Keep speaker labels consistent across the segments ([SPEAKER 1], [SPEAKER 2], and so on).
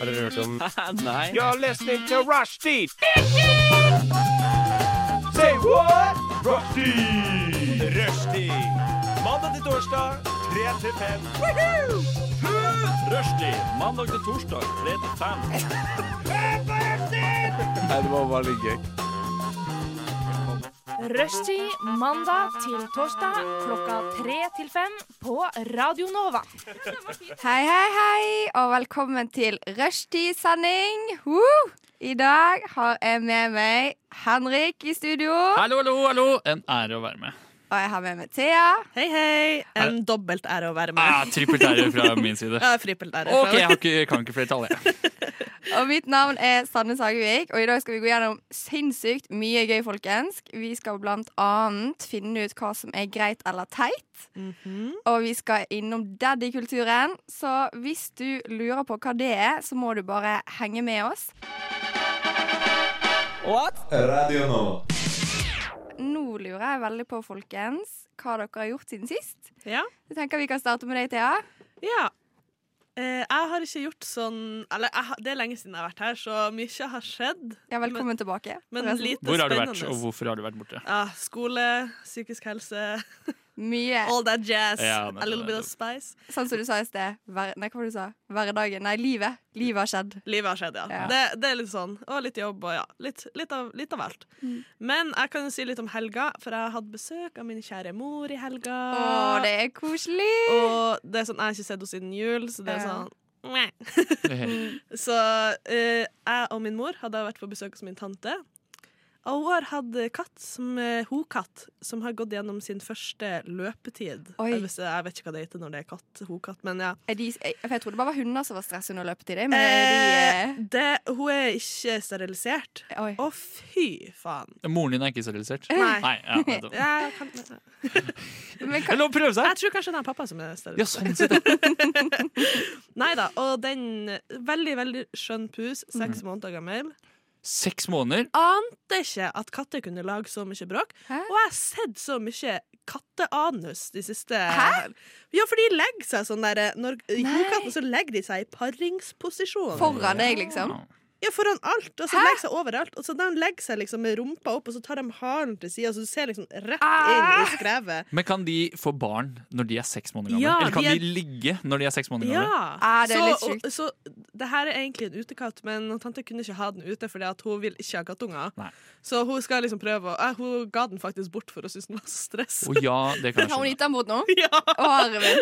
[SPEAKER 1] Har dere hørt om
[SPEAKER 2] Nei.
[SPEAKER 3] You're listening to Rushdie. Say what? Rushdie. Rushdie. Mandag til torsdag, 3 til 5.
[SPEAKER 2] Rushdie. Mandag til torsdag, 3 til 5.
[SPEAKER 4] Nei, det var bare litt gøy.
[SPEAKER 5] Rushtid mandag til torsdag klokka tre til fem på Radio Nova.
[SPEAKER 6] Hei, hei, hei, og velkommen til rushtidssending. Woo! I dag har jeg med meg Henrik i studio.
[SPEAKER 2] Hallo, hallo, hallo. En ære å være med.
[SPEAKER 6] Og jeg har med meg Thea.
[SPEAKER 7] Hei, hei. En dobbelt ære å være
[SPEAKER 2] Ah,
[SPEAKER 7] med.
[SPEAKER 2] Trippelt ære fra min side.
[SPEAKER 7] Ja, frippelt ære.
[SPEAKER 2] OK, jeg har ikke, jeg kan ikke flertall, jeg.
[SPEAKER 6] Og mitt navn er Sanne Sagevik, og i dag skal vi gå gjennom sinnssykt mye gøy, folkens. Vi skal blant annet finne ut hva som er greit eller teit. Og vi skal innom daddykulturen, så hvis du lurer på hva det er, så må du bare henge med oss.
[SPEAKER 8] Radio Nova.
[SPEAKER 6] Nå lurer jeg veldig på, folkens, hva dere har gjort siden sist.
[SPEAKER 7] Ja.
[SPEAKER 6] Jeg tenker vi kan starte med deg, Thea.
[SPEAKER 7] ja. Eh, jeg har ikke gjort sånn Eller jeg, har- det er lenge siden jeg har vært her, så mye har skjedd.
[SPEAKER 6] Ja, velkommen tilbake. altså
[SPEAKER 7] Men
[SPEAKER 6] forresten.
[SPEAKER 7] lite
[SPEAKER 2] Hvor har du
[SPEAKER 7] spennende.
[SPEAKER 2] vært, og hvorfor har du vært borte?
[SPEAKER 7] Ja, skole, psykisk helse,
[SPEAKER 6] Mye.
[SPEAKER 7] all that jazz.
[SPEAKER 2] Ja, nettopp,
[SPEAKER 7] a little bit of
[SPEAKER 2] nettopp.
[SPEAKER 7] spice.
[SPEAKER 6] Sånn som du sa i sted. Hver, nei, hva var det du sa? Hverdagen. Nei, livet. Livet har skjedd.
[SPEAKER 7] Livet har skjedd, ja.
[SPEAKER 6] Ja.
[SPEAKER 7] Det, det er litt sånn. Og litt jobb og ja. Litt, litt, av, litt av alt.
[SPEAKER 6] Mm.
[SPEAKER 7] Men jeg kan jo si litt om helga, for jeg hadde besøk av min kjære mor i helga.
[SPEAKER 6] Å, det er koselig!
[SPEAKER 7] Og det er sånn, jeg har ikke sett henne siden jul, så det er
[SPEAKER 6] Ja.
[SPEAKER 7] sånn meh. Så eh, jeg og min mor hadde vært på besøk hos min tante. Og hun har hatt katt som, eh, ho-katt som har gått gjennom sin første løpetid.
[SPEAKER 6] Oi.
[SPEAKER 7] Jeg vet, jeg vet ikke hva det heter når det er katt. Ho-katt, men ja.
[SPEAKER 6] Er de, jeg, for jeg trodde det bare var hunder som var stress under løpetid. Men
[SPEAKER 7] Eh,
[SPEAKER 6] er de
[SPEAKER 7] det, hun er ikke sterilisert.
[SPEAKER 6] eh, Oi.
[SPEAKER 7] Å, fy faen.
[SPEAKER 2] Moren din er ikke sterilisert?
[SPEAKER 7] Nei.
[SPEAKER 2] Mm. Nei ja, nettopp.
[SPEAKER 7] Jeg, kan, jeg
[SPEAKER 6] Men hva,
[SPEAKER 2] Det er lov å prøve seg!
[SPEAKER 7] tror kanskje det er pappa som er
[SPEAKER 2] Ja,
[SPEAKER 7] sterilisert.
[SPEAKER 2] sånn sett. ja.
[SPEAKER 7] Nei da. Og den veldig, veldig skjønn pus, seks måneder gammel.
[SPEAKER 2] Seks måneder.
[SPEAKER 7] ante ikke at katter kunne lage så mye bråk.
[SPEAKER 6] Hæ?
[SPEAKER 7] Og jeg har sett så mye katteanus de siste
[SPEAKER 6] Hæ?
[SPEAKER 7] Ja, for de legger seg sånn der Når jordkatten så legger de seg i paringsposisjon.
[SPEAKER 6] foran deg, liksom?
[SPEAKER 7] Ja, foran alt. Og så legger de seg overalt. Og så de legger seg liksom med rumpa opp, og så tar de halen til sida, så du ser liksom rett inn
[SPEAKER 6] Ah!
[SPEAKER 7] i skrevet.
[SPEAKER 2] Men kan de få barn når de er seks måneder gamle?
[SPEAKER 7] Ja,
[SPEAKER 2] Eller kan
[SPEAKER 7] de
[SPEAKER 2] de,
[SPEAKER 7] er-
[SPEAKER 2] ligge når de er seks måneder gamle?
[SPEAKER 7] Ja.
[SPEAKER 6] Ah, det er
[SPEAKER 7] så,
[SPEAKER 6] litt sjukt.
[SPEAKER 7] og- så det her er egentlig en utekatt, men tante kunne ikke ha den ute fordi at hun vil ikke ha kattunger.
[SPEAKER 2] Nei.
[SPEAKER 7] Så hun skal liksom prøve å eh, Hun ga den faktisk bort for å synes den var så stress.
[SPEAKER 2] Å ja, det kan jeg
[SPEAKER 6] Har hun
[SPEAKER 2] skjønne.
[SPEAKER 6] gitt den bort nå?
[SPEAKER 7] Ja,
[SPEAKER 6] Å, herre min.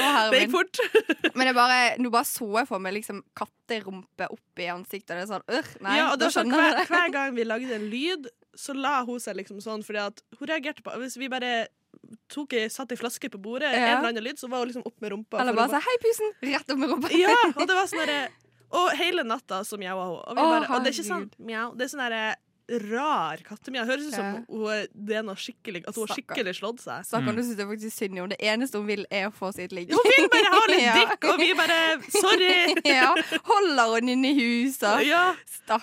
[SPEAKER 6] Å, herre
[SPEAKER 7] det gikk
[SPEAKER 6] min.
[SPEAKER 7] fort.
[SPEAKER 6] Men jeg bare, nå bare så jeg for meg liksom katterumpe opp i ansiktet, og det er sånn øh, Nei,
[SPEAKER 7] ja, og det
[SPEAKER 6] nå
[SPEAKER 7] var sånn,
[SPEAKER 6] skjønner jeg
[SPEAKER 7] hver,
[SPEAKER 6] det.
[SPEAKER 7] hver gang vi lagde en lyd, så la hun seg liksom sånn, fordi at hun reagerte på Hvis vi bare tok i, satt ei flaske på bordet,
[SPEAKER 6] Ja.
[SPEAKER 7] en eller annen lyd, så var hun liksom opp med rumpa.
[SPEAKER 6] Eller
[SPEAKER 7] for å
[SPEAKER 6] bare sånn Hei, pusen! Rett opp med rumpa.
[SPEAKER 7] Ja, og det var sånn derre Og hele natta så mjaua hun. Og, vi
[SPEAKER 6] Å,
[SPEAKER 7] bare, og det er ikke sånn
[SPEAKER 6] herregud.
[SPEAKER 7] mjau, det er sånn derre rar kattemjau. Høres ut som
[SPEAKER 6] Ja.
[SPEAKER 7] hun, er- det er noe skikkelig at hun har
[SPEAKER 6] Stakkar.
[SPEAKER 7] skikkelig slått seg.
[SPEAKER 2] Mm.
[SPEAKER 6] Stakkar, nå syns jeg faktisk synd i henne. Det eneste hun vil, er å få sitt ligg.
[SPEAKER 7] Hun vil bare ha litt
[SPEAKER 6] Ja.
[SPEAKER 7] dick, og vi bare Sorry!
[SPEAKER 6] ja, holder hun inne i huset.
[SPEAKER 7] Ja. Og jeg har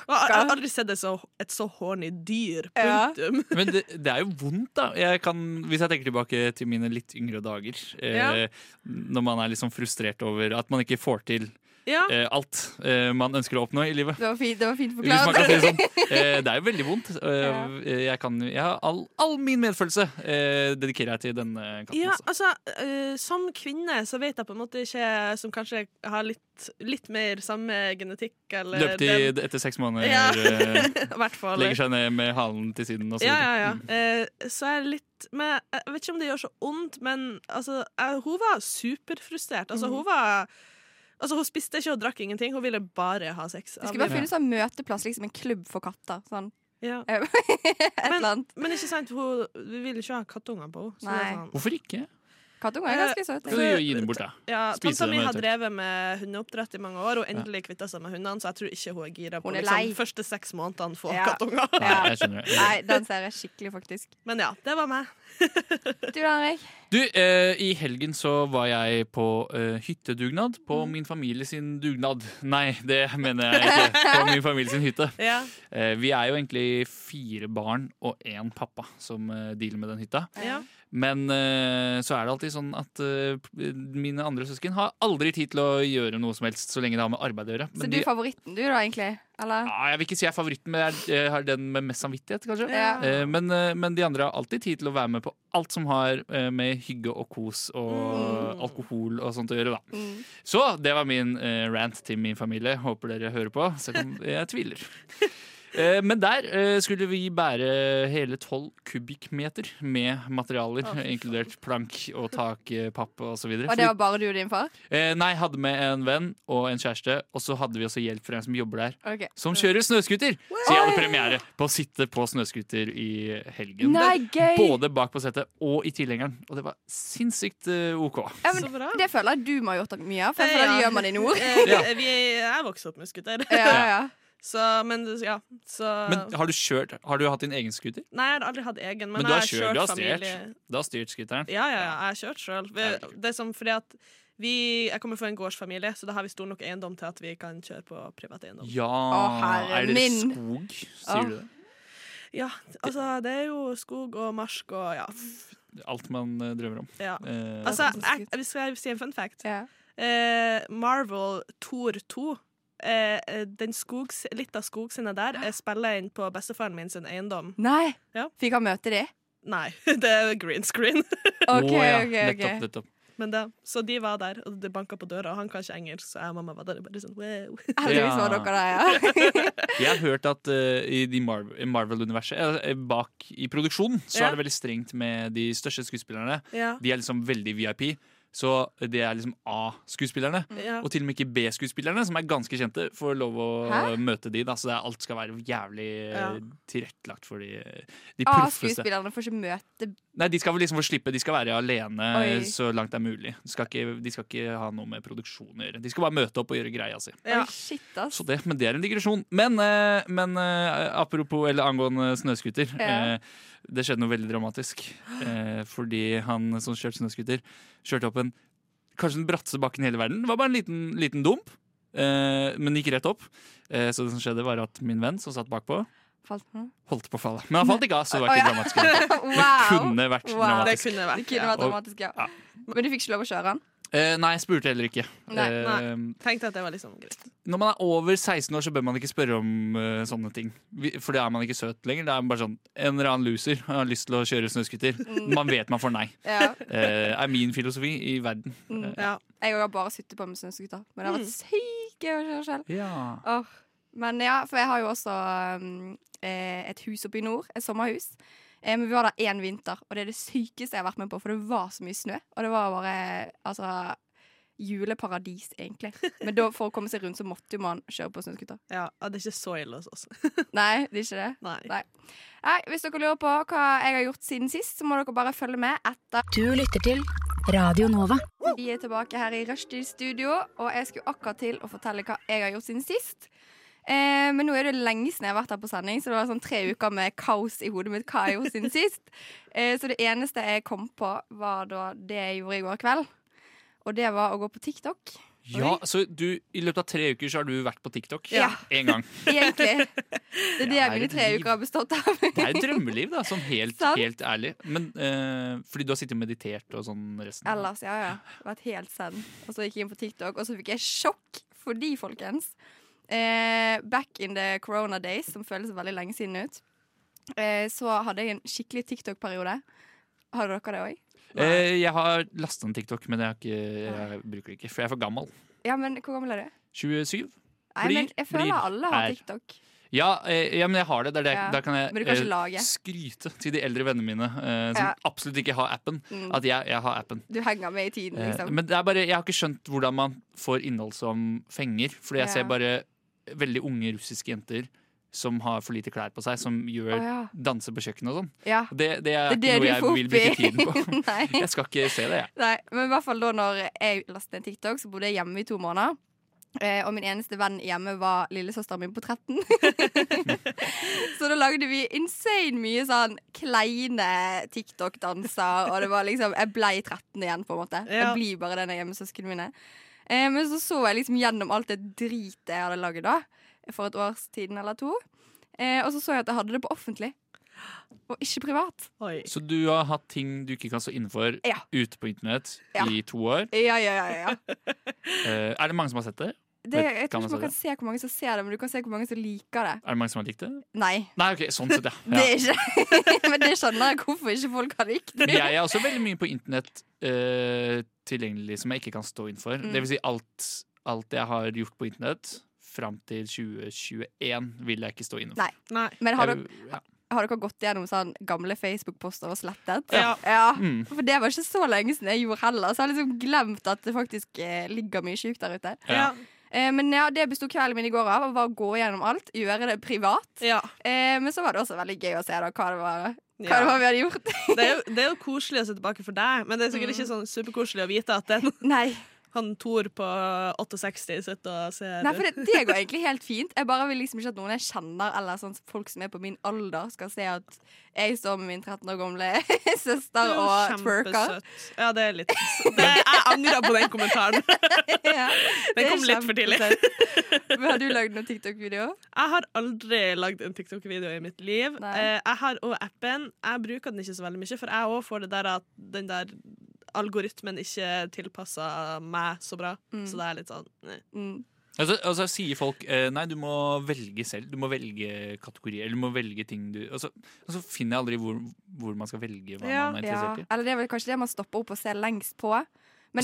[SPEAKER 6] Stakkar.
[SPEAKER 7] aldri sett et så, et så horny dyr.
[SPEAKER 6] Ja.
[SPEAKER 7] Punktum.
[SPEAKER 2] Men det, det er jo vondt, da. Jeg kan, hvis jeg tenker tilbake til mine litt yngre dager, eh, når man er litt sånn frustrert over at man ikke får til
[SPEAKER 7] Ja.
[SPEAKER 2] eh, alt eh, man ønsker å oppnå i livet.
[SPEAKER 6] Det var fint, det var fint
[SPEAKER 2] Hvis man kan
[SPEAKER 6] forklart.
[SPEAKER 2] si det sånn. Eh, det er jo veldig vondt. Eh, jeg kan, jeg har all, all min medfølelse eh, dedikerer jeg til denne katten.
[SPEAKER 7] Ja,
[SPEAKER 2] altså.
[SPEAKER 7] altså, eh, som kvinne så vet jeg på en måte ikke Som kanskje har litt, litt mer samme genetikk eller den-
[SPEAKER 2] Løpetid etter seks måneder,
[SPEAKER 7] Ja.
[SPEAKER 2] eh,
[SPEAKER 7] I hvert fall.
[SPEAKER 2] legger seg ned med halen til siden og så
[SPEAKER 7] Ja,
[SPEAKER 2] videre.
[SPEAKER 7] ja, ja. Eh, så jeg er litt men Jeg vet ikke om det gjør så vondt, men altså, jeg, hun var superfrustrert.
[SPEAKER 6] Mm.
[SPEAKER 7] Altså, hun var Altså, hun spiste ikke og drakk ingenting. Hun ville bare ha sex.
[SPEAKER 6] Du skulle bare finne sånn møteplass, liksom en klubb for katter. Sånn.
[SPEAKER 7] Ja.
[SPEAKER 6] Eh, Et eller annet.
[SPEAKER 7] Men ikke sant, hun, vi ville ikke ha kattunger på henne. så det er sånn.
[SPEAKER 6] Nei.
[SPEAKER 2] Hvorfor ikke?
[SPEAKER 6] Kattunger er ganske søte.
[SPEAKER 2] Kan du gi den bort, da?
[SPEAKER 7] Ja,
[SPEAKER 2] Spise
[SPEAKER 7] Tanta mi
[SPEAKER 2] dem,
[SPEAKER 7] har
[SPEAKER 2] vet du.
[SPEAKER 7] drevet med hundeoppdrett i mange år og endelig kvitta seg med hundene, så jeg tror ikke hun er gira på
[SPEAKER 6] Hun er lei.
[SPEAKER 7] liksom, første seks månedene få
[SPEAKER 6] Ja.
[SPEAKER 7] kattunger.
[SPEAKER 2] Nei,
[SPEAKER 6] Ja.
[SPEAKER 2] jeg skjønner det.
[SPEAKER 6] Nei, den ser jeg skikkelig, faktisk.
[SPEAKER 7] Men ja, det var meg.
[SPEAKER 6] Du da, Henrik?
[SPEAKER 2] Du, eh, I helgen så var jeg på eh, hyttedugnad på
[SPEAKER 7] Mm.
[SPEAKER 2] min familie sin dugnad. Nei, det mener jeg ikke. På min familie sin hytte.
[SPEAKER 7] Ja.
[SPEAKER 2] Eh, vi er jo egentlig fire barn og én pappa som eh, dealer med den hytta.
[SPEAKER 7] Ja.
[SPEAKER 2] Men eh, så er det alltid sånn at eh, mine andre søsken har aldri tid til å gjøre noe som helst så lenge det har med arbeid å gjøre.
[SPEAKER 6] Så
[SPEAKER 2] Men
[SPEAKER 6] du
[SPEAKER 2] de,
[SPEAKER 6] er favoritten, du, da, egentlig? Eller?
[SPEAKER 2] ja, jeg vil ikke si jeg er favoritten, men jeg er- jeg har den med mest samvittighet, kanskje.
[SPEAKER 6] Ja.
[SPEAKER 2] Eh, Men, eh, men de andre har alltid tid til å være med på alt som har eh, med hygge og kos og alkohol og sånt å gjøre. da
[SPEAKER 6] Mm.
[SPEAKER 2] Så det var min eh, rant til min familie. Håper dere hører på, selv om jeg tviler. Eh, Men der eh, skulle vi bære hele tolv kubikkmeter med materialer, inkludert plank og takpapp osv.
[SPEAKER 6] Og det var bare du og din far?
[SPEAKER 2] eh, Nei, hadde med en venn og en kjæreste, og så hadde vi også hjelp fra en som jobber der,
[SPEAKER 6] Ok.
[SPEAKER 2] som kjører snøskuter Så jeg hadde premiere på å sitte på snøskuter i helgen.
[SPEAKER 6] Nei, gøy!
[SPEAKER 2] Både bak på setet og i tilhengeren. Og det var sinnssykt eh, OK.
[SPEAKER 6] Ja,
[SPEAKER 7] Så
[SPEAKER 6] men,
[SPEAKER 7] bra.
[SPEAKER 6] det føler jeg du må ha gjort mye av, for
[SPEAKER 7] Eh,
[SPEAKER 6] jeg
[SPEAKER 7] ja.
[SPEAKER 6] føler det gjør man i nord.
[SPEAKER 7] Eh,
[SPEAKER 2] Ja.
[SPEAKER 7] vi- vi- Jeg er vokst opp med skuter.
[SPEAKER 6] Ja, ja, ja.
[SPEAKER 7] Så, men ja, så
[SPEAKER 2] Men har du kjørt? Har du hatt din egen scooter?
[SPEAKER 7] Nei, jeg har aldri hatt egen, men,
[SPEAKER 2] Men du har
[SPEAKER 7] jeg
[SPEAKER 2] kjørt, du har
[SPEAKER 7] familie-
[SPEAKER 2] styrt. Du har styrt scooteren?
[SPEAKER 7] Ja, ja, ja, jeg har kjørt
[SPEAKER 2] Ja,
[SPEAKER 7] sjøl.
[SPEAKER 2] det er
[SPEAKER 7] Det er som fordi at vi, jeg kommer fra en gårdsfamilie, så da har vi stor nok eiendom til at vi kan kjøre på privat eiendom.
[SPEAKER 2] Ja
[SPEAKER 6] Å, herre
[SPEAKER 2] Er det
[SPEAKER 6] min.
[SPEAKER 2] skog? Sier
[SPEAKER 6] Å.
[SPEAKER 2] du det?
[SPEAKER 7] Ja, altså det er jo skog og marsk og ja.
[SPEAKER 2] Alt man eh, drømmer om.
[SPEAKER 7] ja.
[SPEAKER 2] Eh,
[SPEAKER 7] Altså,
[SPEAKER 6] fantastisk
[SPEAKER 7] jeg,
[SPEAKER 6] ut.
[SPEAKER 7] jeg skal si en fun fact.
[SPEAKER 6] ja.
[SPEAKER 7] Eh, Marvel Tour 2. Eh, eh, den skogs, litt av skogscenen der jeg spiller inn på bestefaren min sin eiendom.
[SPEAKER 6] Nei!
[SPEAKER 7] Ja.
[SPEAKER 6] Fikk han møte de?
[SPEAKER 7] Nei, det er green screen.
[SPEAKER 6] OK,
[SPEAKER 2] å, ja.
[SPEAKER 6] OK.
[SPEAKER 2] Nettopp,
[SPEAKER 6] ok
[SPEAKER 2] nettopp.
[SPEAKER 7] Men da, så de var der, og det banka på døra, og han kan ikke engelsk, så jeg og mamma var der og bare sånn wow.
[SPEAKER 6] Heldigvis var
[SPEAKER 2] Ja.
[SPEAKER 6] dere der, ja.
[SPEAKER 2] Jeg har hørt at eh, i de Mar Marvel-universet, eh, eh, bak i produksjonen, så
[SPEAKER 7] Ja.
[SPEAKER 2] er det veldig strengt med de største skuespillerne.
[SPEAKER 7] Ja.
[SPEAKER 2] De er liksom veldig VIP, så det er liksom A-skuespillerne.
[SPEAKER 7] Ja.
[SPEAKER 2] Og til og med ikke B-skuespillerne, som er ganske kjente, får lov å
[SPEAKER 6] Hæ?
[SPEAKER 2] møte de. Da. Så det er, alt skal være jævlig
[SPEAKER 7] Ja.
[SPEAKER 2] eh, tilrettelagt for de, eh, de proffeste.
[SPEAKER 6] A-skuespillerne får ikke møte
[SPEAKER 2] Nei, de skal vel liksom få slippe. De skal være alene
[SPEAKER 6] Oi.
[SPEAKER 2] så langt det er mulig. De skal, ikke, de skal ikke ha noe med produksjon å gjøre. De skal bare møte opp og gjøre greia si.
[SPEAKER 7] Ja.
[SPEAKER 6] Oi, shit, ass.
[SPEAKER 2] Så det, men det er en digresjon. Men, eh, men eh, apropos eller angående snøskuter.
[SPEAKER 6] Ja.
[SPEAKER 2] eh, Det skjedde noe veldig dramatisk. eh, Fordi han som kjørte snøskuter, kjørte opp en kanskje den bratteste bakken i hele verden. Det var bare en liten, liten dump, eh, men gikk rett opp. Eh, Så det som skjedde, var at min venn som satt bakpå,
[SPEAKER 6] Falt han?
[SPEAKER 2] holdt på å falle. Men han falt ikke av, så det var
[SPEAKER 6] Å,
[SPEAKER 2] ikke
[SPEAKER 6] ja.
[SPEAKER 2] dramatisk. Det
[SPEAKER 6] Wow!
[SPEAKER 2] kunne vært
[SPEAKER 7] Det
[SPEAKER 6] Wow.
[SPEAKER 2] dramatisk.
[SPEAKER 7] kunne
[SPEAKER 6] Det
[SPEAKER 7] vært.
[SPEAKER 6] kunne
[SPEAKER 7] Ja.
[SPEAKER 6] vært dramatisk, ja.
[SPEAKER 2] Ja.
[SPEAKER 6] Men du fikk ikke lov å kjøre den?
[SPEAKER 2] Eh, Nei, jeg spurte heller ikke.
[SPEAKER 6] Nei,
[SPEAKER 2] Eh,
[SPEAKER 7] Tenkte at det var liksom greit.
[SPEAKER 2] Når man er over 16 år, så bør man ikke spørre om eh, sånne ting. Vi, for det er man ikke søt lenger. Det er bare sånn, En eller annen loser har lyst til å kjøre snøskuter.
[SPEAKER 6] Mm.
[SPEAKER 2] Man vet man får nei.
[SPEAKER 6] Ja.
[SPEAKER 2] Eh, er min filosofi i verden.
[SPEAKER 6] Mm.
[SPEAKER 7] Ja.
[SPEAKER 6] Jeg har bare sittet på med snøscooter, men det har vært sykt gøy å kjøre selv.
[SPEAKER 2] Ja.
[SPEAKER 6] Mm. Åh, Men ja, for jeg har jo også um, eh, et hus oppe i nord, et sommerhus. Eh, Men vi var der én vinter, og det er det sykeste jeg har vært med på, for det var så mye snø. Og det var bare altså, juleparadis, egentlig. Men da, for å komme seg rundt, så måtte jo man kjøre på snøscooter.
[SPEAKER 7] Ja, ja, det er ikke så ille hos oss.
[SPEAKER 6] Nei, det er ikke det.
[SPEAKER 7] Nei.
[SPEAKER 6] Nei. Nei, Hvis dere lurer på hva jeg har gjort siden sist, så må dere bare følge med etter
[SPEAKER 1] Du lytter til Radio Nova.
[SPEAKER 6] vi er tilbake her i Rushdie Studio, og jeg skulle akkurat til å fortelle hva jeg har gjort siden sist. Eh, men nå er det lenge siden jeg har vært her på sending, så det var sånn tre uker med kaos i hodet mitt. hva jeg har gjort siden sist. Eh, så det eneste jeg kom på, var da det jeg gjorde i går kveld. Og det var å gå på TikTok.
[SPEAKER 2] ja, Så du, i løpet av tre uker så har du vært på TikTok?
[SPEAKER 6] Ja.
[SPEAKER 2] En gang.
[SPEAKER 6] Egentlig. Det er det
[SPEAKER 2] Ja,
[SPEAKER 6] mine
[SPEAKER 2] herregud.
[SPEAKER 6] tre uker har bestått av.
[SPEAKER 2] Det er jo drømmeliv, da. Sånn helt,
[SPEAKER 6] Sant.
[SPEAKER 2] helt ærlig. Men eh, Fordi du har sittet og meditert og sånn resten.
[SPEAKER 6] Ellers, ja, ja. Vært helt send. Og så gikk jeg inn på TikTok, og så fikk jeg sjokk fordi, folkens. Eh, back in the corona days, som føles veldig lenge siden ut, eh, så hadde jeg en skikkelig TikTok-periode. Har dere det òg?
[SPEAKER 2] Eh, jeg har lastet en TikTok, men jeg, har ikke, jeg bruker det ikke. For jeg er for gammel.
[SPEAKER 6] Ja, men hvor gammel er du?
[SPEAKER 2] 27?
[SPEAKER 6] Nei,
[SPEAKER 2] Blir,
[SPEAKER 6] men jeg føler
[SPEAKER 2] blir,
[SPEAKER 6] alle har
[SPEAKER 2] er.
[SPEAKER 6] TikTok.
[SPEAKER 2] Ja, eh, ja, men jeg har det. det, er det
[SPEAKER 6] Ja,
[SPEAKER 2] Da kan jeg
[SPEAKER 6] men du kan ikke
[SPEAKER 2] eh,
[SPEAKER 6] lage.
[SPEAKER 2] skryte til de eldre vennene mine eh, som
[SPEAKER 6] Ja.
[SPEAKER 2] absolutt ikke har appen,
[SPEAKER 6] Mm.
[SPEAKER 2] at jeg, jeg har appen.
[SPEAKER 6] Du henger med i tiden,
[SPEAKER 2] Eh,
[SPEAKER 6] liksom.
[SPEAKER 2] men det er bare, jeg har ikke skjønt hvordan man får innhold som fenger. Fordi jeg
[SPEAKER 6] Ja.
[SPEAKER 2] ser bare veldig unge russiske jenter som har for lite klær på seg, som gjør
[SPEAKER 6] Å, ja.
[SPEAKER 2] danser på kjøkkenet og sånn.
[SPEAKER 6] Ja.
[SPEAKER 2] Det, det er
[SPEAKER 6] Det
[SPEAKER 2] ikke noe jeg
[SPEAKER 6] er det du
[SPEAKER 2] vil
[SPEAKER 6] får
[SPEAKER 2] bruke tiden
[SPEAKER 6] opp i.
[SPEAKER 2] på.
[SPEAKER 6] Nei.
[SPEAKER 2] Jeg skal ikke se det, jeg.
[SPEAKER 6] Nei, men i hvert fall da når jeg lastet ned TikTok, så bodde jeg hjemme i to måneder. Eh, og min eneste venn hjemme var lillesøsteren min på 13. så da lagde vi insane mye sånn kleine TikTok-danser. Og det var liksom Jeg blei 13 igjen, på en måte.
[SPEAKER 7] Ja.
[SPEAKER 6] Jeg blir bare det når jeg er med søsknene mine. Eh, men så så jeg liksom gjennom alt det dritet jeg hadde laget da, for et års tiden eller to. Eh, og så så jeg at jeg hadde det på offentlig. og ikke privat.
[SPEAKER 7] Oi.
[SPEAKER 2] Så du har hatt ting du ikke kan stå innenfor
[SPEAKER 6] Ja.
[SPEAKER 2] ute på internett
[SPEAKER 6] Ja.
[SPEAKER 2] i to år.
[SPEAKER 6] Ja, ja, ja, ja.
[SPEAKER 2] Eh, er det mange som har sett det?
[SPEAKER 6] Det, jeg
[SPEAKER 2] Kan
[SPEAKER 6] tror
[SPEAKER 2] man
[SPEAKER 6] ikke
[SPEAKER 2] si
[SPEAKER 6] man kan se hvor mange som ser det, men du kan se hvor mange som liker det.
[SPEAKER 2] Er det mange som har likt det?
[SPEAKER 6] Nei.
[SPEAKER 2] Nei, ok, sånn sett,
[SPEAKER 6] Det
[SPEAKER 2] ja. ja.
[SPEAKER 6] er ikke Men det skjønner jeg hvorfor ikke folk har likt det.
[SPEAKER 2] Jeg er også veldig mye på internett eh, tilgjengelig som jeg ikke kan stå innenfor. Det vil si alt, alt jeg har gjort på internett fram til 2021, vil jeg ikke stå innenfor.
[SPEAKER 6] Nei.
[SPEAKER 7] Nei.
[SPEAKER 6] Men har dere,
[SPEAKER 2] Jeg- ja.
[SPEAKER 6] har dere gått gjennom sånn gamle Facebook-poster og slettet?
[SPEAKER 7] Ja.
[SPEAKER 2] Mm.
[SPEAKER 6] For det var ikke så lenge siden jeg gjorde heller, så jeg har liksom glemt at det faktisk eh, ligger mye sjukt der ute.
[SPEAKER 7] Ja.
[SPEAKER 2] Ja.
[SPEAKER 6] Eh, men ja, det besto kvelden min i går av, var å gå gjennom alt, gjøre det privat.
[SPEAKER 7] ja.
[SPEAKER 6] Eh, men så var det også veldig gøy å se da, hva, det var, hva
[SPEAKER 7] Ja.
[SPEAKER 6] det var vi hadde gjort.
[SPEAKER 7] Det er, jo, det er jo koselig å se tilbake for deg, men det er sikkert ikke sånn superkoselig å vite at den,
[SPEAKER 6] Nei,
[SPEAKER 7] han Tor på 68 sitter og ser
[SPEAKER 6] Nei for det, det går egentlig helt fint. Jeg bare vil liksom ikke at noen jeg kjenner, eller sånn folk som er på min alder, skal se at jeg står med min 13 år gamle
[SPEAKER 7] Det er
[SPEAKER 6] søster
[SPEAKER 7] jo
[SPEAKER 6] og twerker.
[SPEAKER 7] kjempesøtt. Ja, det er litt det, Jeg angrer på den kommentaren.
[SPEAKER 6] Ja, det er
[SPEAKER 7] kom litt for tidlig.
[SPEAKER 6] kjempesøtt. Men har du lagd noen TikTok-video?
[SPEAKER 7] Jeg har aldri lagd en TikTok-video i mitt liv.
[SPEAKER 6] Nei.
[SPEAKER 7] Eh, Jeg har òg appen. Jeg bruker den ikke så veldig mye, for jeg òg får det der at den der algoritmen ikke tilpasser meg så bra. Så det er litt sånn eh.
[SPEAKER 6] Mm.
[SPEAKER 2] Og så og så sier folk eh, Nei, du må velge selv. Du må velge kategorier. Eller du må velge ting du Og så, og så finner jeg aldri hvor, hvor man skal velge hva
[SPEAKER 7] Ja,
[SPEAKER 2] man er
[SPEAKER 6] Ja.
[SPEAKER 2] interessert i.
[SPEAKER 6] Eller det er vel kanskje det man stopper opp og ser lengst på. Men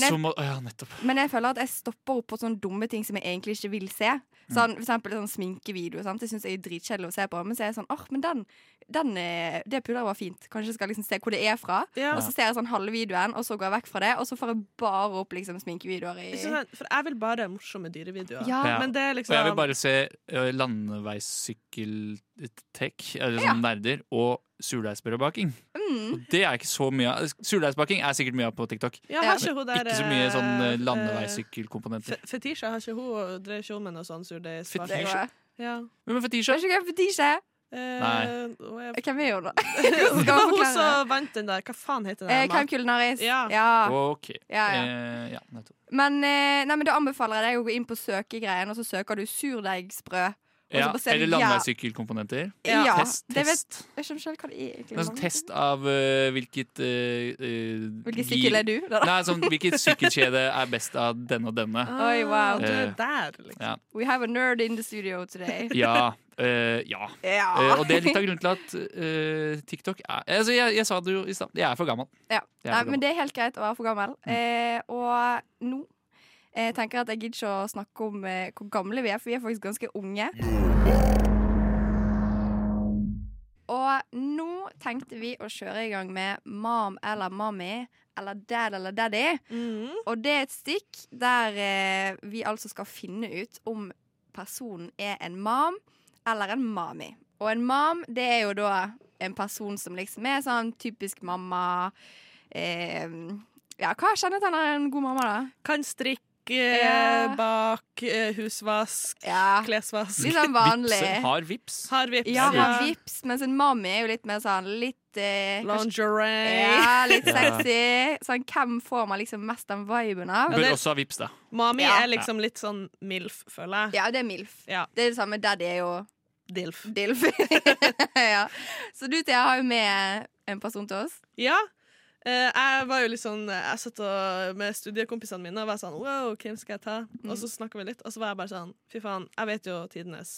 [SPEAKER 2] Men
[SPEAKER 6] jeg,
[SPEAKER 2] så må, å ja, nettopp.
[SPEAKER 6] men jeg føler at jeg stopper opp på sånne dumme ting som jeg egentlig ikke vil se. Sånn, for eksempel sånn sminkevideo. Sant? Det syns jeg er dritkjedelig å se på. Men så er jeg sånn åh, men den, den eh, det pudderet var fint. Kanskje jeg skal liksom se hvor det er fra.
[SPEAKER 7] Ja.
[SPEAKER 6] Og så ser jeg sånn halve videoen, og så går jeg vekk fra det. Og så får jeg bare opp liksom sminkevideoer i
[SPEAKER 7] Ikke sant? For jeg vil bare morsomme dyrevideoer.
[SPEAKER 6] Ja.
[SPEAKER 2] Ja.
[SPEAKER 7] Men det er
[SPEAKER 2] Og jeg vil
[SPEAKER 7] liksom
[SPEAKER 2] bare se eh, landeveissykkeltech, eller sånn nerder, og surdeigsbrødbaking.
[SPEAKER 6] Mm.
[SPEAKER 2] Og det er ikke så mye av. Surdeigsbaking er sikkert mye av på TikTok.
[SPEAKER 7] Ja, har
[SPEAKER 2] Men
[SPEAKER 7] ikke, hun der,
[SPEAKER 2] ikke så mye sånn eh,
[SPEAKER 7] eh,
[SPEAKER 2] landeveissykkelkomponenter.
[SPEAKER 7] Fe- Fetisha, har ikke hun drev ikke hun med noe sånn surdeigsbak?
[SPEAKER 6] Det
[SPEAKER 2] Fetisha?
[SPEAKER 6] går.
[SPEAKER 7] Ja.
[SPEAKER 2] Men med
[SPEAKER 6] Det
[SPEAKER 2] fetisja?
[SPEAKER 6] er ikke gøy, fetisje.
[SPEAKER 7] Eh,
[SPEAKER 2] Nei.
[SPEAKER 7] hun er-
[SPEAKER 6] Hvem er hun, da?
[SPEAKER 7] Det var
[SPEAKER 6] Skal man
[SPEAKER 7] hun
[SPEAKER 6] forklare
[SPEAKER 7] som vant den der. Hva faen heter den?
[SPEAKER 6] Eh,
[SPEAKER 7] der
[SPEAKER 6] Hvem
[SPEAKER 7] mat-
[SPEAKER 6] kulinaris?
[SPEAKER 7] Ja.
[SPEAKER 6] ja.
[SPEAKER 2] OK.
[SPEAKER 6] Ja, ja.
[SPEAKER 2] Eh, ja, nettopp.
[SPEAKER 6] Men, eh, nei, men da anbefaler jeg deg å gå inn på søkegreien, og så søker du surdeigsbrød. Og så
[SPEAKER 2] Ja,
[SPEAKER 6] bare ser du
[SPEAKER 2] eller
[SPEAKER 6] jæv-
[SPEAKER 2] landeveissykkelkomponenter.
[SPEAKER 6] Ja,
[SPEAKER 2] Test.
[SPEAKER 6] det vet,
[SPEAKER 2] test.
[SPEAKER 6] jeg skjønner ikke helt hva det er.
[SPEAKER 2] Det er en sånn
[SPEAKER 6] egentlig.
[SPEAKER 2] test av eh, hvilket eh, eh, gir-
[SPEAKER 6] Hvilken sykkel er du? Da, da.
[SPEAKER 2] Nei, sånn, hvilket sykkelkjede er best av denne og denne.
[SPEAKER 7] Ah,
[SPEAKER 6] Oi, wow.
[SPEAKER 7] Du er
[SPEAKER 2] Eh,
[SPEAKER 7] der, liksom.
[SPEAKER 2] ja.
[SPEAKER 6] We have a nerd in the studio today.
[SPEAKER 2] Ja. eh, ja.
[SPEAKER 6] Ja.
[SPEAKER 2] Eh, og det er litt av grunnen til at eh, TikTok er altså, jeg, jeg sa det jo i stad, jeg er for gammel.
[SPEAKER 6] Ja.
[SPEAKER 2] Jeg er for
[SPEAKER 6] Nei, men
[SPEAKER 2] gammel. Mm.
[SPEAKER 6] det er helt greit å være for gammel. Eh, og nå eh, tenker jeg at jeg gidder ikke å snakke om eh, hvor gamle vi er, for vi er faktisk ganske unge. Og nå tenkte vi å kjøre i gang med Mam eller Mommy eller Dad eller Daddy.
[SPEAKER 7] Mhm.
[SPEAKER 6] Og det er et stikk der eh, vi altså skal finne ut om personen er en mam eller en mami. Og en mam, det er jo da en person som liksom er sånn typisk mamma eh, Ja, hva kjennetegner en god mamma, da?
[SPEAKER 7] Kan strikke,
[SPEAKER 6] Ja.
[SPEAKER 7] bak, eh, husvask,
[SPEAKER 6] Ja,
[SPEAKER 7] klesvask.
[SPEAKER 6] Litt sånn vanlig.
[SPEAKER 2] Vipser har vips.
[SPEAKER 7] Har vips.
[SPEAKER 6] Ja, har vips, mens en mami er jo litt mer sånn litt eh, kanskje-
[SPEAKER 7] Lingerie.
[SPEAKER 6] Ja, litt
[SPEAKER 2] Ja.
[SPEAKER 6] sexy. Sånn, hvem får man liksom mest den viben av?
[SPEAKER 2] Bør
[SPEAKER 7] det-
[SPEAKER 2] også ha vips, da.
[SPEAKER 7] Mami
[SPEAKER 6] Ja.
[SPEAKER 7] er liksom litt sånn MILF, føler jeg.
[SPEAKER 6] Ja, det er MILF.
[SPEAKER 7] Ja.
[SPEAKER 6] Det er det samme. Daddy er jo
[SPEAKER 7] DILF.
[SPEAKER 6] Dilf. ja. Så du Thea har jo med en person til oss.
[SPEAKER 7] Ja. Eh, jeg var jo litt sånn Jeg satt og, med studiekompisene mine og var sånn Wow, hvem skal jeg ta? Og
[SPEAKER 6] Mm.
[SPEAKER 7] så snakka vi litt, og så var jeg bare sånn Fy faen, jeg vet jo tidenes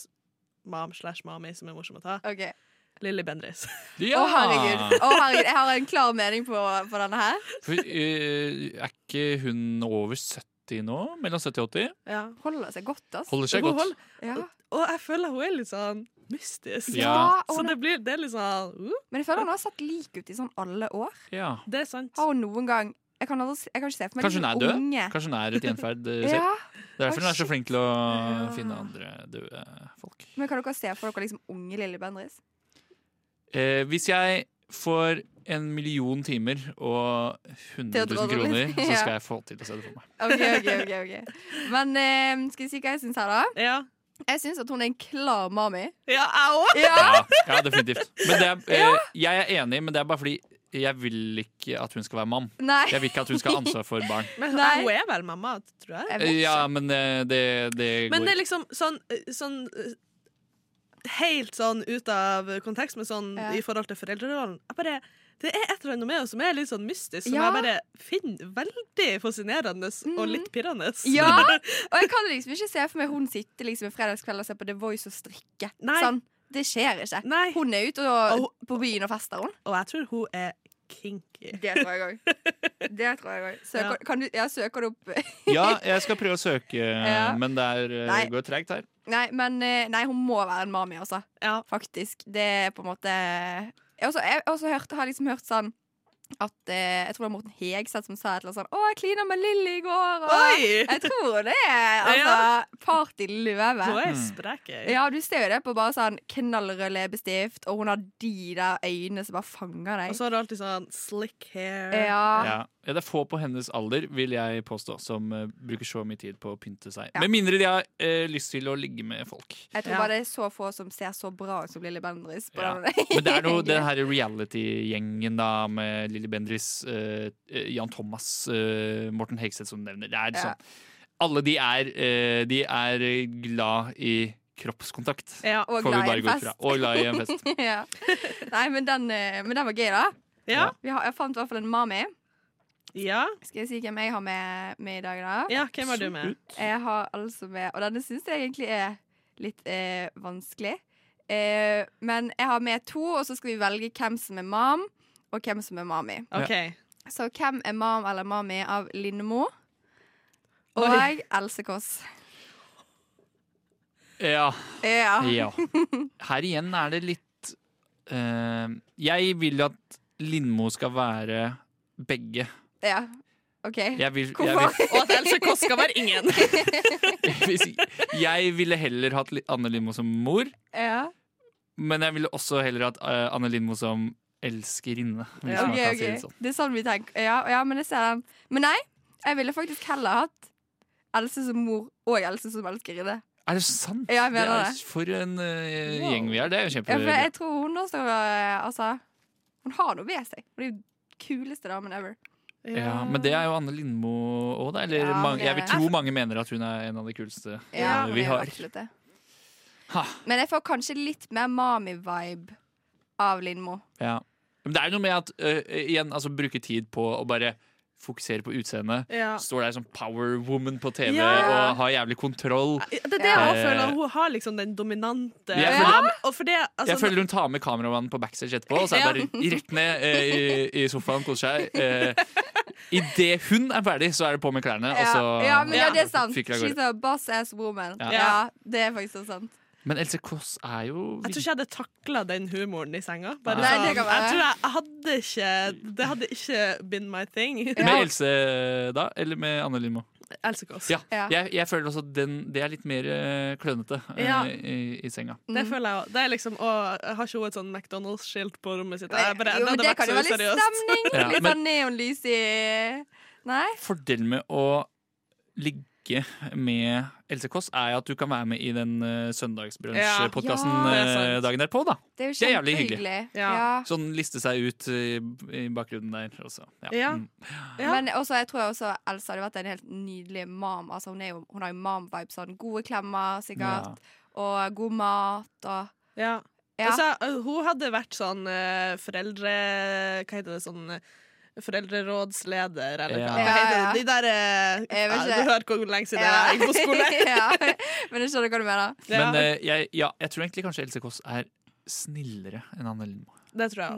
[SPEAKER 7] mam slash mami som er morsom å ta.
[SPEAKER 6] Ok Å,
[SPEAKER 7] Lilly Bendriss.
[SPEAKER 2] Ja!
[SPEAKER 6] herregud. Å, herregud. Jeg har en klar mening på, på denne her.
[SPEAKER 2] For, eh, er ikke hun over 70 nå? Mellom 70 og 80?
[SPEAKER 7] Ja.
[SPEAKER 6] Holder seg godt, altså.
[SPEAKER 2] Holder seg
[SPEAKER 7] Hun
[SPEAKER 2] godt.
[SPEAKER 7] holder-
[SPEAKER 6] Ja.
[SPEAKER 7] Og jeg føler hun er litt sånn mystisk.
[SPEAKER 2] Ja.
[SPEAKER 6] og
[SPEAKER 7] Så
[SPEAKER 6] hun-
[SPEAKER 7] det blir det er litt sånn uh,
[SPEAKER 6] Men jeg føler han har sett lik ut i sånn alle år.
[SPEAKER 2] Ja.
[SPEAKER 7] Det er sant.
[SPEAKER 6] Har hun noen gang Jeg kan, aldri, se- jeg kan ikke se for meg
[SPEAKER 2] Kanskje hun er
[SPEAKER 6] liksom
[SPEAKER 2] død?
[SPEAKER 6] unge.
[SPEAKER 2] Kanskje hun er et gjenferd eh, selv?
[SPEAKER 6] Ja,
[SPEAKER 2] Det er derfor
[SPEAKER 6] Oi,
[SPEAKER 2] hun er så
[SPEAKER 6] shit.
[SPEAKER 2] flink til å
[SPEAKER 6] Ja.
[SPEAKER 2] finne andre døde folk.
[SPEAKER 6] men kan dere se for dere liksom unge Lilly Bendriss?
[SPEAKER 2] Eh, hvis jeg får en million timer og 100 000
[SPEAKER 6] Til å dra det
[SPEAKER 2] kroner,
[SPEAKER 6] litt.
[SPEAKER 2] så
[SPEAKER 6] Ja.
[SPEAKER 2] skal jeg få til å se det for meg.
[SPEAKER 6] Ok, ok, ok, ok Men eh, skal vi si hva jeg syns her, da?
[SPEAKER 7] Ja.
[SPEAKER 6] Jeg syns at hun er en klar mami.
[SPEAKER 7] Ja, jeg òg!
[SPEAKER 6] Ja!
[SPEAKER 2] Ja, ja definitivt. Men det er, eh, jeg er enig, men det er bare fordi jeg vil ikke at hun skal være mann.
[SPEAKER 6] Nei.
[SPEAKER 2] Jeg vil ikke at hun skal ha ansvar for barn.
[SPEAKER 7] Men
[SPEAKER 6] Nei.
[SPEAKER 7] hun er vel mamma, tror jeg.
[SPEAKER 6] Jeg vet
[SPEAKER 2] Eh,
[SPEAKER 6] ikke.
[SPEAKER 2] Ja, men eh, det, det
[SPEAKER 7] Men
[SPEAKER 2] går
[SPEAKER 7] det er liksom sånn, eh, sånn eh, helt sånn ut av kontekst, men sånn
[SPEAKER 6] Ja.
[SPEAKER 7] i forhold til foreldrerollen. Jeg bare, det er et eller annet med henne som er litt sånn mystisk, som
[SPEAKER 6] Ja.
[SPEAKER 7] jeg bare finner veldig fascinerende og litt pirrende.
[SPEAKER 6] Ja! Og jeg kan liksom ikke se for meg hun sitter liksom en fredagskveld og ser på The Voice og strikker.
[SPEAKER 7] Nei.
[SPEAKER 6] Sånn, det skjer ikke.
[SPEAKER 7] Nei.
[SPEAKER 6] Hun er ute
[SPEAKER 7] Og
[SPEAKER 6] og, på byen og fester, hun.
[SPEAKER 7] Og jeg tror hun er kinky.
[SPEAKER 6] Det tror jeg òg. Det tror jeg òg. Søker,
[SPEAKER 7] Ja.
[SPEAKER 6] kan du- ja, søker du opp
[SPEAKER 2] Ja, jeg skal prøve å søke,
[SPEAKER 6] Ja.
[SPEAKER 2] men det er, eh,
[SPEAKER 6] Nei.
[SPEAKER 2] går tregt her.
[SPEAKER 6] Nei, men eh, nei, hun må være en mami, altså.
[SPEAKER 7] Ja.
[SPEAKER 6] Faktisk. Det er på en måte Jeg, også, jeg også hørt, har liksom hørt sånn at eh, Jeg tror det var Morten Hegseth som sa et eller annet sånn 'Å, jeg klina med Lilly i går', og
[SPEAKER 7] Oi!
[SPEAKER 6] Jeg tror det er altså
[SPEAKER 7] Ja.
[SPEAKER 6] partyløve.
[SPEAKER 7] Hun
[SPEAKER 2] Mm.
[SPEAKER 7] er sprek. jeg.
[SPEAKER 6] Ja, du ser jo det på bare sånn knallrød leppestift, og hun har de der øynene som bare fanger
[SPEAKER 7] Og
[SPEAKER 6] deg.
[SPEAKER 7] så har hun alltid sånn slick hair.
[SPEAKER 6] Ja.
[SPEAKER 2] Ja. Ja, det er få på hennes alder, vil jeg påstå, som eh, bruker så mye tid på å pynte seg. Med mindre de har eh, lyst til å ligge med folk.
[SPEAKER 6] Jeg tror
[SPEAKER 7] Ja.
[SPEAKER 6] bare det er så få som ser så bra ut som Lille Bendriss. på
[SPEAKER 2] Ja.
[SPEAKER 6] den-
[SPEAKER 2] Men det er noe, den her reality-gjengen da med Lilly Bendriss, eh, eh, Jan Thomas, eh, Morten Hegseth som du nevner. Det er
[SPEAKER 6] Ja.
[SPEAKER 2] sånn, alle de er, eh, de er glad i kroppskontakt.
[SPEAKER 7] Ja.
[SPEAKER 6] Og
[SPEAKER 2] Får vi
[SPEAKER 6] glad i
[SPEAKER 2] bare
[SPEAKER 6] en
[SPEAKER 2] gå ut fra.
[SPEAKER 6] fest.
[SPEAKER 2] Og glad i en fest.
[SPEAKER 6] ja. Nei, men den, eh, men den var gøy, da.
[SPEAKER 7] Ja.
[SPEAKER 6] Vi har, jeg fant i hvert fall en mami.
[SPEAKER 7] ja.
[SPEAKER 6] Skal jeg si hvem jeg har med, med i dag, da?
[SPEAKER 7] Ja, hvem er du med?
[SPEAKER 6] Jeg har altså med Og denne syns jeg egentlig er litt eh, vanskelig. Eh, men jeg har med to, og så skal vi velge hvem som er mam, og hvem som er mami.
[SPEAKER 7] OK.
[SPEAKER 6] Så hvem er mam eller mami av Lindemo? Og
[SPEAKER 7] Oi.
[SPEAKER 6] Else Kåss.
[SPEAKER 2] Ja.
[SPEAKER 6] Ja.
[SPEAKER 2] ja. Her igjen er det litt eh, Jeg vil at Lindmo skal være begge.
[SPEAKER 6] ja. OK.
[SPEAKER 2] Jeg vil, jeg vil
[SPEAKER 6] Hvorfor?
[SPEAKER 7] Og at Else Kåss skal være ingen.
[SPEAKER 2] Hvis- Jeg ville heller hatt Li- Anne Lindmo som mor,
[SPEAKER 6] Ja.
[SPEAKER 2] men jeg ville også heller hatt eh, Anne Lindmo som elskerinne. Hvis
[SPEAKER 6] Ok,
[SPEAKER 2] man kan si
[SPEAKER 6] ok.
[SPEAKER 2] det sånn.
[SPEAKER 6] Det er sånn vi tenker. Ja, ja men jeg ser den. Men nei, jeg ville faktisk heller hatt Else som mor og Else som elskerinne.
[SPEAKER 2] Er det sant?
[SPEAKER 6] Ja, jeg
[SPEAKER 2] det
[SPEAKER 6] mener
[SPEAKER 2] er
[SPEAKER 6] det.
[SPEAKER 2] for en eh, gjeng vi er. Det er jo
[SPEAKER 6] Ja, for
[SPEAKER 2] kjempebra.
[SPEAKER 6] jeg tror hun også eh, Altså, hun har noe ved seg. Hun er jo den kuleste damen ever.
[SPEAKER 2] Ja, men det er jo Anne Lindmo òg, da. Eller
[SPEAKER 6] Ja,
[SPEAKER 2] mange,
[SPEAKER 6] det
[SPEAKER 2] jeg
[SPEAKER 6] er
[SPEAKER 2] vil
[SPEAKER 6] det.
[SPEAKER 2] tro mange mener at hun er en av de kuleste eh,
[SPEAKER 6] hun
[SPEAKER 2] vi
[SPEAKER 6] er jo
[SPEAKER 2] har.
[SPEAKER 6] absolutt det.
[SPEAKER 2] Ha.
[SPEAKER 6] Men jeg får kanskje litt mer mami-vibe av Lindmo.
[SPEAKER 2] Ja. Men det er jo noe med at eh, igjen, altså, bruke tid på å bare fokusere på utseendet.
[SPEAKER 7] Ja.
[SPEAKER 2] Står der som power woman på TV
[SPEAKER 7] Ja.
[SPEAKER 2] og har jævlig kontroll.
[SPEAKER 7] Det er det jeg også
[SPEAKER 2] Ja.
[SPEAKER 7] føler. Hun har liksom den dominante
[SPEAKER 2] Jeg
[SPEAKER 7] Ja, Og for det, altså,
[SPEAKER 2] Jeg føler hun tar med kameramannen på backstage etterpå, og så
[SPEAKER 7] Ja.
[SPEAKER 2] er det bare rett ned eh, i, i sofaen, koser seg. Eh, Idet hun er ferdig, så er det på med klærne,
[SPEAKER 6] Ja,
[SPEAKER 2] og så
[SPEAKER 6] ja, men ja, det er sant.
[SPEAKER 2] altså, fyker det av
[SPEAKER 6] She's
[SPEAKER 2] gårde.
[SPEAKER 6] a boss ass woman.
[SPEAKER 2] Ja.
[SPEAKER 6] Ja. det er faktisk så sant.
[SPEAKER 2] Men Else Kåss er jo
[SPEAKER 7] Jeg tror ikke jeg hadde takla den humoren i senga. Bare
[SPEAKER 6] Nei,
[SPEAKER 7] sånn,
[SPEAKER 6] det
[SPEAKER 7] jeg
[SPEAKER 6] kan være.
[SPEAKER 7] tror jeg, jeg hadde ikke Det hadde ikke been my thing.
[SPEAKER 2] Med Else, da? Eller med Anne Lindmo?
[SPEAKER 7] Else Kåss.
[SPEAKER 2] Ja.
[SPEAKER 6] Ja.
[SPEAKER 2] Jeg, jeg føler også at den, det er litt mer eh, klønete eh,
[SPEAKER 7] Ja.
[SPEAKER 2] i, i senga.
[SPEAKER 7] Det føler jeg også. Det er liksom, å, jeg Har ikke hun et sånn McDonald's-skilt på rommet sitt? Jeg bare,
[SPEAKER 6] jo,
[SPEAKER 7] det hadde
[SPEAKER 6] men det kan
[SPEAKER 7] vært
[SPEAKER 6] jo
[SPEAKER 7] så
[SPEAKER 6] være litt
[SPEAKER 7] useriøst.
[SPEAKER 6] stemning.
[SPEAKER 2] Ja,
[SPEAKER 6] litt
[SPEAKER 2] men-
[SPEAKER 6] sånn neonlys i Nei?
[SPEAKER 2] Fordelen med å ligge med Else Kåss er at du kan være med i den uh,
[SPEAKER 7] Ja.
[SPEAKER 2] søndagsbrunsjpodkasten
[SPEAKER 6] Ja,
[SPEAKER 7] det er sant.
[SPEAKER 2] dagen derpå, da.
[SPEAKER 6] Det er jo
[SPEAKER 2] Det er jævlig
[SPEAKER 6] kjempehyggelig.
[SPEAKER 7] Ja.
[SPEAKER 6] Ja.
[SPEAKER 2] Sånn liste seg ut i, i bakgrunnen der også.
[SPEAKER 7] Ja.
[SPEAKER 2] Mm.
[SPEAKER 7] Ja.
[SPEAKER 6] Men også, jeg tror også Elsa hadde vært en helt nydelig mam. Altså, hun, er jo, hun har jo mam-vibe. Sånn. Gode klemmer, sikkert. Og god mat. Og
[SPEAKER 7] Ja.
[SPEAKER 6] Ja.
[SPEAKER 7] Altså, ø, hun hadde vært sånn eh, foreldre... Hva heter det? sånn... eh, Foreldrerådsleder, eller
[SPEAKER 2] Ja.
[SPEAKER 7] hva hva heter
[SPEAKER 6] Ja, ja.
[SPEAKER 7] det? De der eh,
[SPEAKER 6] Jeg vet
[SPEAKER 7] ja,
[SPEAKER 6] ikke.
[SPEAKER 7] Du hører hvor lenge siden jeg gikk på skole.
[SPEAKER 6] ja. Men jeg skjønner hva du mener.
[SPEAKER 7] Ja,
[SPEAKER 2] Men eh, jeg, ja, jeg tror egentlig kanskje Else Kåss er snillere enn Anne Lindmo.
[SPEAKER 7] det tror jeg.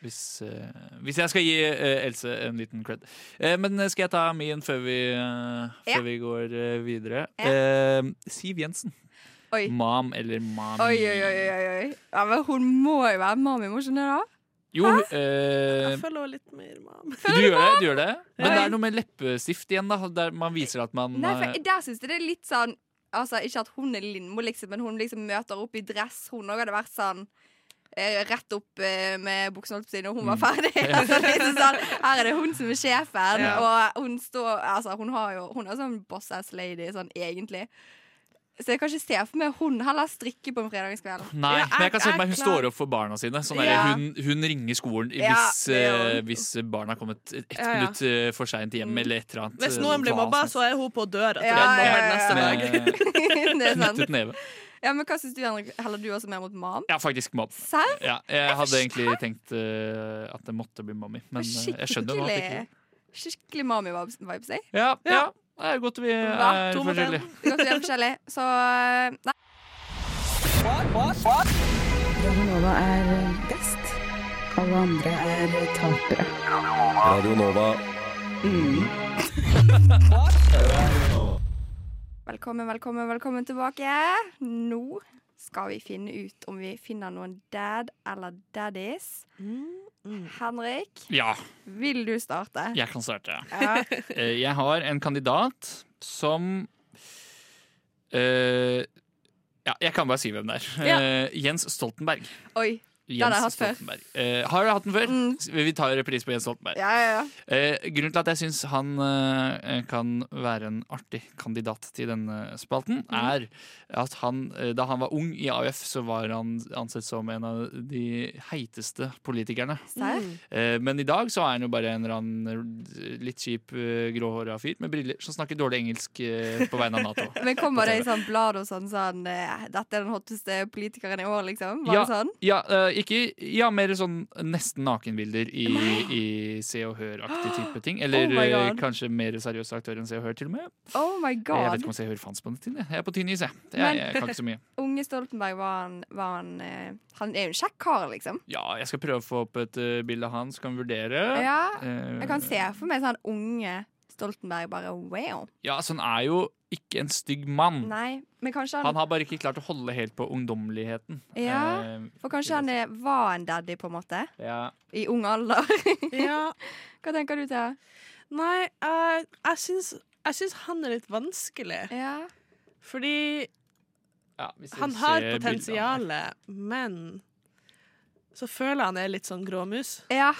[SPEAKER 2] Hvis, eh, hvis jeg skal gi eh, Else en liten cred. Eh, men eh, skal jeg ta min før vi, eh,
[SPEAKER 6] Ja.
[SPEAKER 2] før vi går eh, videre?
[SPEAKER 6] Ja.
[SPEAKER 2] Eh, Siv Jensen.
[SPEAKER 6] Oi.
[SPEAKER 2] Mam eller mami.
[SPEAKER 6] Oi, oi, oi. oi, oi. Ja, men hun må jo være mam, må ikke hun det? da?
[SPEAKER 2] Jo, eh,
[SPEAKER 7] Jeg føler henne litt mer mam.
[SPEAKER 2] du gjør det, du gjør det. Men
[SPEAKER 7] Ja.
[SPEAKER 2] det er noe med leppestift igjen, da. Der man viser at man
[SPEAKER 6] Nei,
[SPEAKER 2] eh,
[SPEAKER 6] for der syns jeg det er litt sånn Altså, Ikke at hun er Lindmo, liksom, men hun liksom møter opp i dress. Hun òg hadde vært sånn eh, rett opp eh, med buksene holdt på siden, og hun
[SPEAKER 2] Mm.
[SPEAKER 6] var ferdig. altså, liksom sånn, her er det hun som er sjefen, og hun står Altså, hun har jo Hun er sånn boss ass lady, sånn egentlig. Så jeg kan ikke se for meg hun heller strikke på en fredagskveld.
[SPEAKER 2] Nei,
[SPEAKER 7] Ja,
[SPEAKER 2] men jeg
[SPEAKER 7] jeg-
[SPEAKER 2] kan se for meg
[SPEAKER 7] jeg
[SPEAKER 2] hun
[SPEAKER 7] er klar.
[SPEAKER 2] står opp for barna sine. Sånn der,
[SPEAKER 6] Ja.
[SPEAKER 2] hun, hun ringer skolen i-
[SPEAKER 6] Ja,
[SPEAKER 2] hvis,
[SPEAKER 6] det gjør
[SPEAKER 2] eh,
[SPEAKER 6] hun.
[SPEAKER 2] hvis barna har kommet ett
[SPEAKER 7] Ja, ja.
[SPEAKER 2] minutt eh, for seint hjem, eller et eller annet.
[SPEAKER 7] Hvis
[SPEAKER 2] eh,
[SPEAKER 7] noen blir
[SPEAKER 2] hva
[SPEAKER 7] mobba,
[SPEAKER 2] som
[SPEAKER 7] så er hun på døra til
[SPEAKER 6] Ja,
[SPEAKER 7] den
[SPEAKER 6] ja,
[SPEAKER 7] mobberen
[SPEAKER 6] ja, ja.
[SPEAKER 7] neste dag.
[SPEAKER 2] helst. Med
[SPEAKER 6] det er sant.
[SPEAKER 2] knyttet neve.
[SPEAKER 6] Ja, men hva syns du, Henrik? Heller du også mer mot mam?
[SPEAKER 2] Ja, faktisk mobb.
[SPEAKER 6] Serr?
[SPEAKER 2] Ja, jeg hadde egentlig tenkt eh, at det måtte bli mommy, men eh, jeg skjønner nå at det ikke
[SPEAKER 6] Skikkelig, skikkelig mami-vibes, jeg.
[SPEAKER 2] Ja, ja. Det er godt vi
[SPEAKER 6] Hva?
[SPEAKER 2] er
[SPEAKER 7] To mot en.
[SPEAKER 2] forskjellige.
[SPEAKER 6] Det er godt vi er forskjellige. Så eh, nei.
[SPEAKER 1] Radionova er eh, best. Alle andre er eh, tapere.
[SPEAKER 8] Radio Nova.
[SPEAKER 6] Mm. Velkommen, velkommen, velkommen tilbake. Nå skal vi finne ut om vi finner noen dad eller daddies. Henrik,
[SPEAKER 2] Ja,
[SPEAKER 6] vil du starte?
[SPEAKER 2] jeg kan starte.
[SPEAKER 6] Ja.
[SPEAKER 2] Eh, Jeg har en kandidat som eh, Ja, jeg kan bare si hvem det er.
[SPEAKER 7] Ja.
[SPEAKER 2] Eh, Jens Stoltenberg.
[SPEAKER 6] Oi.
[SPEAKER 2] Jens
[SPEAKER 6] har jeg hatt før.
[SPEAKER 2] Stoltenberg. Eh, har du hatt den før?
[SPEAKER 6] Mm.
[SPEAKER 2] S- Vi tar reprise på Jens Stoltenberg.
[SPEAKER 6] Ja, ja, ja.
[SPEAKER 2] Eh, grunnen til at jeg syns han eh, kan være en artig kandidat til denne spalten,
[SPEAKER 6] Mm.
[SPEAKER 2] er at han, eh, da han var ung i AUF, så var han ansett som en av de heiteste politikerne.
[SPEAKER 6] Serr?
[SPEAKER 2] Eh, men i dag så er han jo bare en eller annen litt kjip, eh, gråhåra fyr med briller som snakker dårlig engelsk eh, på vegne av Nato.
[SPEAKER 6] Men kommer det i sånn blad og sånn sånn eh, 'Dette er den hotteste politikeren i år', liksom? Var
[SPEAKER 2] Ja.
[SPEAKER 6] det sånn?
[SPEAKER 2] Ja, eh, ikke, ja mer sånn nesten nakenbilder i, i Se og Hør-aktig type ting. Eller
[SPEAKER 6] Oh my
[SPEAKER 2] eh,
[SPEAKER 6] God.
[SPEAKER 2] kanskje mer seriøse aktører enn Se og Hør, til og med.
[SPEAKER 6] Oh my
[SPEAKER 2] Jeg vet
[SPEAKER 6] god.
[SPEAKER 2] ikke om Se og Hør fantes på den tiden. jeg. Jeg er på tynn is, jeg.
[SPEAKER 6] Men-
[SPEAKER 2] Jeg, jeg kan ikke så mye.
[SPEAKER 6] Unge Stoltenberg var han, var han eh, Han er jo en kjekk kar, liksom.
[SPEAKER 2] Ja, jeg skal prøve å få opp et eh, bilde av han, så kan vi vurdere.
[SPEAKER 6] Ja,
[SPEAKER 2] Eh,
[SPEAKER 6] jeg kan se for meg sånn unge Stoltenberg bare wow.
[SPEAKER 2] ja, så han er jo ikke en stygg mann.
[SPEAKER 6] Nei, men kanskje
[SPEAKER 2] Mm. Han
[SPEAKER 6] han,
[SPEAKER 2] har bare ikke klart å holde helt på ungdommeligheten.
[SPEAKER 6] Ja.
[SPEAKER 2] Eh,
[SPEAKER 6] For kanskje han er, var en daddy, på en måte.
[SPEAKER 2] ja.
[SPEAKER 6] I ung alder.
[SPEAKER 7] Ja.
[SPEAKER 6] Hva tenker du, Thea?
[SPEAKER 7] Nei, jeg, jeg, syns, jeg syns han er litt vanskelig.
[SPEAKER 6] Ja.
[SPEAKER 7] Fordi
[SPEAKER 2] Ja, hvis vi
[SPEAKER 7] han
[SPEAKER 2] ser
[SPEAKER 7] har
[SPEAKER 2] bildet av han.
[SPEAKER 7] potensialet, men så føler jeg han er litt sånn gråmus.
[SPEAKER 6] Ja.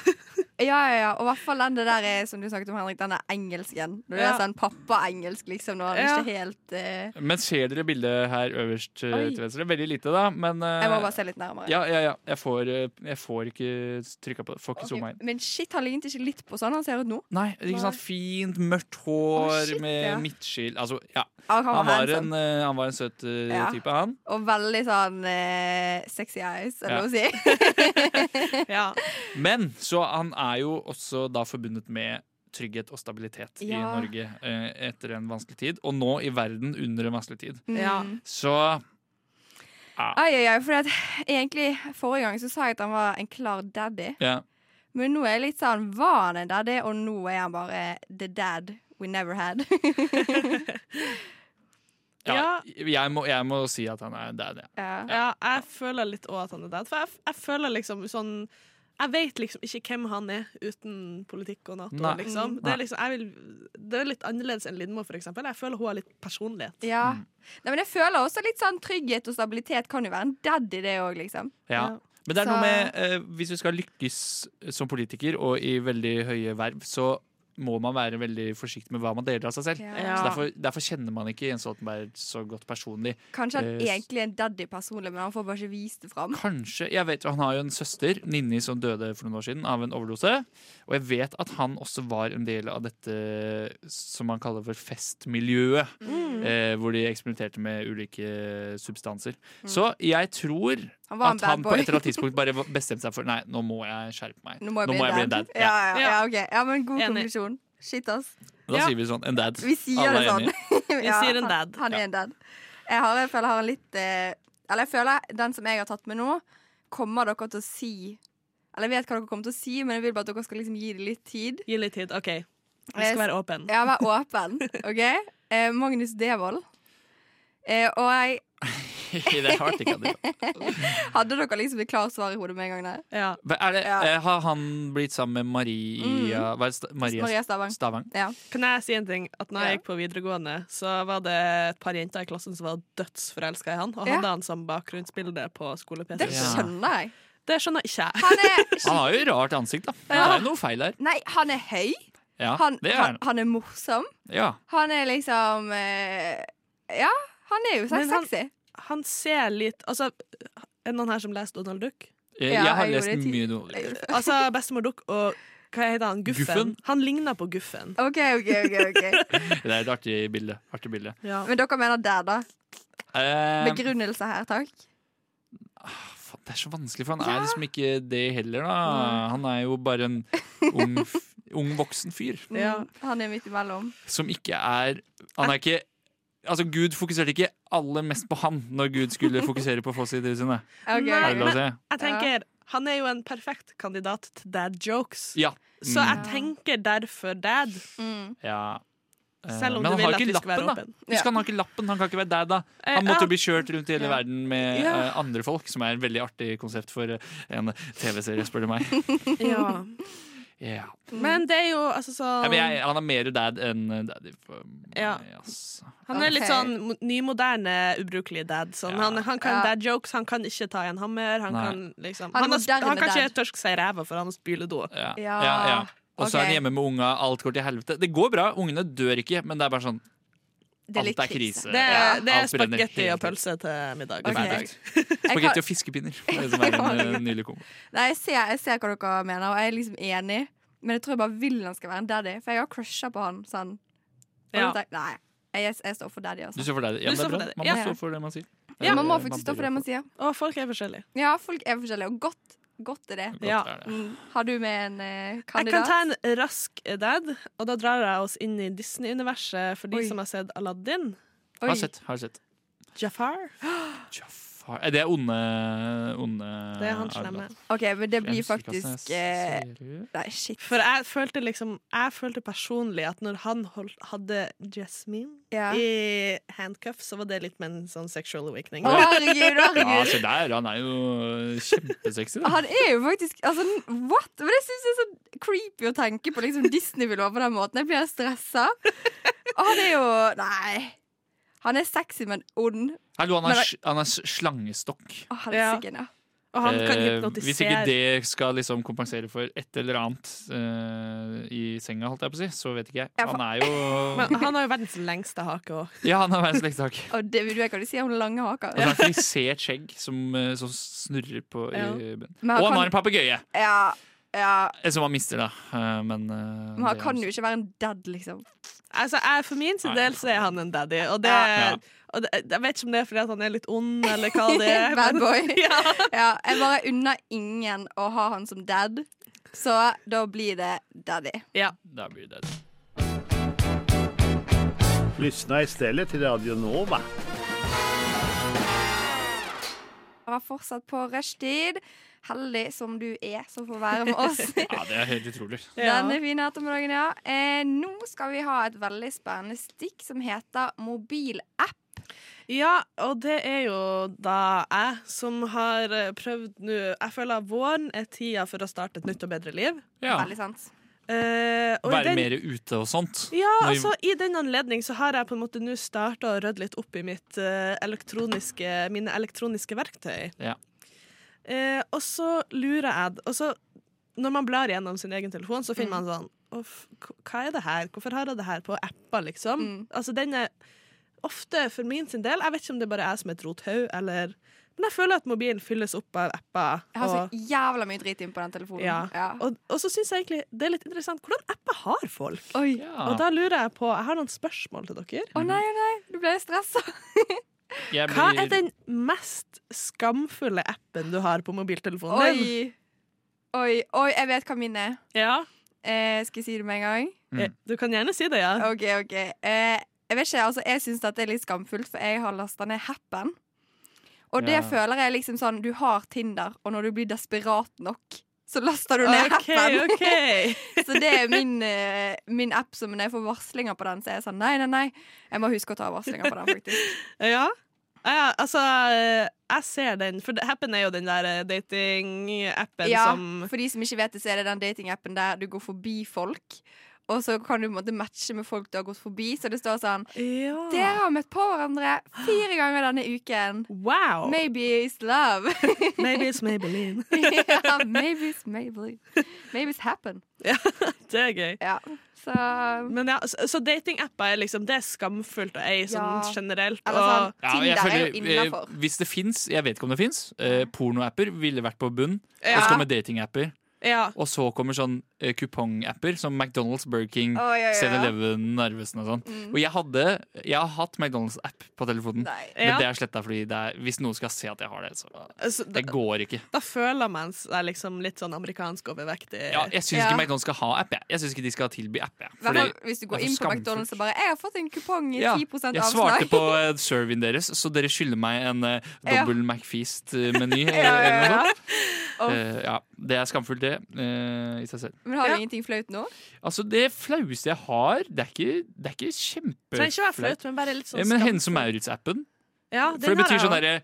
[SPEAKER 6] ja, ja, ja. Og i hvert fall den det der er, som du snakket om, Henrik, den er engelsken. Når du
[SPEAKER 7] Ja.
[SPEAKER 6] er sånn pappa-engelsk, liksom, når han
[SPEAKER 7] Ja.
[SPEAKER 6] ikke helt eh,
[SPEAKER 2] Men ser dere bildet her øverst eh,
[SPEAKER 7] Oi.
[SPEAKER 2] til venstre? Veldig lite, da. Men eh,
[SPEAKER 6] Jeg må bare se litt nærmere.
[SPEAKER 2] ja, ja, ja. Jeg får, eh, jeg får ikke trykka på det. Får ikke
[SPEAKER 6] Ok,
[SPEAKER 2] zooma inn.
[SPEAKER 6] Men shit, han lignet ikke litt på sånn han ser ut nå.
[SPEAKER 2] Nei, ikke sant. Fint, mørkt hår
[SPEAKER 6] Å, shit,
[SPEAKER 2] med
[SPEAKER 6] ja.
[SPEAKER 2] midtskill. Altså, ja.
[SPEAKER 6] Ah, han var
[SPEAKER 2] Han var en,
[SPEAKER 6] handsome.
[SPEAKER 2] eh, han var en søt eh,
[SPEAKER 6] Ja.
[SPEAKER 2] type, han.
[SPEAKER 6] Og veldig sånn eh, sexy eyes, er det
[SPEAKER 2] Ja.
[SPEAKER 6] lov å si?
[SPEAKER 7] Ja.
[SPEAKER 2] Men så han er jo også da forbundet med trygghet og stabilitet i
[SPEAKER 6] Ja.
[SPEAKER 2] Norge eh, etter en vanskelig tid. Og nå i verden under en vanskelig tid.
[SPEAKER 7] Ja.
[SPEAKER 2] Så
[SPEAKER 6] Mm. Ai, ai, ai, fordi at egentlig Forrige gang så sa jeg at han var en klar daddy.
[SPEAKER 2] ja.
[SPEAKER 6] Men nå er jeg litt sånn Var han en daddy, og nå er han bare the dad we never had.
[SPEAKER 2] ja jeg, må, jeg må si at han er det. Er det.
[SPEAKER 6] ja.
[SPEAKER 7] Ja, jeg føler litt òg at han er dad. For jeg, jeg føler liksom sånn Jeg vet liksom ikke hvem han er uten politikk og Nato.
[SPEAKER 2] Nei. Mm,
[SPEAKER 7] Liksom.
[SPEAKER 2] Nei.
[SPEAKER 7] Det, er liksom jeg vil, det er litt annerledes enn Lindmo, for eksempel. Jeg føler hun har litt personlighet.
[SPEAKER 6] ja.
[SPEAKER 2] Mm.
[SPEAKER 6] Nei, men jeg føler også litt sånn trygghet og stabilitet kan jo være en daddy, det òg, liksom.
[SPEAKER 2] Ja.
[SPEAKER 7] Ja.
[SPEAKER 2] Men det er
[SPEAKER 6] Så-
[SPEAKER 2] noe med eh, hvis du skal lykkes eh, som politiker og i veldig høye verv, så må man være veldig forsiktig med hva man deler av seg selv.
[SPEAKER 6] Ja.
[SPEAKER 2] Så derfor, derfor kjenner man ikke Jens Stoltenberg så godt personlig.
[SPEAKER 6] Kanskje han
[SPEAKER 2] Eh, s-
[SPEAKER 6] egentlig er en daddy personlig, men han får bare ikke vist det fram.
[SPEAKER 2] Kanskje, jeg vet jo Han har jo en søster, Ninni, som døde for noen år siden av en overdose. Og jeg vet at han også var en del av dette som man kaller for festmiljøet.
[SPEAKER 6] Mm.
[SPEAKER 2] Eh, hvor de eksperimenterte med ulike substanser.
[SPEAKER 6] Mm.
[SPEAKER 2] Så jeg tror
[SPEAKER 6] Han var en
[SPEAKER 2] at
[SPEAKER 6] bad
[SPEAKER 2] han på
[SPEAKER 6] boy.
[SPEAKER 2] et eller annet tidspunkt bare bestemte seg for Nei, nå må jeg skjerpe meg.
[SPEAKER 6] Nå må jeg bli en dad.
[SPEAKER 2] Ja.
[SPEAKER 6] Ja, ja, ja, ok. ja, men god
[SPEAKER 7] Enig.
[SPEAKER 6] konklusjon. Shit, ass.
[SPEAKER 2] Da
[SPEAKER 7] Ja.
[SPEAKER 2] sier vi sånn en dad.
[SPEAKER 6] Vi sier
[SPEAKER 2] Alle
[SPEAKER 6] det
[SPEAKER 2] er
[SPEAKER 6] sånn.
[SPEAKER 2] enige.
[SPEAKER 6] Vi
[SPEAKER 7] sier en dad.
[SPEAKER 6] Han, han er en dad. Jeg, har, jeg føler jeg har en litt eh, Eller jeg føler den som jeg har tatt med nå, kommer dere til å si Eller jeg vet hva dere kommer til å si, men jeg vil bare at dere skal liksom gi det litt tid.
[SPEAKER 7] Gi litt tid. OK, vi skal være åpen
[SPEAKER 6] Ja, vær åpen, OK? Eh, Magnus Devold. Eh, og jeg
[SPEAKER 2] det er hardt, ikke sant?
[SPEAKER 6] hadde dere liksom et klart svar i hodet med en gang der.
[SPEAKER 7] Ja.
[SPEAKER 2] Hva Er det,
[SPEAKER 6] Ja. Mm.
[SPEAKER 2] eh, Har han blitt sammen med Maria hva er det, Sta- Maria,
[SPEAKER 6] Maria Stavang.
[SPEAKER 2] Stavang?
[SPEAKER 6] Ja.
[SPEAKER 7] Kan jeg si en ting? At når
[SPEAKER 6] Ja.
[SPEAKER 7] jeg gikk på videregående, så var det et par jenter i klassen som var dødsforelska i han, og
[SPEAKER 6] Ja.
[SPEAKER 7] hadde han som bakgrunnsbilde på skole-PC.
[SPEAKER 6] Det
[SPEAKER 7] Det,
[SPEAKER 2] Ja.
[SPEAKER 6] skjønner jeg.
[SPEAKER 7] skjønner ikke jeg.
[SPEAKER 6] Han er,
[SPEAKER 2] Han har jo rart ansikt, da. Det er jo noe feil der.
[SPEAKER 6] nei, han er høy.
[SPEAKER 2] Ja,
[SPEAKER 6] Han,
[SPEAKER 2] det er
[SPEAKER 6] han,
[SPEAKER 2] han.
[SPEAKER 6] han er morsom.
[SPEAKER 2] Ja.
[SPEAKER 6] Han er liksom eh, Ja, han er jo så
[SPEAKER 7] Men han-
[SPEAKER 6] sexy.
[SPEAKER 7] Han ser litt Altså, er det noen her som leser Donald Duck?
[SPEAKER 2] Jeg,
[SPEAKER 6] Ja,
[SPEAKER 2] jeg har
[SPEAKER 6] jeg gjorde
[SPEAKER 2] lest
[SPEAKER 6] det
[SPEAKER 2] mye
[SPEAKER 6] ti-
[SPEAKER 2] noe.
[SPEAKER 7] Altså, bestemor Duck og hva heter han? Guffen?
[SPEAKER 2] Guffen?
[SPEAKER 7] Han ligner på Guffen.
[SPEAKER 6] OK, OK, OK. ok
[SPEAKER 2] Det er et artig bilde. Artig bilde.
[SPEAKER 7] Ja.
[SPEAKER 6] Men dere mener der, da?
[SPEAKER 2] Eh, ah,
[SPEAKER 6] Begrunnelse her, takk.
[SPEAKER 2] faen, det er så vanskelig, for han er liksom ikke det heller, da.
[SPEAKER 6] Mm.
[SPEAKER 2] Han er jo bare en ung, f- ung voksen fyr
[SPEAKER 7] Ja.
[SPEAKER 6] Mm, Han er midt imellom.
[SPEAKER 2] som ikke er Han er ikke Altså, Gud fokuserte ikke aller mest på han når Gud skulle fokusere på fossitrene sine.
[SPEAKER 6] Ok.
[SPEAKER 2] Er
[SPEAKER 7] Nei,
[SPEAKER 2] det lov å si?
[SPEAKER 7] Jeg tenker, Han er jo en perfekt kandidat til dad jokes.
[SPEAKER 2] Ja.
[SPEAKER 7] Så jeg
[SPEAKER 2] Mm.
[SPEAKER 7] tenker derfor dad,
[SPEAKER 6] Mm.
[SPEAKER 2] ja. Eh,
[SPEAKER 7] selv om
[SPEAKER 2] men han
[SPEAKER 7] du vil
[SPEAKER 2] har
[SPEAKER 7] at
[SPEAKER 2] ikke
[SPEAKER 7] vi skal være
[SPEAKER 2] lappen, da.
[SPEAKER 7] åpen.
[SPEAKER 2] Husk, han har ikke lappen, han kan ikke være dad, da.
[SPEAKER 7] Eh,
[SPEAKER 2] Han måtte jo
[SPEAKER 7] ja.
[SPEAKER 2] bli kjørt rundt i hele verden med
[SPEAKER 7] Ja.
[SPEAKER 2] eh, andre folk, som er et veldig artig konsept for eh, en TV-serie, spør du meg.
[SPEAKER 7] Ja.
[SPEAKER 2] Ja.
[SPEAKER 7] Mm. Men det er jo altså sånn
[SPEAKER 2] Ja, men jeg, han er mer dad enn eh, daddy for meg,
[SPEAKER 7] Ja.
[SPEAKER 2] ass.
[SPEAKER 7] Han er litt
[SPEAKER 6] Ok.
[SPEAKER 7] sånn mo- nymoderne, ubrukelig dad. Sånn.
[SPEAKER 2] Ja.
[SPEAKER 7] Han, han kan
[SPEAKER 6] Ja.
[SPEAKER 7] dad jokes, han kan ikke ta i en hammer. Han,
[SPEAKER 2] Nei.
[SPEAKER 7] kan, liksom,
[SPEAKER 6] Han er
[SPEAKER 7] han, har,
[SPEAKER 6] moderne
[SPEAKER 7] sp- han kan
[SPEAKER 6] dad.
[SPEAKER 7] ikke tørske seg i ræva, for han har spyledo.
[SPEAKER 2] Ja. Ja.
[SPEAKER 6] Ja.
[SPEAKER 2] Ja, Og så er han
[SPEAKER 6] Ok.
[SPEAKER 2] hjemme med unga, alt går til helvete. Det går bra, ungene dør ikke, men det er bare sånn
[SPEAKER 6] Det er
[SPEAKER 2] Alt
[SPEAKER 6] litt
[SPEAKER 2] er krise.
[SPEAKER 7] Det,
[SPEAKER 6] Ja.
[SPEAKER 7] er- det er
[SPEAKER 2] Alt brenner
[SPEAKER 7] spagetti
[SPEAKER 2] helt
[SPEAKER 7] og pølse til middag. hver
[SPEAKER 6] Ok.
[SPEAKER 7] dag.
[SPEAKER 6] Jeg,
[SPEAKER 2] spagetti
[SPEAKER 6] kan,
[SPEAKER 2] og fiskepinner. Det er det som er en eh, nylig kombo.
[SPEAKER 6] nei, jeg, ser, jeg ser hva dere mener, og jeg er liksom enig. Men jeg tror jeg bare vil han skal være en daddy, for jeg har crusha på han. Sånn. Og
[SPEAKER 7] Ja.
[SPEAKER 6] da tenker jeg, Nei, jeg, jeg står for daddy.
[SPEAKER 2] Du
[SPEAKER 6] Altså.
[SPEAKER 2] står for deg. Ja,
[SPEAKER 7] Du
[SPEAKER 2] men det
[SPEAKER 7] står
[SPEAKER 2] er
[SPEAKER 7] for
[SPEAKER 2] bra.
[SPEAKER 7] deg.
[SPEAKER 2] Man må
[SPEAKER 6] Ja.
[SPEAKER 2] stå for det man sier.
[SPEAKER 6] Ja, man må
[SPEAKER 2] Eh,
[SPEAKER 6] faktisk stå for
[SPEAKER 2] bør
[SPEAKER 6] det man
[SPEAKER 2] gjøre
[SPEAKER 6] sier.
[SPEAKER 7] Og folk er forskjellige.
[SPEAKER 6] Ja, folk er forskjellige, og godt, godt er det.
[SPEAKER 2] Godt
[SPEAKER 7] Ja.
[SPEAKER 2] er det.
[SPEAKER 6] Mm. Har du med en eh,
[SPEAKER 7] Jeg kan
[SPEAKER 6] kandidat?
[SPEAKER 7] ta en rask dad, og da drar jeg oss inn i Disney-universet for de
[SPEAKER 6] Oi.
[SPEAKER 7] som har sett Aladdin.
[SPEAKER 2] Har
[SPEAKER 6] Oi.
[SPEAKER 2] sett. har sett.
[SPEAKER 7] Jafar.
[SPEAKER 2] Jaffar Eh, Det er onde, onde
[SPEAKER 7] Det er han slemme.
[SPEAKER 6] OK, men det blir
[SPEAKER 2] Fremskrittsklassen
[SPEAKER 6] faktisk eh,
[SPEAKER 2] seriøs.
[SPEAKER 6] Nei, shit.
[SPEAKER 7] For jeg følte liksom Jeg følte personlig at når han holdt, hadde Jasmine
[SPEAKER 6] Ja.
[SPEAKER 7] i handcuff, så var det litt med en sånn sexual awakening.
[SPEAKER 6] Å, herregud,
[SPEAKER 2] Ja,
[SPEAKER 6] herregud.
[SPEAKER 2] se der. Han er jo kjempesexy. da.
[SPEAKER 6] Han er jo faktisk altså, What? Men det syns jeg er så creepy å tenke på. Liksom Disney-villover på den måten. Jeg blir helt stressa. Og han er jo Nei. Han er sexy, men ond.
[SPEAKER 2] Hallo, han
[SPEAKER 6] Men
[SPEAKER 2] har,
[SPEAKER 6] det-
[SPEAKER 2] sl- han har s- slangestokk.
[SPEAKER 6] Å, helsike, ja.
[SPEAKER 7] Og han kan
[SPEAKER 2] Eh,
[SPEAKER 7] hypnotisere.
[SPEAKER 2] hvis ikke det skal liksom kompensere for et eller annet eh, i senga, holdt jeg på å si, så vet ikke jeg.
[SPEAKER 6] Ja, for-
[SPEAKER 2] Han er jo
[SPEAKER 7] Men han har jo verdens lengste hake òg.
[SPEAKER 2] Ja, han har verdens slektak.
[SPEAKER 6] Og det vil du hva du sier om lange haker.
[SPEAKER 2] Og så har han frisert skjegg som, eh, som snurrer på i
[SPEAKER 7] Ja.
[SPEAKER 2] bunnen.
[SPEAKER 6] Men
[SPEAKER 2] Og han
[SPEAKER 6] han kan-
[SPEAKER 2] har en papegøye,
[SPEAKER 6] Ja, ja.
[SPEAKER 2] eh, som han mister, da. Eh, Men, eh,
[SPEAKER 6] Men han
[SPEAKER 2] det er
[SPEAKER 6] kan
[SPEAKER 2] også-
[SPEAKER 6] jo ikke være en dad, liksom.
[SPEAKER 7] Altså, jeg, for min sin
[SPEAKER 2] Nei.
[SPEAKER 7] del så er han en daddy, og, det,
[SPEAKER 2] Ja.
[SPEAKER 7] og det, jeg vet ikke om det er fordi at han er litt ond, eller hva det er.
[SPEAKER 6] Bad
[SPEAKER 7] men-
[SPEAKER 6] boy.
[SPEAKER 7] Ja.
[SPEAKER 6] Ja, jeg bare unner ingen å ha han som dad, så da blir det daddy.
[SPEAKER 2] Da blir det
[SPEAKER 4] Lyssna istället till Radio Nova.
[SPEAKER 6] Jeg var fortsatt på rushtid. Heldig som du er, som får være med oss
[SPEAKER 2] Ja, det er helt utrolig.
[SPEAKER 6] denne fine ettermiddagen. ja. Eh, nå skal vi ha et veldig spennende stikk som heter mobilapp.
[SPEAKER 7] ja, og det er jo da jeg som har eh, prøvd nå Jeg føler at våren er tida for å starte et nytt og bedre liv.
[SPEAKER 2] Ja.
[SPEAKER 6] Veldig sant.
[SPEAKER 7] Eh, og i
[SPEAKER 2] Være
[SPEAKER 7] den-
[SPEAKER 2] mer ute og sånt.
[SPEAKER 7] Ja,
[SPEAKER 2] Når-
[SPEAKER 7] altså I den anledning så har jeg på en måte nå starta å rydde litt opp i mitt, eh, elektroniske, mine elektroniske verktøy.
[SPEAKER 2] Ja.
[SPEAKER 7] Eh, og så lurer jeg og så Når man blar gjennom sin egen telefon, så finner man
[SPEAKER 6] Mm.
[SPEAKER 7] sånn Uff, k- hva er det her? Hvorfor har jeg det her på apper, liksom?
[SPEAKER 6] Mm.
[SPEAKER 7] Altså den er ofte for min sin del Jeg vet ikke om det bare er som et rothaug, eller Men jeg føler at mobilen fylles opp av apper.
[SPEAKER 6] Jeg har
[SPEAKER 7] Og,
[SPEAKER 6] så jævla mye drit inn på den telefonen.
[SPEAKER 7] ja.
[SPEAKER 6] altså, Ja.
[SPEAKER 7] og, og så syns jeg egentlig det er litt interessant hvordan apper har folk.
[SPEAKER 6] Oi.
[SPEAKER 2] Ja.
[SPEAKER 7] Og da lurer jeg på, jeg har noen spørsmål til dere.
[SPEAKER 6] Å nei, å nei, du ble jeg stressa.
[SPEAKER 2] Jeg
[SPEAKER 7] Hva er
[SPEAKER 2] blir-
[SPEAKER 7] den mest skamfulle appen du har på mobiltelefonen din?
[SPEAKER 6] Oi. Oi, oi, jeg vet hva min er.
[SPEAKER 7] Ja.
[SPEAKER 6] Eh, skal jeg si det med en gang?
[SPEAKER 2] Mm.
[SPEAKER 7] Eh, Du kan gjerne si det, ja.
[SPEAKER 6] OK, OK. Eh, jeg vet ikke, altså jeg syns det er litt skamfullt, for jeg har lasta ned Happen. Og
[SPEAKER 2] Ja.
[SPEAKER 6] det føler jeg liksom sånn Du har Tinder, og når du blir desperat nok, så laster du
[SPEAKER 7] OK,
[SPEAKER 6] ned Happen.
[SPEAKER 7] OK.
[SPEAKER 6] Så det er min, eh, min app som når jeg får varslinger på den, så er jeg sånn nei, nei, nei. Jeg må huske å ta varslinger på den, faktisk.
[SPEAKER 7] Ja. ja altså, eh, jeg ser den. For det- appen er jo den der eh, dating-appen
[SPEAKER 6] Ja,
[SPEAKER 7] som
[SPEAKER 6] for de som ikke vet det, så er det den datingappen der du går forbi folk, og så kan du på en måte matche med folk du har gått forbi, så det står sånn Dere
[SPEAKER 7] Ja.
[SPEAKER 6] har møtt på hverandre fire ganger denne uken.
[SPEAKER 7] Wow.
[SPEAKER 6] Maybe it's love.
[SPEAKER 7] Maybe it's Maybelline.
[SPEAKER 6] ja, maybe it's Maybelline. Maybe it's happen.
[SPEAKER 7] Det er gøy.
[SPEAKER 6] Ja. Så
[SPEAKER 7] Men ja, så, så dating-apper er liksom, det er skamfullt å eie sånn
[SPEAKER 6] Ja.
[SPEAKER 7] generelt.
[SPEAKER 6] Eller
[SPEAKER 7] Og,
[SPEAKER 6] sånn,
[SPEAKER 2] Ja, jeg
[SPEAKER 6] Tinder er jo
[SPEAKER 2] føler, eh,
[SPEAKER 6] innafor.
[SPEAKER 2] Hvis det fins, jeg vet ikke om det fins, eh, pornoapper ville vært på bunn. Og
[SPEAKER 7] Ja.
[SPEAKER 2] så kommer datingapper.
[SPEAKER 7] Ja.
[SPEAKER 2] Og så kommer sånn eh, kupongapper som McDonald's, Burger King,
[SPEAKER 6] Oi, oi, oi, oi.
[SPEAKER 2] 7-Eleven, Narvesen og sånn.
[SPEAKER 6] Mm.
[SPEAKER 2] Og jeg hadde Jeg har hatt McDonald's-app på telefonen.
[SPEAKER 6] Nei.
[SPEAKER 2] Men
[SPEAKER 7] Ja.
[SPEAKER 2] det er sletta fordi det er, hvis noen skal se at jeg har det, så
[SPEAKER 7] Altså, da,
[SPEAKER 2] Det går ikke.
[SPEAKER 7] da føler man seg liksom litt sånn amerikansk overvektig.
[SPEAKER 2] Ja, jeg syns
[SPEAKER 6] Ja.
[SPEAKER 2] ikke McDonald's skal ha app. Jeg, jeg syns ikke de skal tilby app. Jeg.
[SPEAKER 6] I hvert
[SPEAKER 2] Fordi-
[SPEAKER 6] fall hvis du går
[SPEAKER 2] det er
[SPEAKER 6] inn
[SPEAKER 2] for
[SPEAKER 6] på McDonald's og bare 'Jeg har fått en kupong i
[SPEAKER 2] Ja,
[SPEAKER 6] 10
[SPEAKER 2] jeg svarte
[SPEAKER 6] avslag'.
[SPEAKER 2] på eh, serven deres, så dere skylder meg en eh,
[SPEAKER 6] Ja.
[SPEAKER 2] dobbel McFeast-meny. eh,
[SPEAKER 6] ja,
[SPEAKER 2] eller noe
[SPEAKER 6] ja.
[SPEAKER 2] sånt.
[SPEAKER 6] Uff.
[SPEAKER 2] Eh, ja, det er skamfullt, det. eh, I seg selv.
[SPEAKER 6] Men har du
[SPEAKER 7] Ja.
[SPEAKER 6] ingenting flaut nå?
[SPEAKER 2] Altså, det flaueste jeg har Det er ikke, det er ikke
[SPEAKER 7] Trenger ikke å være
[SPEAKER 2] kjempeflaut.
[SPEAKER 7] flaut, men bare litt sånn
[SPEAKER 2] Eh, Men
[SPEAKER 7] skam.
[SPEAKER 2] Hennes og Maurits-appen.
[SPEAKER 7] Ja, den
[SPEAKER 2] For det
[SPEAKER 7] har
[SPEAKER 2] betyr
[SPEAKER 7] jeg
[SPEAKER 2] sånn
[SPEAKER 7] også.
[SPEAKER 2] derre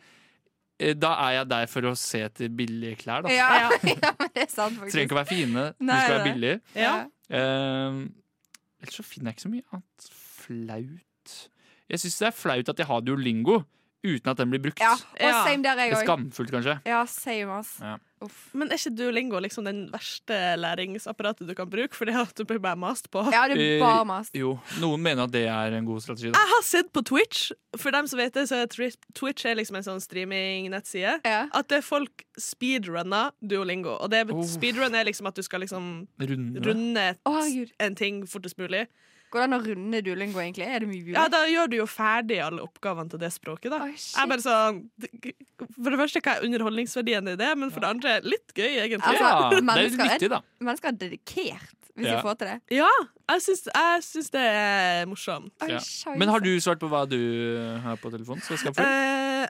[SPEAKER 2] eh, Da er jeg der for å se etter billige klær, da.
[SPEAKER 6] Ja, ja, men det er sant,
[SPEAKER 2] Trenger
[SPEAKER 6] faktisk.
[SPEAKER 2] ikke å være fine, de
[SPEAKER 6] Nei,
[SPEAKER 2] skal være
[SPEAKER 6] nei.
[SPEAKER 2] billige.
[SPEAKER 7] ja.
[SPEAKER 2] Eh, ellers så finner jeg ikke så mye annet flaut. Jeg syns det er flaut at jeg har duolingo uten at den blir brukt.
[SPEAKER 6] Ja, og
[SPEAKER 7] Ja.
[SPEAKER 6] same der, jeg
[SPEAKER 2] Det er
[SPEAKER 6] òg.
[SPEAKER 2] Skamfullt, kanskje.
[SPEAKER 6] Ja, same, ass.
[SPEAKER 2] Ja.
[SPEAKER 6] Uff.
[SPEAKER 7] Men er ikke Duolingo liksom den verste læringsapparatet du kan bruke? For det er at du blir bare mast på.
[SPEAKER 6] Ja, det er
[SPEAKER 2] Eh,
[SPEAKER 6] bare mas.
[SPEAKER 2] Jo, noen mener at det er en god strategi. Da.
[SPEAKER 7] Jeg har sett på Twitch. For dem som vet det, så er Twi- Twitch er liksom en sånn streaming-nettside.
[SPEAKER 6] Ja.
[SPEAKER 7] At det er folk speedrunner Duolingo. Og det bet-
[SPEAKER 2] Oh.
[SPEAKER 7] speedrun er liksom at du skal liksom
[SPEAKER 2] Runde.
[SPEAKER 7] runde
[SPEAKER 6] Å, herregud.
[SPEAKER 7] en ting fortest mulig.
[SPEAKER 6] Går det an å runde duolingo, egentlig? Er det mye
[SPEAKER 7] Ja,
[SPEAKER 6] mulig?
[SPEAKER 7] da gjør du jo ferdig alle oppgavene til det språket, da.
[SPEAKER 6] Oi, shit.
[SPEAKER 7] jeg er bare sånn For det første, hva er underholdningsverdien i det? Men for det andre, litt gøy, egentlig.
[SPEAKER 6] Altså,
[SPEAKER 2] Ja, det er litt
[SPEAKER 6] mennesker-
[SPEAKER 2] nyttig, da.
[SPEAKER 6] Mennesker er dedikert, hvis
[SPEAKER 2] Ja.
[SPEAKER 6] de får til det.
[SPEAKER 7] Ja, jeg syns, jeg syns det er morsomt.
[SPEAKER 6] Oi,
[SPEAKER 2] Ja.
[SPEAKER 6] scheisse.
[SPEAKER 2] Men har du svart på hva du har på telefonen? Så skal jeg
[SPEAKER 7] Eh,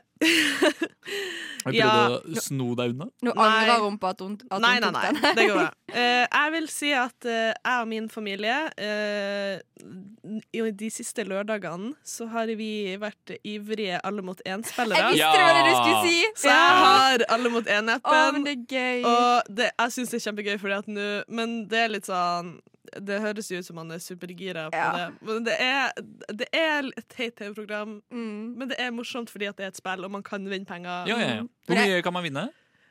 [SPEAKER 2] prøvde
[SPEAKER 7] ja.
[SPEAKER 2] å sno deg unna.
[SPEAKER 6] Nå
[SPEAKER 7] Nei.
[SPEAKER 6] angrer hun på at hun, at
[SPEAKER 7] nei,
[SPEAKER 6] hun
[SPEAKER 7] nei,
[SPEAKER 6] tok
[SPEAKER 7] nei.
[SPEAKER 6] den.
[SPEAKER 7] Det går bra. Eh, jeg vil si at eh, jeg og min familie eh, i de siste lørdagene så har vi vært ivrige alle mot én-spillere.
[SPEAKER 6] Jeg
[SPEAKER 2] Ja.
[SPEAKER 6] visste det var det du skulle si!
[SPEAKER 7] Så jeg har alle mot
[SPEAKER 6] Å, men
[SPEAKER 7] én-appen.
[SPEAKER 6] det er gøy.
[SPEAKER 7] Og det, jeg syns det er kjempegøy, fordi at nå Men det er litt sånn det høres jo ut som man er supergira på
[SPEAKER 6] Ja.
[SPEAKER 7] det. Men det er, det er et teit TV-program,
[SPEAKER 6] Mm.
[SPEAKER 7] men det er morsomt fordi at det er et spill, og man kan vinne penger.
[SPEAKER 2] Ja, ja, ja. Hvor
[SPEAKER 6] Men
[SPEAKER 2] mye kan man vinne?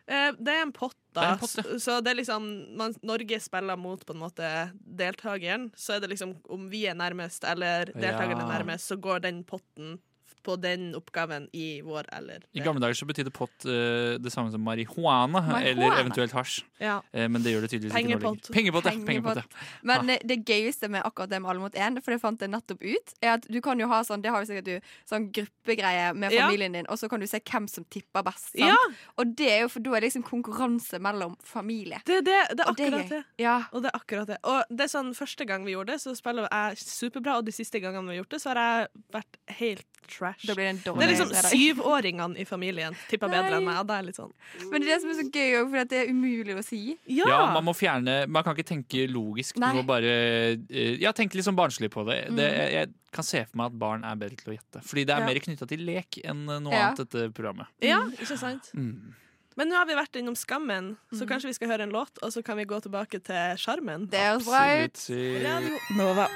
[SPEAKER 7] Eh, Det er en pott, da.
[SPEAKER 2] Det er en pott, ja.
[SPEAKER 7] S- Så det er liksom man, Norge spiller mot på en måte deltakeren. Så er det liksom om vi er nærmest, eller deltakeren er
[SPEAKER 2] Ja.
[SPEAKER 7] nærmest, så går den potten f- på den oppgaven i vår eller
[SPEAKER 2] I gamle dager så betydde pott eh, det samme som marihuana,
[SPEAKER 6] Marihuana.
[SPEAKER 2] eller eventuelt hasj.
[SPEAKER 7] Ja.
[SPEAKER 2] Eh, men det gjør det tydeligvis
[SPEAKER 7] Pengepott.
[SPEAKER 2] ikke. nå lenger. Pengepott. Ja. Pengepott, ja.
[SPEAKER 6] Men
[SPEAKER 7] Ah.
[SPEAKER 6] eh, det gøyeste med akkurat det med alle mot én, for det fant jeg nettopp ut, er at du kan jo ha sånn, det har jo sikkert du, sånn gruppegreie med
[SPEAKER 7] Ja.
[SPEAKER 6] familien din, og så kan du se hvem som tipper best. Sant?
[SPEAKER 7] ja,
[SPEAKER 6] Og det er jo for da er det liksom konkurranse mellom familie.
[SPEAKER 7] det, det, det er
[SPEAKER 6] Og det er
[SPEAKER 7] akkurat
[SPEAKER 6] gøy.
[SPEAKER 7] det.
[SPEAKER 6] Ja.
[SPEAKER 7] Og det er akkurat det. Og det er sånn, første gang vi gjorde det, så spiller jeg superbra, og de siste gangene vi har gjort det, så har jeg vært helt trash.
[SPEAKER 6] Da blir det en
[SPEAKER 7] Det
[SPEAKER 6] dårlig
[SPEAKER 7] er liksom
[SPEAKER 6] fredag.
[SPEAKER 7] syvåringene i familien tipper bedre
[SPEAKER 6] Nei.
[SPEAKER 7] enn meg, og da er jeg litt sånn
[SPEAKER 6] Men det er det som er så gøy òg, for det er umulig å si.
[SPEAKER 7] Ja!
[SPEAKER 2] Ja, man må fjerne Man kan ikke tenke logisk.
[SPEAKER 6] Nei. Mm.
[SPEAKER 2] Du må bare eh, Ja, tenke litt sånn barnslig på det. det jeg, jeg kan se for meg at barn er bedre til å gjette. Fordi det er
[SPEAKER 7] Ja.
[SPEAKER 2] mer knytta til lek enn eh, noe
[SPEAKER 6] Ja.
[SPEAKER 2] annet, dette programmet.
[SPEAKER 7] ja ikke sant?
[SPEAKER 2] Mm.
[SPEAKER 7] Men nå har vi vært innom Skammen, så kanskje vi skal høre en låt, og så kan vi gå tilbake til Sjarmen.
[SPEAKER 6] Det høres bra ut.
[SPEAKER 2] Absolutt.
[SPEAKER 1] Nova.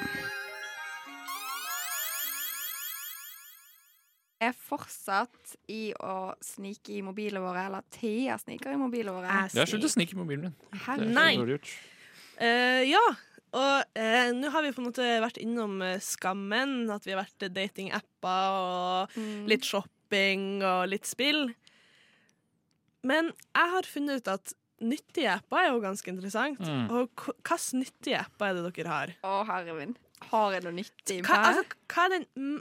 [SPEAKER 6] Jeg er fortsatt i å snike i mobilene våre, eller Thea sniker i mobilene våre.
[SPEAKER 7] Jeg
[SPEAKER 2] Jeg har sluttet å snike i mobilen min. Det er
[SPEAKER 6] Herregud.
[SPEAKER 2] så
[SPEAKER 7] Nei.
[SPEAKER 2] dårlig gjort.
[SPEAKER 7] Eh, ja, og eh, nå har vi på en måte vært innom eh, Skammen, at vi har vært eh, datingapper og
[SPEAKER 6] Mm.
[SPEAKER 7] litt shopping og litt spill. Men jeg har funnet ut at nyttige apper er jo ganske interessant.
[SPEAKER 2] Mm.
[SPEAKER 7] Og k- hva slags nyttige apper er det dere har?
[SPEAKER 6] Å, herre min. Har jeg noe nyttig
[SPEAKER 7] Hva,
[SPEAKER 6] med?
[SPEAKER 7] altså, hva er den mm,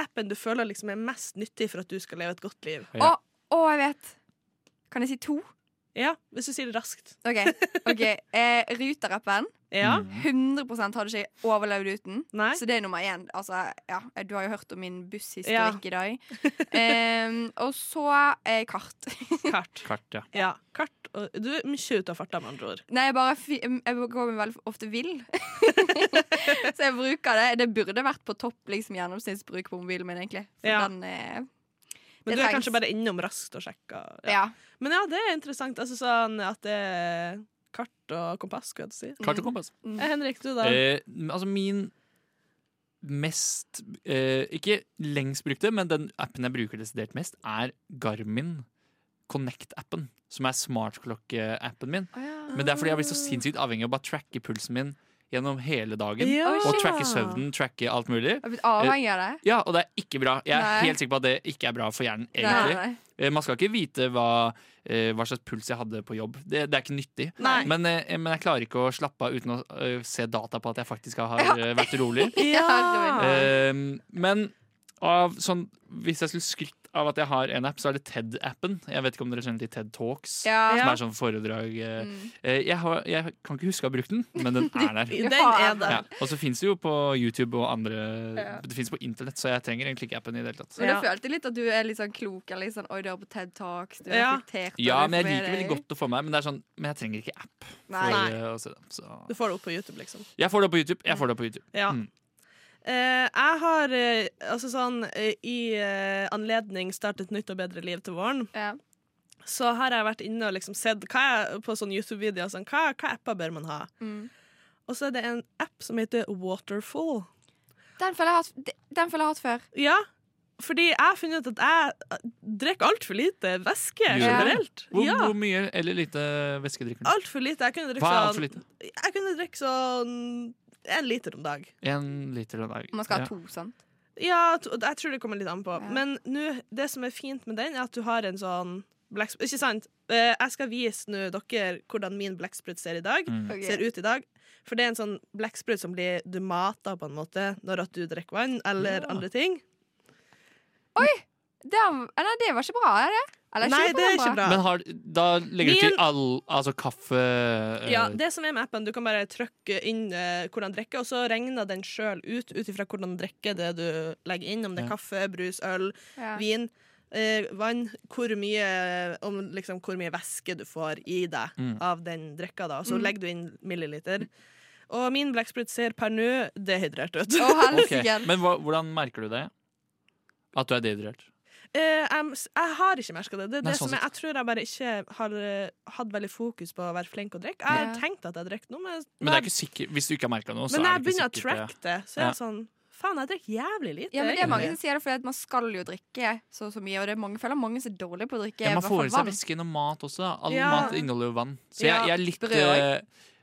[SPEAKER 7] appen du føler liksom er mest nyttig for at du skal leve et godt liv?
[SPEAKER 2] Ja.
[SPEAKER 6] Å, å, jeg vet. Kan jeg si to?
[SPEAKER 7] Ja, hvis du sier det raskt.
[SPEAKER 6] OK. ok eh, Ruter-appen.
[SPEAKER 7] Ja?
[SPEAKER 6] 100 hadde ikke jeg overlevd uten.
[SPEAKER 7] Nei?
[SPEAKER 6] Så det er nummer én. Altså, ja, du har jo hørt om min busshistorikk i dag. Em, og så eh, kart.
[SPEAKER 7] Kart.
[SPEAKER 2] Kart, ja.
[SPEAKER 7] Ja, kart og, Du er mye ute av farta, med andre ord.
[SPEAKER 6] Nei, jeg bare fi- Jeg går meg veldig ofte vill. så jeg bruker det. Det burde vært på topp liksom, gjennomsnittsbruk på mobilen min, egentlig. For
[SPEAKER 7] Ja.
[SPEAKER 6] den eh,
[SPEAKER 7] Men du er
[SPEAKER 6] Det trengs.
[SPEAKER 7] kanskje bare innom raskt og sjekker.
[SPEAKER 6] ja.
[SPEAKER 7] Men ja, det er interessant. Altså sånn at det er kart og kompass, skal jeg til å si.
[SPEAKER 2] Kart og kompass.
[SPEAKER 7] Eh, Henrik,
[SPEAKER 6] Mm.
[SPEAKER 7] du da?
[SPEAKER 2] Eh, altså min mest eh, Ikke lengst brukte, men den appen jeg bruker desidert mest, er Garmin Connect-appen. Som er smartklokke-appen min. Men det er fordi jeg blir så sinnssykt avhengig av å bare tracke pulsen min gjennom hele dagen.
[SPEAKER 7] Ja.
[SPEAKER 2] Og tracke søvnen, tracke alt mulig.
[SPEAKER 6] Jeg har blitt avhengig av det.
[SPEAKER 2] Ja, og det er ikke bra. Jeg er
[SPEAKER 6] Nei.
[SPEAKER 2] helt sikker på at det ikke er bra for hjernen.
[SPEAKER 6] Nei,
[SPEAKER 2] egentlig
[SPEAKER 6] nei.
[SPEAKER 2] Eh, Man skal ikke vite hva, eh, hva slags puls jeg hadde på jobb. Det, det er ikke nyttig.
[SPEAKER 7] Nei.
[SPEAKER 2] Men, eh, men jeg klarer ikke å slappe av uten å eh, se data på at jeg faktisk har
[SPEAKER 6] Ja.
[SPEAKER 2] eh, vært rolig.
[SPEAKER 7] Ja.
[SPEAKER 2] Eh, men av, sånn, hvis jeg skulle skrytt av at jeg har en app, så er det TED-appen. Jeg vet ikke om dere kjenner til TED Talks,
[SPEAKER 6] Ja.
[SPEAKER 2] som
[SPEAKER 7] Ja.
[SPEAKER 2] er sånn foredrag. eh.
[SPEAKER 6] Mm.
[SPEAKER 2] Eh, jeg, har, jeg kan ikke huske å ha brukt den, men den er der.
[SPEAKER 7] Den er der.
[SPEAKER 2] Ja, og så fins det jo på YouTube og andre Det fins på internett, så jeg trenger egentlig ikke appen i det hele tatt.
[SPEAKER 6] Men
[SPEAKER 7] Ja.
[SPEAKER 6] da følte jeg litt at du er litt sånn klok. Eller litt sånn, Oi, du har på TED Talks, du er
[SPEAKER 7] Ja.
[SPEAKER 6] reflektert. og
[SPEAKER 2] Ja,
[SPEAKER 6] du
[SPEAKER 2] men jeg
[SPEAKER 6] får med
[SPEAKER 2] liker veldig
[SPEAKER 6] deg-
[SPEAKER 2] godt å få meg, men det er sånn, men jeg trenger ikke app. For,
[SPEAKER 6] Nei.
[SPEAKER 2] eh, å se det. Så.
[SPEAKER 7] Du får det opp på YouTube, liksom.
[SPEAKER 2] Jeg får det på YouTube. Jeg får det på YouTube.
[SPEAKER 7] Ja.
[SPEAKER 2] Mm.
[SPEAKER 7] Eh, jeg har eh, altså sånn eh, i eh, anledning Start et nytt og bedre liv til våren,
[SPEAKER 6] Ja.
[SPEAKER 7] så har jeg vært inne og liksom sett hva er, på sånne YouTube-videoer sånn, hva, hva apper bør man ha.
[SPEAKER 6] Mm.
[SPEAKER 7] Og så er det en app som heter Waterfall.
[SPEAKER 6] Den føler jeg har hatt, den føler jeg har hatt før.
[SPEAKER 7] Ja, fordi jeg har funnet ut at jeg eh, drikker altfor lite væske
[SPEAKER 2] Gjør du
[SPEAKER 7] generelt.
[SPEAKER 2] Hvor,
[SPEAKER 7] Ja,
[SPEAKER 2] hvor mye eller lite væske drikker du?
[SPEAKER 7] altfor lite. Jeg
[SPEAKER 2] Hva
[SPEAKER 7] kunne drikke
[SPEAKER 2] er altfor
[SPEAKER 7] sånn,
[SPEAKER 2] lite?
[SPEAKER 7] jeg kunne drikke sånn en liter om dag.
[SPEAKER 2] Én liter om dagen.
[SPEAKER 6] Man skal
[SPEAKER 2] Ja.
[SPEAKER 6] ha to, sant?
[SPEAKER 7] Ja, to- jeg tror det kommer litt an på.
[SPEAKER 6] Ja.
[SPEAKER 7] Men nå, det som er fint med den, er at du har en sånn blekksprut Ikke sant? Eh, Jeg skal vise nå dere hvordan min blekksprut ser i dag.
[SPEAKER 2] Mm.
[SPEAKER 6] Ok.
[SPEAKER 7] Ser ut i dag. For det er en sånn blekksprut som blir du mata på en måte når at du drikker vann eller
[SPEAKER 2] Ja.
[SPEAKER 7] andre ting.
[SPEAKER 6] Det, er- nei, det var ikke bra, er det? Eller,
[SPEAKER 7] Nei, det er ikke bra.
[SPEAKER 2] Men har, da legger du
[SPEAKER 7] Min-
[SPEAKER 2] til all Altså kaffe eh,
[SPEAKER 7] ja, det som er med appen, du kan bare trykke inn eh, hvordan drikke, og så regner den sjøl ut ut ifra hvordan drikke det du legger inn, om det er
[SPEAKER 2] Ja.
[SPEAKER 7] kaffe, brus, øl,
[SPEAKER 6] Ja.
[SPEAKER 7] vin, eh, vann, hvor mye, om, liksom, hvor mye væske du får i deg
[SPEAKER 2] Mm.
[SPEAKER 7] av den drikka. Da.
[SPEAKER 6] Mm.
[SPEAKER 7] Så legger du inn milliliter. Og min blekksprut ser per nå dehydrert ut.
[SPEAKER 6] Å,
[SPEAKER 2] Ok,
[SPEAKER 6] helsike.
[SPEAKER 2] Men hva, hvordan merker du det? At du er dehydrert?
[SPEAKER 7] Eh, jeg, jeg har ikke merka det. Det, er
[SPEAKER 2] Nei,
[SPEAKER 7] det
[SPEAKER 2] sånn
[SPEAKER 7] som jeg, jeg tror jeg bare ikke har eh, hatt veldig fokus på å være flink å drikke. Jeg har
[SPEAKER 6] Ja.
[SPEAKER 7] tenkt at jeg drikker noe, men,
[SPEAKER 2] Men det er ikke sikkert Hvis du ikke har merka noe, så
[SPEAKER 7] men når
[SPEAKER 2] er
[SPEAKER 7] jeg
[SPEAKER 2] det
[SPEAKER 7] begynner å
[SPEAKER 2] ikke sikkert.
[SPEAKER 7] tracke det, så er jeg sånn Faen, jeg drikker jævlig lite.
[SPEAKER 6] Ja, men det er
[SPEAKER 7] egentlig.
[SPEAKER 6] mange som sier det, fordi at man skal jo drikke så og så mye. Og det er mange, føler mange som er dårlige på å drikke.
[SPEAKER 2] Ja,
[SPEAKER 6] i
[SPEAKER 2] man
[SPEAKER 6] hvert
[SPEAKER 2] får i
[SPEAKER 6] fall
[SPEAKER 2] seg
[SPEAKER 6] vann.
[SPEAKER 2] væske gjennom mat også. da. All
[SPEAKER 7] Ja.
[SPEAKER 2] mat inneholder jo vann. Så jeg,
[SPEAKER 6] Ja,
[SPEAKER 2] jeg er litt
[SPEAKER 6] brød også.
[SPEAKER 2] eh,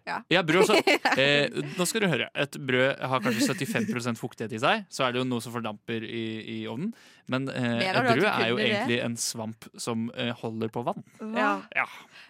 [SPEAKER 6] Ja.
[SPEAKER 2] Ja, brød også. Eh, nå skal du høre. Et brød har kanskje 75 fuktighet i seg. Så er det jo noe som fordamper i, i ovnen. Men eh,
[SPEAKER 6] Mener
[SPEAKER 2] et
[SPEAKER 6] du at du
[SPEAKER 2] brød er jo
[SPEAKER 6] kunne det?
[SPEAKER 2] egentlig en svamp som eh, holder på vann.
[SPEAKER 7] Ja.
[SPEAKER 2] Ja.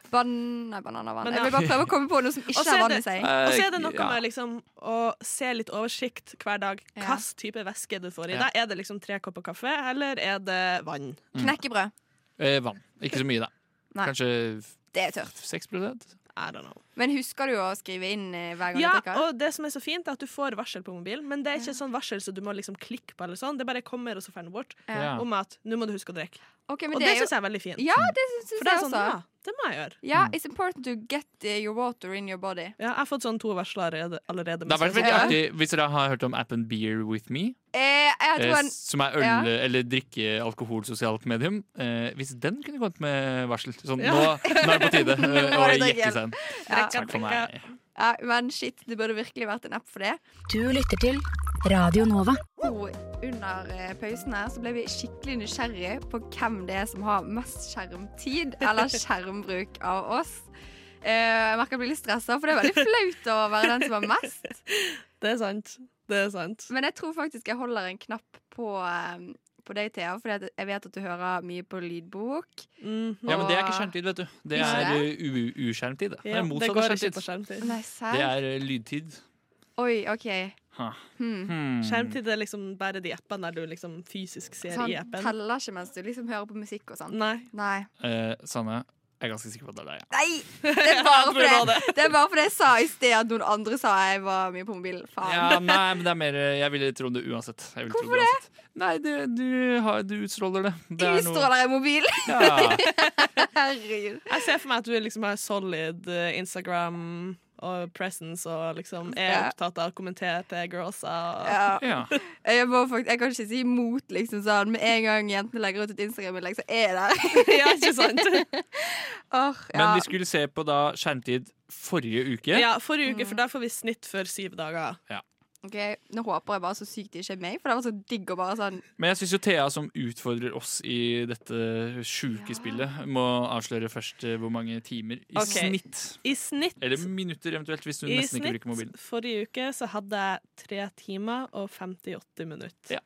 [SPEAKER 6] Ban nei, bananvann.
[SPEAKER 7] Men
[SPEAKER 6] Jeg
[SPEAKER 7] ja.
[SPEAKER 6] vil bare prøve å komme på noe som
[SPEAKER 7] Og
[SPEAKER 6] ikke
[SPEAKER 7] så er
[SPEAKER 6] har vann i
[SPEAKER 7] det-
[SPEAKER 6] seg.
[SPEAKER 2] Eh,
[SPEAKER 7] Og så er det noe
[SPEAKER 2] ja.
[SPEAKER 7] med liksom å se litt oversikt hver dag.
[SPEAKER 6] Ja.
[SPEAKER 7] Hvilken type væske du får i
[SPEAKER 2] Ja.
[SPEAKER 7] deg. Er det liksom tre kopper kaffe, eller er det vann?
[SPEAKER 6] Mm. Knekkebrød.
[SPEAKER 2] eh, Vann. Ikke så mye, da.
[SPEAKER 6] Nei.
[SPEAKER 2] Kanskje
[SPEAKER 6] Det er tørt.
[SPEAKER 2] 6
[SPEAKER 7] I don't know.
[SPEAKER 6] Men husker du å skrive inn eh, hver gang
[SPEAKER 7] Ja,
[SPEAKER 6] du drikker?
[SPEAKER 7] og det som er så fint, er at du får varsel på mobilen, men det er ikke sånn varsel så du må liksom klikke på, eller sånn. Det bare kommer, og så drar den bort.
[SPEAKER 2] Ja.
[SPEAKER 7] Om at 'nå må du huske å drikke'.
[SPEAKER 6] Ok, men
[SPEAKER 7] Og
[SPEAKER 6] det
[SPEAKER 7] det
[SPEAKER 6] er jo
[SPEAKER 7] syns jeg er veldig fint.
[SPEAKER 6] Ja, det
[SPEAKER 7] For
[SPEAKER 6] syns jeg
[SPEAKER 7] det er
[SPEAKER 6] også.
[SPEAKER 7] sånn, ja, det må jeg gjøre.
[SPEAKER 6] Ja, it's important to get eh, your water in your body.
[SPEAKER 7] Ja, jeg har fått sånn to varsler allerede. allerede
[SPEAKER 2] Det har vært
[SPEAKER 7] mens jeg
[SPEAKER 2] veldig
[SPEAKER 7] sitter her.
[SPEAKER 2] artig hvis dere har hørt om appen Beer With Me.
[SPEAKER 6] Eh, jeg
[SPEAKER 2] Eh,
[SPEAKER 6] tror en
[SPEAKER 2] som er øl-
[SPEAKER 6] ja.
[SPEAKER 2] eller drikke alkoholsosialt medium. Eh, hvis den kunne kommet med varsel sånn,
[SPEAKER 7] Ja.
[SPEAKER 2] nå, nå er det på tide eh, å
[SPEAKER 6] må du drikke
[SPEAKER 2] jekke
[SPEAKER 6] igjen.
[SPEAKER 2] seg.
[SPEAKER 6] Ja.
[SPEAKER 2] Takk for meg.
[SPEAKER 6] ja, Men shit, det burde virkelig vært en app for det.
[SPEAKER 1] Du lytter til Radio Nova.
[SPEAKER 6] Og under eh, pausen her så ble vi skikkelig nysgjerrig på hvem det er som har mest skjermtid eller skjermbruk av oss. Eh, jeg merker jeg blir litt stressa, for det er veldig flaut å være den som har mest.
[SPEAKER 7] Det er sant. Det er sant.
[SPEAKER 6] Men jeg tror faktisk jeg holder en knapp på, eh, på deg, Thea, for jeg vet at du hører mye på lydbok.
[SPEAKER 7] Mhm.
[SPEAKER 2] Ja, men det er ikke skjermtid, vet du. Det
[SPEAKER 6] Ikke
[SPEAKER 2] er eh, u- uskjermtid. Det, det
[SPEAKER 7] Ja,
[SPEAKER 2] er
[SPEAKER 7] det
[SPEAKER 2] motsatt
[SPEAKER 7] går
[SPEAKER 2] av
[SPEAKER 7] ikke på
[SPEAKER 2] skjermtid.
[SPEAKER 7] skjermtid.
[SPEAKER 6] Nei,
[SPEAKER 2] Det
[SPEAKER 6] serr?
[SPEAKER 2] er eh, lydtid.
[SPEAKER 6] Oi, OK.
[SPEAKER 2] Ha.
[SPEAKER 6] Hmm.
[SPEAKER 2] Hmm.
[SPEAKER 7] Skjermtid er liksom bare de appene der du liksom fysisk ser
[SPEAKER 6] Så han
[SPEAKER 7] i appen.
[SPEAKER 6] Sånn, teller ikke mens du liksom hører på musikk og sånn?
[SPEAKER 7] Nei.
[SPEAKER 6] Nei.
[SPEAKER 2] Eh, Sanne, jeg er ganske sikker på at det er deg. ja.
[SPEAKER 6] Nei! Det er bare
[SPEAKER 7] Jeg tror
[SPEAKER 6] fordi det er bare fordi jeg sa i sted at noen andre sa jeg var mye på mobilen. Faen.
[SPEAKER 2] Ja, nei, men det er mer eh, Jeg ville trodd det uansett. Jeg ville trodd
[SPEAKER 6] Ah. Hvorfor
[SPEAKER 2] uansett. Nei, det, du, har, du utstråler det. det er noe-
[SPEAKER 6] Utstråler jeg mobil?
[SPEAKER 2] Ja.
[SPEAKER 6] Herregud.
[SPEAKER 7] Jeg ser for meg at du liksom har solid eh, Instagram og presence og liksom er
[SPEAKER 6] Ja.
[SPEAKER 7] opptatt av å kommentere til girlsa. Og...
[SPEAKER 6] Ja.
[SPEAKER 2] Ja.
[SPEAKER 6] Jeg, må fakt jeg kan ikke si imot, liksom sånn. Med en gang jentene legger ut et Instagram-innlegg, så er jeg der.
[SPEAKER 7] Ja, ikke sant?
[SPEAKER 6] Åh, ja.
[SPEAKER 2] Men vi skulle se på da skjermtid forrige uke.
[SPEAKER 6] Mm.
[SPEAKER 7] Ja, forrige uke, for da får vi snitt for syv dager.
[SPEAKER 2] Ja.
[SPEAKER 6] Ok, Nå håper jeg bare så sykt det ikke er meg, for det var så digg å bare sånn
[SPEAKER 2] Men jeg syns jo Thea, som utfordrer oss i dette sjuke spillet, må avsløre først eh, hvor mange timer i
[SPEAKER 7] Ok.
[SPEAKER 2] snitt.
[SPEAKER 7] I snitt,
[SPEAKER 2] Eller minutter, eventuelt, hvis du
[SPEAKER 7] i
[SPEAKER 2] nesten ikke
[SPEAKER 7] snitt
[SPEAKER 2] bruker mobilen.
[SPEAKER 7] forrige uke så hadde jeg tre timer og 58 minutter.
[SPEAKER 2] Ja.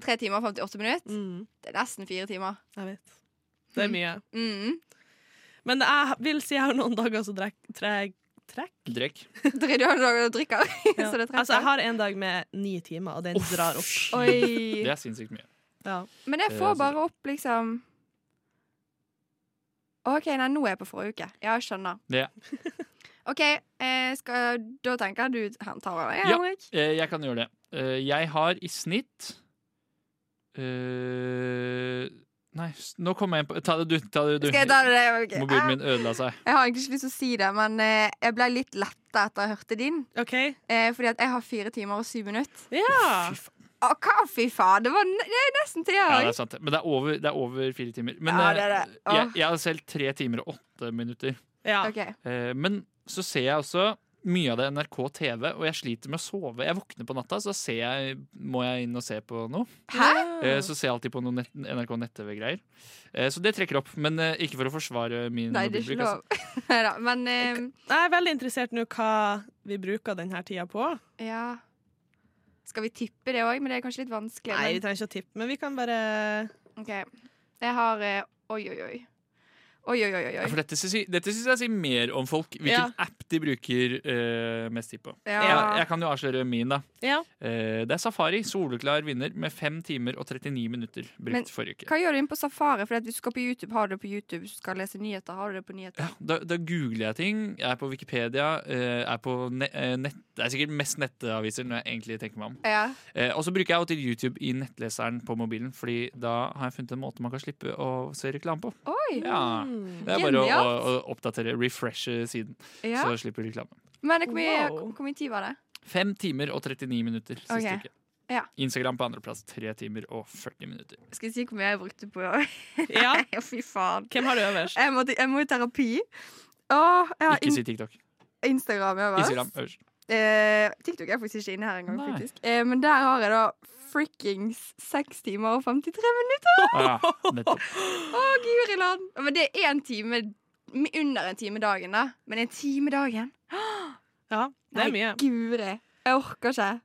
[SPEAKER 6] tre timer og 58 minutter.
[SPEAKER 7] Mm,
[SPEAKER 6] Det er nesten fire timer.
[SPEAKER 7] jeg vet. Det er mye.
[SPEAKER 6] Mm.
[SPEAKER 7] Men jeg vil si jeg har noen dager så drek, treg, trekk.
[SPEAKER 2] Drekk.
[SPEAKER 6] Drikker du har noe å drikke av?
[SPEAKER 7] Ja.
[SPEAKER 6] så det
[SPEAKER 7] Altså, jeg
[SPEAKER 6] trekker.
[SPEAKER 7] har en dag med ni timer, og den drar opp.
[SPEAKER 6] Oi.
[SPEAKER 2] Det er sinnssykt mye.
[SPEAKER 7] Ja.
[SPEAKER 6] Men jeg
[SPEAKER 2] Eh,
[SPEAKER 6] får
[SPEAKER 2] altså-
[SPEAKER 6] bare opp liksom OK, nei, nå er jeg på forrige uke. Ja, jeg skjønner.
[SPEAKER 2] Ja.
[SPEAKER 6] OK, eh, skal, da tenker jeg du han tar over, jeg,
[SPEAKER 2] Ja.
[SPEAKER 6] Henrik.
[SPEAKER 2] Eh, Jeg kan gjøre det. Eh, Jeg har i snitt eh, Nei, s- nå kom jeg inn på Ta det, du. Ta det, du.
[SPEAKER 6] Skal jeg ta det? Ok.
[SPEAKER 2] Mobilen
[SPEAKER 6] Eh,
[SPEAKER 2] min ødela seg.
[SPEAKER 6] Jeg har egentlig ikke lyst til å si det, men eh, jeg ble litt letta etter jeg hørte din.
[SPEAKER 7] OK.
[SPEAKER 6] Eh, fordi at jeg har fire timer og syv minutter.
[SPEAKER 7] Ja.
[SPEAKER 6] Å, hva fy faen! Det var ne- det er nesten til
[SPEAKER 2] Ja, det
[SPEAKER 6] jeg
[SPEAKER 2] er sant. Men det er over, det er over fire timer. Men
[SPEAKER 6] Ja,
[SPEAKER 2] eh,
[SPEAKER 6] det er det. Åh.
[SPEAKER 2] Jeg, jeg har selv tre timer og åtte minutter.
[SPEAKER 7] ja.
[SPEAKER 6] OK.
[SPEAKER 2] Eh, Men så ser jeg også mye av det NRK TV, og jeg sliter med å sove. Jeg våkner på natta, så ser jeg, må jeg inn og se på noe.
[SPEAKER 6] Hæ?
[SPEAKER 2] Eh, Så ser jeg alltid på noen nett, NRK nett-TV-greier. Eh, Så det trekker opp. Men eh, ikke for å forsvare min
[SPEAKER 6] Nei, det er
[SPEAKER 2] mobilbruk,
[SPEAKER 6] ikke
[SPEAKER 2] altså.
[SPEAKER 6] lov. Nei da. Men eh,
[SPEAKER 7] Jeg er veldig interessert nå hva vi bruker denne tida på.
[SPEAKER 6] ja Skal vi tippe det òg? Men det er kanskje litt vanskelig.
[SPEAKER 7] Nei, vi
[SPEAKER 6] men,
[SPEAKER 7] trenger ikke å tippe, men vi kan bare
[SPEAKER 6] OK. Jeg har eh, Oi, oi, oi. Oi, oi, oi, oi.
[SPEAKER 2] For dette, sy- dette syns jeg sier mer om folk. Hvilken app de bruker eh, mest tid på.
[SPEAKER 6] Ja.
[SPEAKER 2] Jeg kan jo avsløre min, da.
[SPEAKER 7] Ja.
[SPEAKER 2] Eh, det er Safari. Soleklar vinner med 5 timer og 39 minutter brukt
[SPEAKER 6] Men
[SPEAKER 2] forrige uke.
[SPEAKER 6] Hva gjør du inne på Safari? For at hvis du skal på YouTube, har du det på YouTube. Hvis du skal lese nyheter, har du det på nyheter.
[SPEAKER 2] Da, da googler jeg ting. Jeg er på Wikipedia. eh, er på ne eh, nett, det er sikkert mest nettaviser når jeg egentlig tenker meg om.
[SPEAKER 6] Ja.
[SPEAKER 2] Eh, og så bruker jeg jo til YouTube i nettleseren på mobilen, Fordi da har jeg funnet en måte man kan slippe å se reklame på.
[SPEAKER 6] Oi!
[SPEAKER 2] Ja.
[SPEAKER 7] Mm.
[SPEAKER 2] Det er bare å, å,
[SPEAKER 6] Genialt.
[SPEAKER 2] å oppdatere, refreshe siden,
[SPEAKER 6] Ja.
[SPEAKER 2] så slipper du reklame.
[SPEAKER 6] Men hvor mye,
[SPEAKER 7] Wow.
[SPEAKER 6] hvor mye tid var det?
[SPEAKER 2] Fem timer og 39 minutter siste
[SPEAKER 6] Ok.
[SPEAKER 2] uke.
[SPEAKER 6] Ja.
[SPEAKER 2] Instagram på andreplass, tre timer og 40 minutter.
[SPEAKER 6] Skal jeg si hvor mye jeg brukte på Nei,
[SPEAKER 7] ja.
[SPEAKER 6] fy faen.
[SPEAKER 7] Hvem har du øverst?
[SPEAKER 6] Jeg må, jeg må i terapi. Åh, jeg har
[SPEAKER 2] Ikke
[SPEAKER 6] in
[SPEAKER 2] si TikTok.
[SPEAKER 6] Instagram øverst.
[SPEAKER 2] Instagram øverst.
[SPEAKER 6] Eh, TikTok er faktisk ikke inne her engang,
[SPEAKER 2] Nei.
[SPEAKER 6] faktisk. Eh, men der har jeg da frikkings seks timer og 53 minutter.
[SPEAKER 2] Ah, nettopp.
[SPEAKER 6] Å, Guriland! Men det er én time Under en time dagen, da. Men en time dagen?
[SPEAKER 7] Ja, det er mye.
[SPEAKER 6] Nei, guri. Jeg orker ikke.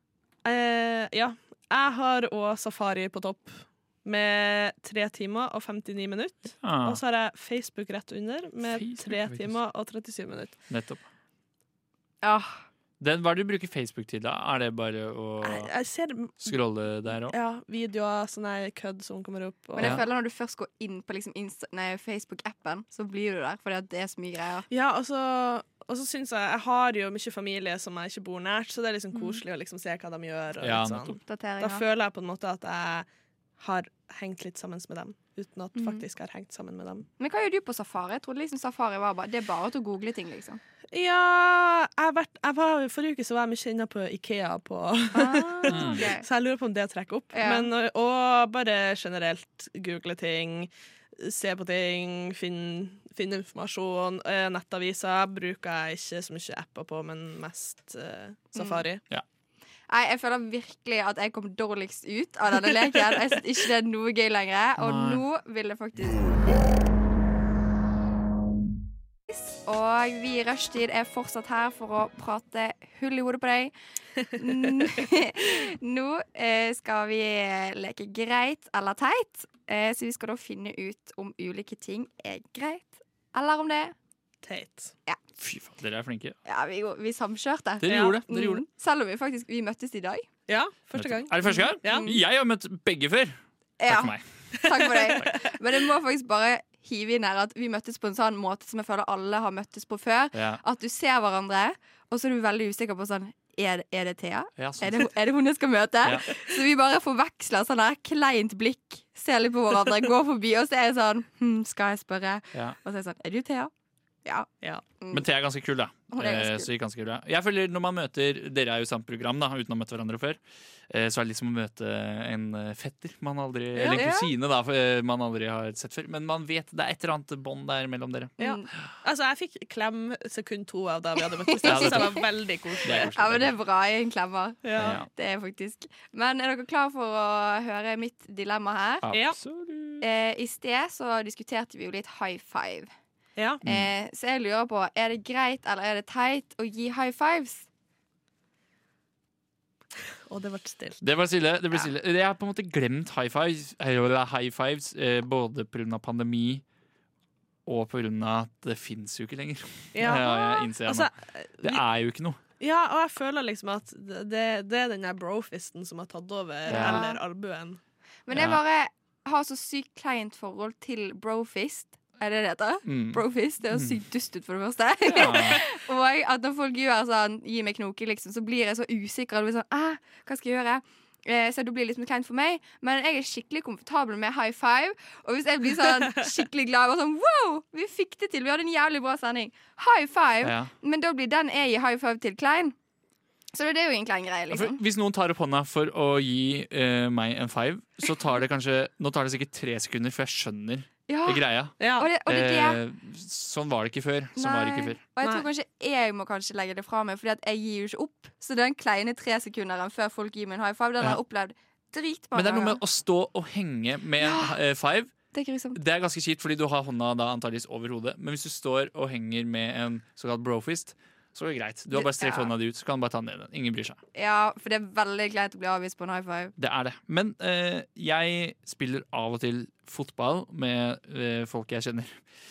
[SPEAKER 7] Eh, ja. Jeg har òg Safari på topp med tre timer og 59 minutter.
[SPEAKER 2] Ah,
[SPEAKER 7] Og så har jeg Facebook rett under med
[SPEAKER 2] Facebook,
[SPEAKER 7] tre
[SPEAKER 2] faktisk.
[SPEAKER 7] timer og 37 minutter.
[SPEAKER 2] nettopp.
[SPEAKER 6] Åh,
[SPEAKER 2] Den, hva er det du bruker Facebook til, da? Er det bare å
[SPEAKER 7] Jeg, jeg ser
[SPEAKER 2] scrolle der òg?
[SPEAKER 7] ja, videoer, sånn her kødd som kommer opp. Og,
[SPEAKER 6] Men jeg
[SPEAKER 2] Ja.
[SPEAKER 6] føler når du først går inn på liksom Insta- nei, Facebook-appen, så blir du der. Fordi at det er så mye greier.
[SPEAKER 7] Ja, og så, og så syns jeg Jeg har jo mye familie som jeg ikke bor nært, så det er liksom koselig å liksom se hva de gjør. Og
[SPEAKER 2] Mm. Ja,
[SPEAKER 7] litt sånn.
[SPEAKER 2] nettopp.
[SPEAKER 7] Da
[SPEAKER 6] Oppdateringer.
[SPEAKER 7] føler jeg på en måte at jeg har hengt litt sammen med dem, uten at
[SPEAKER 2] Mm.
[SPEAKER 6] Mhm.
[SPEAKER 7] faktisk har hengt sammen med dem.
[SPEAKER 6] Men hva gjør du på safari? Jeg trodde liksom safari var bare Det er bare til å google ting, liksom.
[SPEAKER 7] Ja jeg har vært, jeg var, Forrige uke så var jeg mye inne på Ikea, på,
[SPEAKER 6] Ah, ok.
[SPEAKER 7] så jeg lurer på om det trekker opp.
[SPEAKER 6] Ja.
[SPEAKER 7] Men, og, og bare generelt google ting, se på ting, finne finne informasjon. Eh, Nettaviser bruker jeg ikke så mye apper på, men mest eh, Safari.
[SPEAKER 6] Nei, jeg føler virkelig at jeg kom dårligst ut av denne leken. Jeg synes ikke det er noe gøy lenger. Og
[SPEAKER 2] Nei.
[SPEAKER 6] nå vil jeg faktisk Og vi i Rushtid er fortsatt her for å prate hull i hodet på deg. N- nå eh, skal vi leke greit eller teit. Eh, så vi skal da finne ut om ulike ting er greit, eller om det
[SPEAKER 7] Teit.
[SPEAKER 2] Fy faen, dere er flinke.
[SPEAKER 6] Ja, vi, vi samkjørte.
[SPEAKER 2] Dere
[SPEAKER 7] Ja.
[SPEAKER 2] gjorde det. Dere gjorde det.
[SPEAKER 6] Mm, selv om vi faktisk vi møttes i dag.
[SPEAKER 7] Ja, første gang.
[SPEAKER 2] Er det første gang?
[SPEAKER 7] Ja.
[SPEAKER 2] Jeg har møtt begge før. Takk
[SPEAKER 6] Ja.
[SPEAKER 2] for meg.
[SPEAKER 6] Takk for deg. Men jeg må faktisk bare hive inn her at vi møttes på en sånn måte som jeg føler alle har møttes på før.
[SPEAKER 2] Ja.
[SPEAKER 6] At du ser hverandre, og så er du veldig usikker på sånn Er, er det Thea?
[SPEAKER 2] Ja,
[SPEAKER 6] Er
[SPEAKER 2] sånn.
[SPEAKER 6] det, er det hun jeg skal møte?
[SPEAKER 2] Ja.
[SPEAKER 6] Så vi bare forveksler sånn der kleint blikk, ser litt på hverandre, går forbi, og så er jeg sånn hm, Skal jeg spørre?
[SPEAKER 2] Ja.
[SPEAKER 6] Og så er jeg sånn Er du Thea? Ja.
[SPEAKER 7] Ja.
[SPEAKER 6] Mm.
[SPEAKER 2] Men Thea er ganske kul, da.
[SPEAKER 6] Hun er
[SPEAKER 2] Eh,
[SPEAKER 6] ganske kul.
[SPEAKER 2] Så ganske kul, ja. Jeg føler når man møter Dere er jo i samt program, da, uten å ha møtt hverandre før. Eh, Så er det liksom å møte en eh, fetter, man aldri,
[SPEAKER 7] Ja.
[SPEAKER 2] eller en
[SPEAKER 6] Ja.
[SPEAKER 2] kusine, da, for, eh, man aldri har sett før. Men man vet det er et eller annet bånd der mellom dere.
[SPEAKER 7] Ja.
[SPEAKER 6] Mm.
[SPEAKER 7] Altså, jeg fikk klem sekund to av da vi hadde møttes. Jeg synes det var veldig
[SPEAKER 2] Det er
[SPEAKER 7] koselig.
[SPEAKER 6] ja, men det
[SPEAKER 2] koselig.
[SPEAKER 6] er bra i en klemmer.
[SPEAKER 7] Ja.
[SPEAKER 2] Ja.
[SPEAKER 6] Det er faktisk. Men er dere klar for å høre mitt dilemma her?
[SPEAKER 7] Ja.
[SPEAKER 2] Absolutt.
[SPEAKER 6] Eh, I sted så diskuterte vi jo litt high five.
[SPEAKER 7] Ja.
[SPEAKER 2] Mm.
[SPEAKER 6] Eh, så jeg lurer på, er det greit eller er det teit å gi high fives?
[SPEAKER 7] Og det ble stilt.
[SPEAKER 2] Det var stille. det ble stille Jeg har på en måte glemt high fives, eller high fives eh, både pga. pandemi og pga. at det fins jo ikke lenger.
[SPEAKER 7] Ja.
[SPEAKER 2] jeg innser jeg
[SPEAKER 7] Altså,
[SPEAKER 2] nå. Det er jo ikke noe.
[SPEAKER 7] ja, og jeg føler liksom at det, det er den der brofisten som har tatt over,
[SPEAKER 2] Ja.
[SPEAKER 7] eller albuen.
[SPEAKER 6] Men jeg
[SPEAKER 2] Ja.
[SPEAKER 6] bare har så sykt kleint forhold til brofist. Er det det heter?
[SPEAKER 2] Mm.
[SPEAKER 6] Brofist. Det er jo sykt dust ut, for det første.
[SPEAKER 2] Ja.
[SPEAKER 6] og at når folk gjør sånn, gir meg knoke, liksom, så blir jeg så usikker. Og blir sånn, ah, hva skal jeg gjøre? Eh, så det blir litt kleint for meg. Men jeg er skikkelig komfortabel med high five. Og hvis jeg blir sånn skikkelig glad og sånn wow, vi fikk det til, vi hadde en jævlig bra sending. High five.
[SPEAKER 2] Ja.
[SPEAKER 6] Men da blir den jeg gir high five til, klein. Så det er jo en klein greie,
[SPEAKER 2] Ja, For
[SPEAKER 6] liksom.
[SPEAKER 2] hvis noen tar opp hånda for å gi eh, meg en five, så tar det kanskje Nå tar det sikkert tre sekunder, for jeg skjønner
[SPEAKER 6] Ja.
[SPEAKER 2] greia.
[SPEAKER 7] Ja.
[SPEAKER 6] Og det, og det er det
[SPEAKER 2] Eh, sånn var det ikke før. Sånn var det ikke før.
[SPEAKER 6] Og jeg tror
[SPEAKER 7] Nei.
[SPEAKER 6] kanskje jeg må kanskje legge det fra meg, Fordi at jeg gir jo ikke opp. Så den kleine tre sekunderen før folk gir meg en high five, den
[SPEAKER 2] Ja.
[SPEAKER 6] har jeg opplevd dritmange
[SPEAKER 2] Men det er noe
[SPEAKER 6] ganger.
[SPEAKER 2] med å stå og henge med en eh, five.
[SPEAKER 6] Det er liksom- grusomt.
[SPEAKER 2] Det er ganske kjipt, fordi du har hånda da antageligvis over hodet. Men hvis du står og henger med en såkalt brofist, så er det greit. Du har bare strekt
[SPEAKER 6] Ja.
[SPEAKER 2] hånda di ut, så kan du bare ta den ned igjen. Ingen bryr seg.
[SPEAKER 6] Ja, for det er veldig kleint å bli avvist på en high five.
[SPEAKER 2] Det er det. Men eh, jeg spiller av og til fotball med eh, folk jeg kjenner.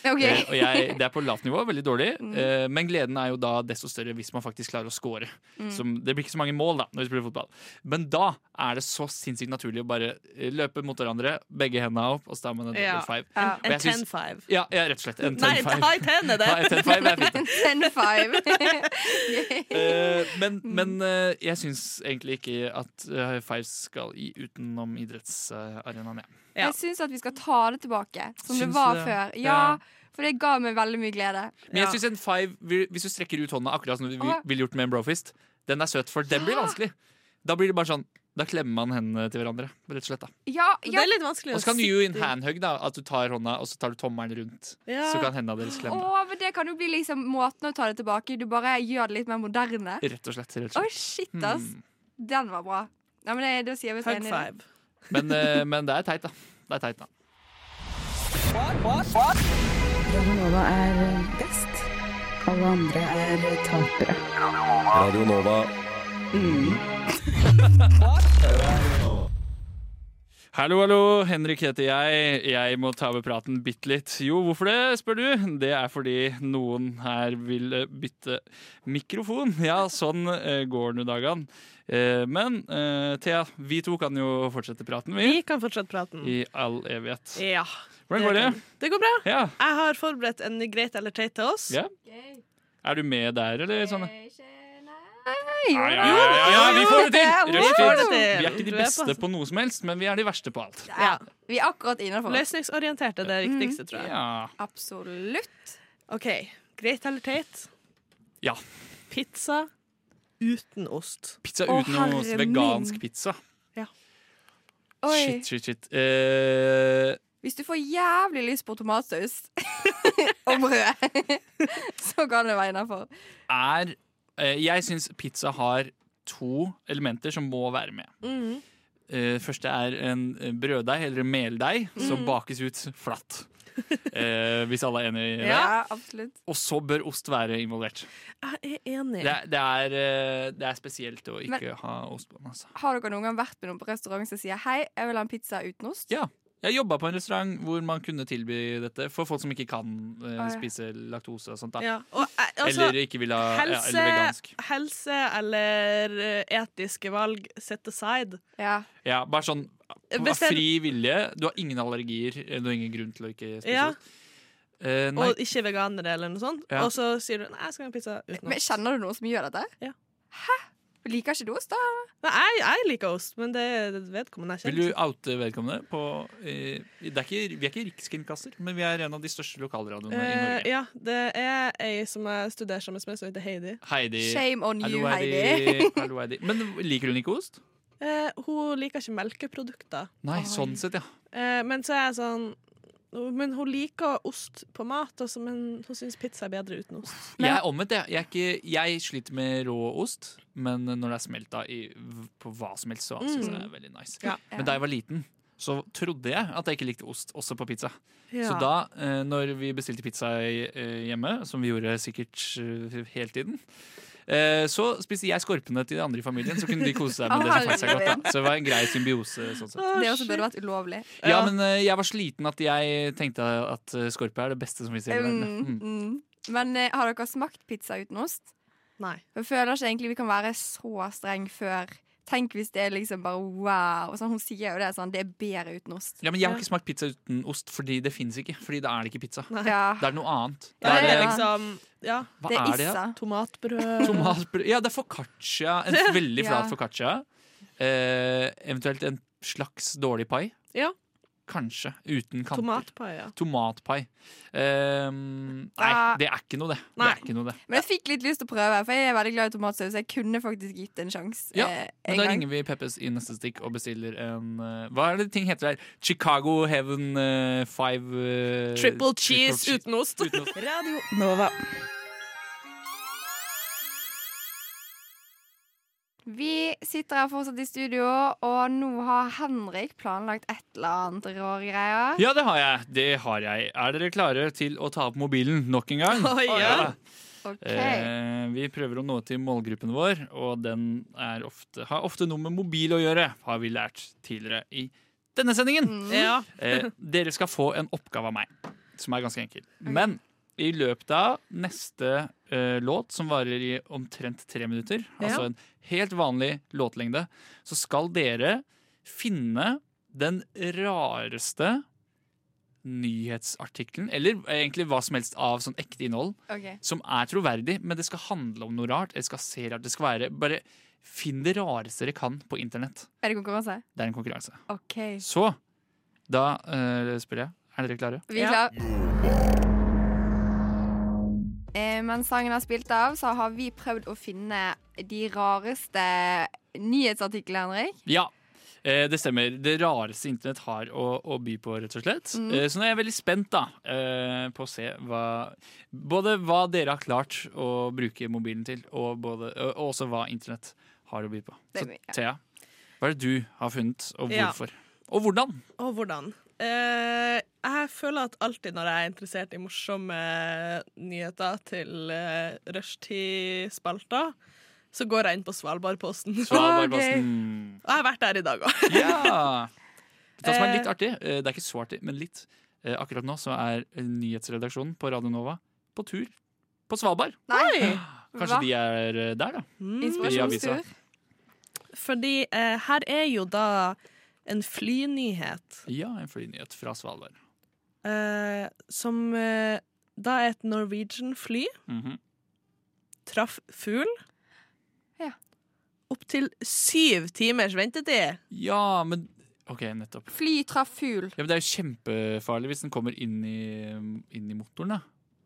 [SPEAKER 6] OK.
[SPEAKER 2] Eh, og jeg, det er på lavt nivå, veldig dårlig. Eh, men gleden er jo da desto større hvis man faktisk klarer å score. Som, det blir ikke så mange mål da når vi spiller fotball. Men da er det så sinnssykt naturlig å bare eh, løpe mot hverandre, begge hendene opp, og så tar man en
[SPEAKER 7] Ja.
[SPEAKER 2] double five.
[SPEAKER 6] Ja.
[SPEAKER 2] Og
[SPEAKER 7] En
[SPEAKER 2] jeg syns-
[SPEAKER 7] 10-5.
[SPEAKER 2] Ja, ja, rett og slett. En
[SPEAKER 7] Nei,
[SPEAKER 2] ten five.
[SPEAKER 7] high ten er det!
[SPEAKER 2] Ja, en ten five er fint.
[SPEAKER 6] Ten five.
[SPEAKER 2] Eh, men
[SPEAKER 6] Mm.
[SPEAKER 2] men eh, jeg syns egentlig ikke at eh, high fives skal i utenom idrettsarenaen. Ja.
[SPEAKER 7] Ja.
[SPEAKER 6] Jeg syns at vi skal ta det tilbake som
[SPEAKER 2] Syns
[SPEAKER 6] det var
[SPEAKER 2] du det?
[SPEAKER 6] før. Ja,
[SPEAKER 2] Ja.
[SPEAKER 6] for det ga meg veldig mye glede.
[SPEAKER 2] Men
[SPEAKER 7] Ja.
[SPEAKER 2] jeg synes en five, vil- hvis du strekker ut hånda akkurat som du vil-
[SPEAKER 6] Åh.
[SPEAKER 2] ville gjort med en brofist, den er søt, for den blir vanskelig. Da blir det bare sånn da klemmer man hendene til hverandre. rett Og slett da
[SPEAKER 6] Ja,
[SPEAKER 7] Det
[SPEAKER 6] ja.
[SPEAKER 7] er litt vanskelig
[SPEAKER 2] Og så kan du jo en handhug, da. At du tar hånda, og så tar du tommelen rundt.
[SPEAKER 7] Ja.
[SPEAKER 2] Så kan hendene deres
[SPEAKER 6] Å,
[SPEAKER 2] klemme.
[SPEAKER 6] men det kan jo bli liksom måten å ta det tilbake Du bare gjør det litt mer moderne. Å,
[SPEAKER 2] Rett og slett. Rett og slett.
[SPEAKER 6] shit, ass.
[SPEAKER 2] Hmm.
[SPEAKER 6] Den var bra. Ja, men det, da sier vi oss
[SPEAKER 7] High
[SPEAKER 6] enige.
[SPEAKER 7] five.
[SPEAKER 2] Men, eh, men det er teit, da. Det er teit, da.
[SPEAKER 1] Radio Nova er eh, best. Alle andre er eh, tapere.
[SPEAKER 8] Radio Nova.
[SPEAKER 2] Hallo, hallo. Henrik heter jeg. Jeg må ta over praten bitte litt. Jo, hvorfor det, spør du? Det er fordi noen her vil eh, bytte mikrofon. Ja, sånn eh, går nå dagene. Eh, Men eh, Thea, vi to kan jo fortsette praten, vi.
[SPEAKER 7] Vi kan fortsette praten.
[SPEAKER 2] I all evighet.
[SPEAKER 7] Ja.
[SPEAKER 2] Hvordan går det?
[SPEAKER 7] kan- Det går bra.
[SPEAKER 2] Ja.
[SPEAKER 7] Jeg har forberedt en greit eller teit til oss.
[SPEAKER 2] Ja. Er du med der, eller? Sånn?
[SPEAKER 6] Nei,
[SPEAKER 2] Ja,
[SPEAKER 6] jo
[SPEAKER 2] ja,
[SPEAKER 6] da.
[SPEAKER 2] ja, ja, ja, vi får det til!
[SPEAKER 6] Jo,
[SPEAKER 7] Vi
[SPEAKER 2] Rush
[SPEAKER 7] får det
[SPEAKER 2] tid.
[SPEAKER 7] til.
[SPEAKER 2] Vi er ikke
[SPEAKER 7] Du
[SPEAKER 2] de
[SPEAKER 7] er
[SPEAKER 2] beste
[SPEAKER 7] pass-
[SPEAKER 2] på noe som helst, men vi er de verste på alt.
[SPEAKER 7] Ja.
[SPEAKER 6] Vi er akkurat innenfor.
[SPEAKER 7] Løsningsorientert er det viktigste, tror jeg.
[SPEAKER 2] Ja.
[SPEAKER 6] Absolutt.
[SPEAKER 7] Mm. OK. Greit eller teit?
[SPEAKER 2] Ja.
[SPEAKER 7] Pizza uten ost.
[SPEAKER 2] Pizza
[SPEAKER 6] Å,
[SPEAKER 2] uten noe
[SPEAKER 6] herre
[SPEAKER 2] vegansk
[SPEAKER 6] min.
[SPEAKER 2] pizza.
[SPEAKER 6] Oi.
[SPEAKER 2] Shit, shit, shit. Eh,
[SPEAKER 6] Hvis du får jævlig lyst på tomatsaus og brød, så kan det være innafor.
[SPEAKER 2] er eh, Jeg syns pizza har to elementer som må være med.
[SPEAKER 7] Mhm.
[SPEAKER 2] Eh, første er en eh, brøddeig, eller en meldeig, som
[SPEAKER 7] Mhm.
[SPEAKER 2] bakes ut flatt. Eh, hvis alle er enig i det.
[SPEAKER 7] Ja.
[SPEAKER 6] absolutt.
[SPEAKER 2] Og så bør ost være involvert.
[SPEAKER 7] Jeg er enig.
[SPEAKER 2] Det, er- det, er, eh, det er spesielt å ikke
[SPEAKER 6] Men-
[SPEAKER 2] ha ost på den. Altså.
[SPEAKER 6] Har dere noen gang vært med noen på restaurant som sier 'hei, jeg vil ha en pizza uten ost'?
[SPEAKER 2] Ja. Jeg jobba på en restaurant hvor man kunne tilby dette for folk som ikke kan eh,
[SPEAKER 6] ja.
[SPEAKER 2] spise laktose og sånt. Da.
[SPEAKER 7] Ja. Og, jeg- altså,
[SPEAKER 2] eller ikke vil ha ja,
[SPEAKER 7] helse,
[SPEAKER 2] eller vegansk.
[SPEAKER 7] helse eller eh, etiske valg set aside.
[SPEAKER 6] Ja.
[SPEAKER 2] Ja, bare sånn av
[SPEAKER 7] Bestem-
[SPEAKER 2] fri vilje. Du har ingen allergier. eh, Du har ingen grunn til å ikke spise
[SPEAKER 7] Ja.
[SPEAKER 2] ost. Eh, nei,
[SPEAKER 7] Og ikke veganere eller noe sånt.
[SPEAKER 2] Ja.
[SPEAKER 7] Og så sier du nei, jeg skal ha en pizza uten
[SPEAKER 6] Men
[SPEAKER 7] ost.
[SPEAKER 6] Kjenner du noen som gjør dette?
[SPEAKER 7] Ja.
[SPEAKER 6] Hæ? Liker ikke du oss, da?
[SPEAKER 7] Nei, jeg, jeg liker ost, men det er vedkommende jeg
[SPEAKER 2] Vil du
[SPEAKER 7] kjenner.
[SPEAKER 2] oute vedkommende på eh, det er ikke, Vi er ikke rikskringkaster, men vi er en av de største lokalradioene i
[SPEAKER 7] Eh,
[SPEAKER 2] Norge.
[SPEAKER 7] ja, det er ei som jeg studerer sammen med, som heter Heidi.
[SPEAKER 2] Heidi.
[SPEAKER 6] Shame on you,
[SPEAKER 2] Hallo,
[SPEAKER 6] Heidi.
[SPEAKER 2] Heidi. Hallo, Heidi. Men liker hun ikke ost?
[SPEAKER 7] Eh, hun liker ikke melkeprodukter.
[SPEAKER 2] Nei, sånn sett, ja.
[SPEAKER 7] Eh, men så er jeg sånn Men hun liker ost på mat, altså, men hun syns pizza er bedre uten ost.
[SPEAKER 2] Jeg er omvendt, jeg. Jeg, er ikke, jeg sliter med rå ost, men når det er smelta i, v- på hva som helst, så syns jeg det er veldig nice.
[SPEAKER 7] Mm. Ja.
[SPEAKER 2] Men da jeg var liten, så trodde jeg at jeg ikke likte ost også på pizza.
[SPEAKER 7] Ja.
[SPEAKER 2] Så da, eh, når vi bestilte pizza i- eh, hjemme, som vi gjorde sikkert eh, hele tiden eh, så spiste jeg skorpene til de andre i familien, så kunne de kose seg med det som fant seg godt. Da. Så det var en grei symbiose. sånn sett.
[SPEAKER 6] Det også burde vært ulovlig.
[SPEAKER 2] Ja, men eh, jeg var sliten at jeg tenkte at eh, skorpe er det beste som vi ser i
[SPEAKER 6] Mm,
[SPEAKER 2] verden. Mm.
[SPEAKER 6] mm. Men eh, har dere smakt pizza uten ost?
[SPEAKER 7] Nei.
[SPEAKER 6] Jeg føler ikke egentlig vi kan være så streng før. Tenk hvis det er liksom bare wow. Og sånn, hun sier jo det sånn, det er bedre uten ost.
[SPEAKER 2] Ja, men Jeg har ikke smakt pizza uten ost, fordi det fins ikke. Fordi da er det ikke pizza.
[SPEAKER 6] Ja,
[SPEAKER 2] Det er noe annet.
[SPEAKER 7] Ja,
[SPEAKER 2] Det
[SPEAKER 7] det er
[SPEAKER 2] er,
[SPEAKER 7] liksom Ja,
[SPEAKER 2] hva
[SPEAKER 6] det er
[SPEAKER 2] er det?
[SPEAKER 6] issa.
[SPEAKER 7] tomatbrød
[SPEAKER 2] Tomatbrød Ja, det er foccaccia. En veldig flat
[SPEAKER 6] Ja.
[SPEAKER 2] foccaccia. Eh, eventuelt en slags dårlig pai.
[SPEAKER 7] Ja.
[SPEAKER 2] Kanskje. Uten kanter.
[SPEAKER 7] Tomatpai, ja.
[SPEAKER 2] Tomatpai. Eh, nei,
[SPEAKER 6] Da-
[SPEAKER 2] det er ikke noe, det. det,
[SPEAKER 7] Ah. Nei.
[SPEAKER 2] er ikke noe, det.
[SPEAKER 6] Men jeg fikk litt lyst til å prøve, for jeg er veldig glad i tomatsaus. Jeg kunne faktisk gitt det en sjanse.
[SPEAKER 2] Ja,
[SPEAKER 6] eh,
[SPEAKER 2] Men
[SPEAKER 6] en
[SPEAKER 2] da
[SPEAKER 6] gang.
[SPEAKER 2] ringer vi Peppes i neste stikk og bestiller en eh, Hva er det ting heter der? Chicago Heaven eh, Five eh,
[SPEAKER 7] Triple cheese uten ost.
[SPEAKER 2] uten ost.
[SPEAKER 5] Radio
[SPEAKER 1] Nova.
[SPEAKER 6] Vi sitter her fortsatt i studio, og nå har Henrik planlagt et eller annet rare greier.
[SPEAKER 2] Ja, det har jeg. Det har jeg. Er dere klare til å ta opp mobilen nok en gang?
[SPEAKER 7] Oi, ja.
[SPEAKER 6] Ok.
[SPEAKER 2] Eh, vi prøver å nå til målgruppen vår, og den er ofte, har ofte noe med mobil å gjøre, har vi lært tidligere i denne sendingen.
[SPEAKER 7] ja.
[SPEAKER 2] Eh, dere skal få en oppgave av meg, som er ganske enkel. Men i løpet av neste eh, låt, som varer i omtrent tre minutter, altså en helt vanlig låtlengde, så skal dere finne den rareste nyhetsartikkelen, eller egentlig hva som helst av sånn ekte innhold,
[SPEAKER 6] Ok.
[SPEAKER 2] som er troverdig, men det skal handle om noe rart. Det skal se rart, det skal være Bare finn det rareste dere kan på internett.
[SPEAKER 6] Er det konkurranse?
[SPEAKER 2] Det er en konkurranse.
[SPEAKER 6] OK.
[SPEAKER 2] Så da eh, spør jeg. Er dere klare?
[SPEAKER 6] Vi er klare. Eh, mens sangen har spilt av, så har vi prøvd å finne de rareste nyhetsartiklene, Henrik.
[SPEAKER 2] Ja. Eh, det stemmer. Det rareste internett har å, å by på, rett og slett. Eh, så nå er jeg veldig spent da, eh, på å se hva Både hva dere har klart å bruke mobilen til, og, både, og og også hva internett har å by på. Så
[SPEAKER 6] Det er mye.
[SPEAKER 2] Thea, hva er det du har funnet, og
[SPEAKER 7] Ja.
[SPEAKER 2] hvorfor? Og hvordan?
[SPEAKER 7] Og hvordan? Eh, jeg føler at alltid når jeg er interessert i morsomme nyheter til eh, rushtidspalter, så går jeg inn på Svalbardposten.
[SPEAKER 2] Så
[SPEAKER 6] Ah,
[SPEAKER 2] bare,
[SPEAKER 6] gøy.
[SPEAKER 2] bare sånn,
[SPEAKER 7] Og jeg har vært der i dag òg.
[SPEAKER 2] Ja! Det som er
[SPEAKER 7] Eh.
[SPEAKER 2] litt artig, eh, det er ikke så artig, men litt. Eh, Akkurat nå så er eh, nyhetsredaksjonen på Radio Nova på tur på Svalbard.
[SPEAKER 6] Nei!
[SPEAKER 2] Kanskje
[SPEAKER 6] Hva?
[SPEAKER 2] de er eh, der, da.
[SPEAKER 6] Mm.
[SPEAKER 7] Mm.
[SPEAKER 2] i
[SPEAKER 6] Inspirasjonstur.
[SPEAKER 7] Fordi eh, her er jo da en flynyhet
[SPEAKER 2] Ja, en flynyhet fra Svalbard.
[SPEAKER 7] eh, som eh, da er et Norwegian-fly
[SPEAKER 2] Mhm.
[SPEAKER 7] traff fugl.
[SPEAKER 6] Ja.
[SPEAKER 7] Opptil syv timers ventetid.
[SPEAKER 2] Ja, men OK, nettopp.
[SPEAKER 6] Fly traff fugl.
[SPEAKER 2] Ja, men Det er jo kjempefarlig hvis den kommer inn i, inn i motoren. da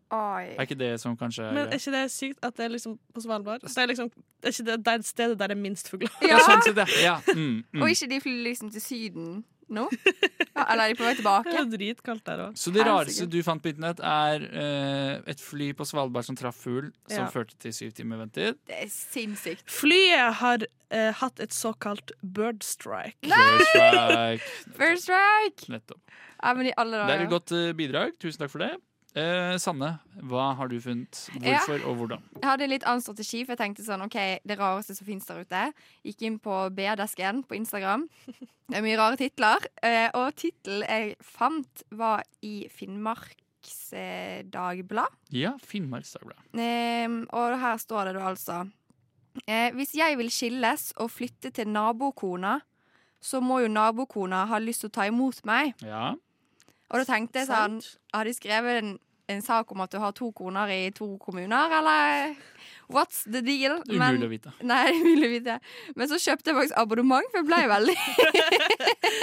[SPEAKER 6] Oi.
[SPEAKER 2] Er ikke det som kanskje er
[SPEAKER 7] Men eh, er ikke det sykt at det er liksom på Svalbard? Det er liksom det er ikke det, det er stedet der det er minst fugler.
[SPEAKER 2] ja,
[SPEAKER 6] Ja.
[SPEAKER 2] sånn sett, ja. ja. Mm, mm.
[SPEAKER 6] Og ikke de flyr liksom til Syden nå? Ja, eller er de på vei
[SPEAKER 7] Det er
[SPEAKER 6] tilbake?
[SPEAKER 7] jo dritkaldt der òg.
[SPEAKER 2] Så det
[SPEAKER 6] Helsike.
[SPEAKER 2] rareste du fant på internett, er eh, et fly på Svalbard som traff fugl, som
[SPEAKER 7] Ja.
[SPEAKER 2] førte til syv timer ventetid.
[SPEAKER 6] Det er sinnssykt.
[SPEAKER 7] Flyet har eh, hatt et såkalt bird strike.
[SPEAKER 2] First strike.
[SPEAKER 6] First strike!
[SPEAKER 2] Nettopp.
[SPEAKER 6] Ja, men i alle
[SPEAKER 2] Det er
[SPEAKER 6] dager.
[SPEAKER 2] et godt eh, bidrag. Tusen takk for det. Eh, Sanne, hva har du funnet? Hvorfor og hvordan?
[SPEAKER 6] Jeg hadde en litt annen strategi, for jeg tenkte sånn OK, det rareste som finnes der ute. Gikk inn på BR-desken på Instagram. Det er mye rare titler. eh, Og tittelen jeg fant, var i Finnmarks eh, Dagblad.
[SPEAKER 2] Ja, Finnmarks Dagblad.
[SPEAKER 6] Ehm, Og her står det da altså eh, Hvis jeg vil skilles og flytte til nabokona, så må jo nabokona ha lyst til å ta imot meg.
[SPEAKER 2] Ja.
[SPEAKER 6] Og da tenkte jeg sånn Har de skrevet en en sak om at du har to koner i to kommuner, eller What's the deal?
[SPEAKER 2] Umulig å vite.
[SPEAKER 6] Nei, umulig å vite. Men så kjøpte jeg faktisk abonnement, for jeg ble veldig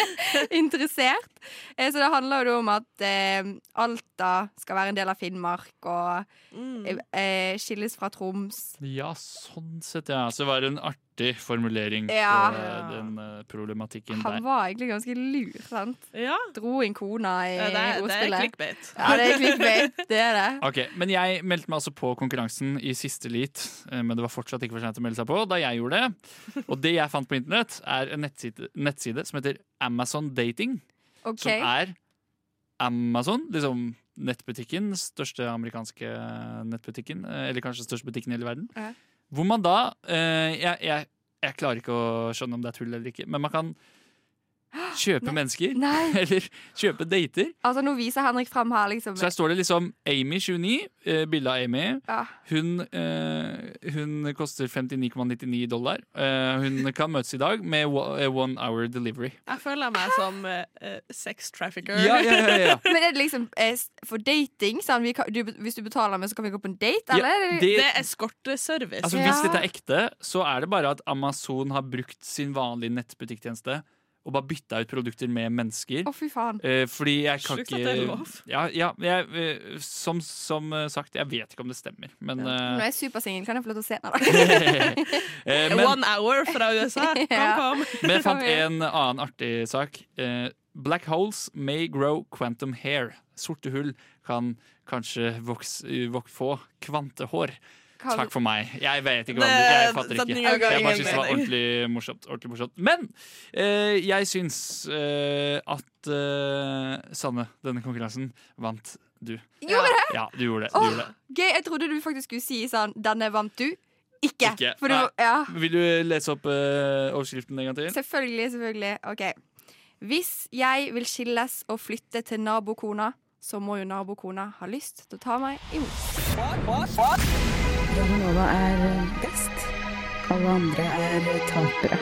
[SPEAKER 6] interessert. Eh, Så det handler jo om at eh, Alta skal være en del av Finnmark, og
[SPEAKER 7] Mm.
[SPEAKER 6] eh, skilles fra Troms.
[SPEAKER 2] Ja, sånn sett, ja. Så det var en artig formulering
[SPEAKER 6] Ja.
[SPEAKER 2] på eh, den eh, problematikken
[SPEAKER 6] Han
[SPEAKER 2] der.
[SPEAKER 6] var egentlig ganske lur, sant?
[SPEAKER 7] Ja,
[SPEAKER 6] Dro inn kona i
[SPEAKER 7] det er, det er
[SPEAKER 6] ordspillet.
[SPEAKER 7] clickbait.
[SPEAKER 6] Eh, Ja, det er clickbait. Det er det.
[SPEAKER 2] Ok, Men jeg meldte meg altså på konkurransen i siste lit, eh, men det var fortsatt ikke for sent å melde seg på da jeg gjorde det. Og det jeg fant på internett, er en nettside, nettside som heter Amazon Dating.
[SPEAKER 6] OK.
[SPEAKER 2] Som er Amazon, liksom nettbutikken, største amerikanske nettbutikken, eh, eller kanskje største butikken i hele verden.
[SPEAKER 6] Ja.
[SPEAKER 2] Hvor man da eh, jeg, jeg, jeg klarer ikke å skjønne om det er tull eller ikke, men man kan kjøpe mennesker.
[SPEAKER 6] Nei,
[SPEAKER 2] Eller kjøpe dater.
[SPEAKER 6] altså nå viser Henrik frem her, liksom.
[SPEAKER 2] Så her står det liksom Amy 29, eh, bilde av Amy.
[SPEAKER 6] Ja.
[SPEAKER 2] Hun, eh, hun koster 59,99 dollar. Eh, hun kan møtes i dag med wa- eh, one hour delivery.
[SPEAKER 7] Jeg føler meg som eh, sex trafficker.
[SPEAKER 2] Ja, ja, ja, ja.
[SPEAKER 6] Men er det liksom eh, s- for dating? Sånn, vi kan, du, hvis du betaler med, så kan vi gå på en date, eller?
[SPEAKER 2] ja det,
[SPEAKER 7] Det er eskorteservice.
[SPEAKER 2] Altså,
[SPEAKER 6] Ja.
[SPEAKER 2] Hvis dette er ekte, så er det bare at Amazon har brukt sin vanlige nettbutikktjeneste og bare bytta ut produkter med mennesker.
[SPEAKER 6] Å, fy faen.
[SPEAKER 2] Eh, fordi jeg kan
[SPEAKER 7] Sjukt
[SPEAKER 2] ikke
[SPEAKER 7] at det er lov.
[SPEAKER 2] Ja, ja, jeg, eh, som, som eh, sagt, jeg vet ikke om det stemmer, men,
[SPEAKER 6] Når
[SPEAKER 2] eh,
[SPEAKER 6] jeg er supersingel, kan jeg få lov til å se den?
[SPEAKER 2] eh, men,
[SPEAKER 7] One hour fra USA. Kom,
[SPEAKER 6] Ja.
[SPEAKER 7] kom.
[SPEAKER 2] men jeg fant
[SPEAKER 6] Kom igjen.
[SPEAKER 2] en annen artig sak. Eh, black holes may grow quantum hair. Sorte hull kan kanskje vokse, eh, vok, få kvantehår. Takk for meg. Jeg vet ikke hva det, Jeg fatter ikke.
[SPEAKER 7] Setninga ga
[SPEAKER 2] Jeg bare
[SPEAKER 7] ingen
[SPEAKER 2] synes det var
[SPEAKER 7] mening.
[SPEAKER 2] ordentlig morsomt. Ordentlig morsomt. Men eh, jeg syns eh, at eh, Sanne, denne konkurransen vant du.
[SPEAKER 6] Gjorde det?
[SPEAKER 2] Ja, du gjorde det. Du
[SPEAKER 6] Åh,
[SPEAKER 2] gjorde det.
[SPEAKER 6] gøy. Jeg trodde du faktisk skulle si sånn Denne vant du. Ikke.
[SPEAKER 2] Ikke.
[SPEAKER 6] For du,
[SPEAKER 2] Nei.
[SPEAKER 6] ja.
[SPEAKER 2] Vil du lese opp eh, overskriften en gang til?
[SPEAKER 6] Selvfølgelig, selvfølgelig. OK. Hvis jeg vil skilles og flytte til nabokona, så må jo nabokona ha lyst til å ta meg imot.
[SPEAKER 1] Radio Nova er eh, best. Alle andre er eh, tapere.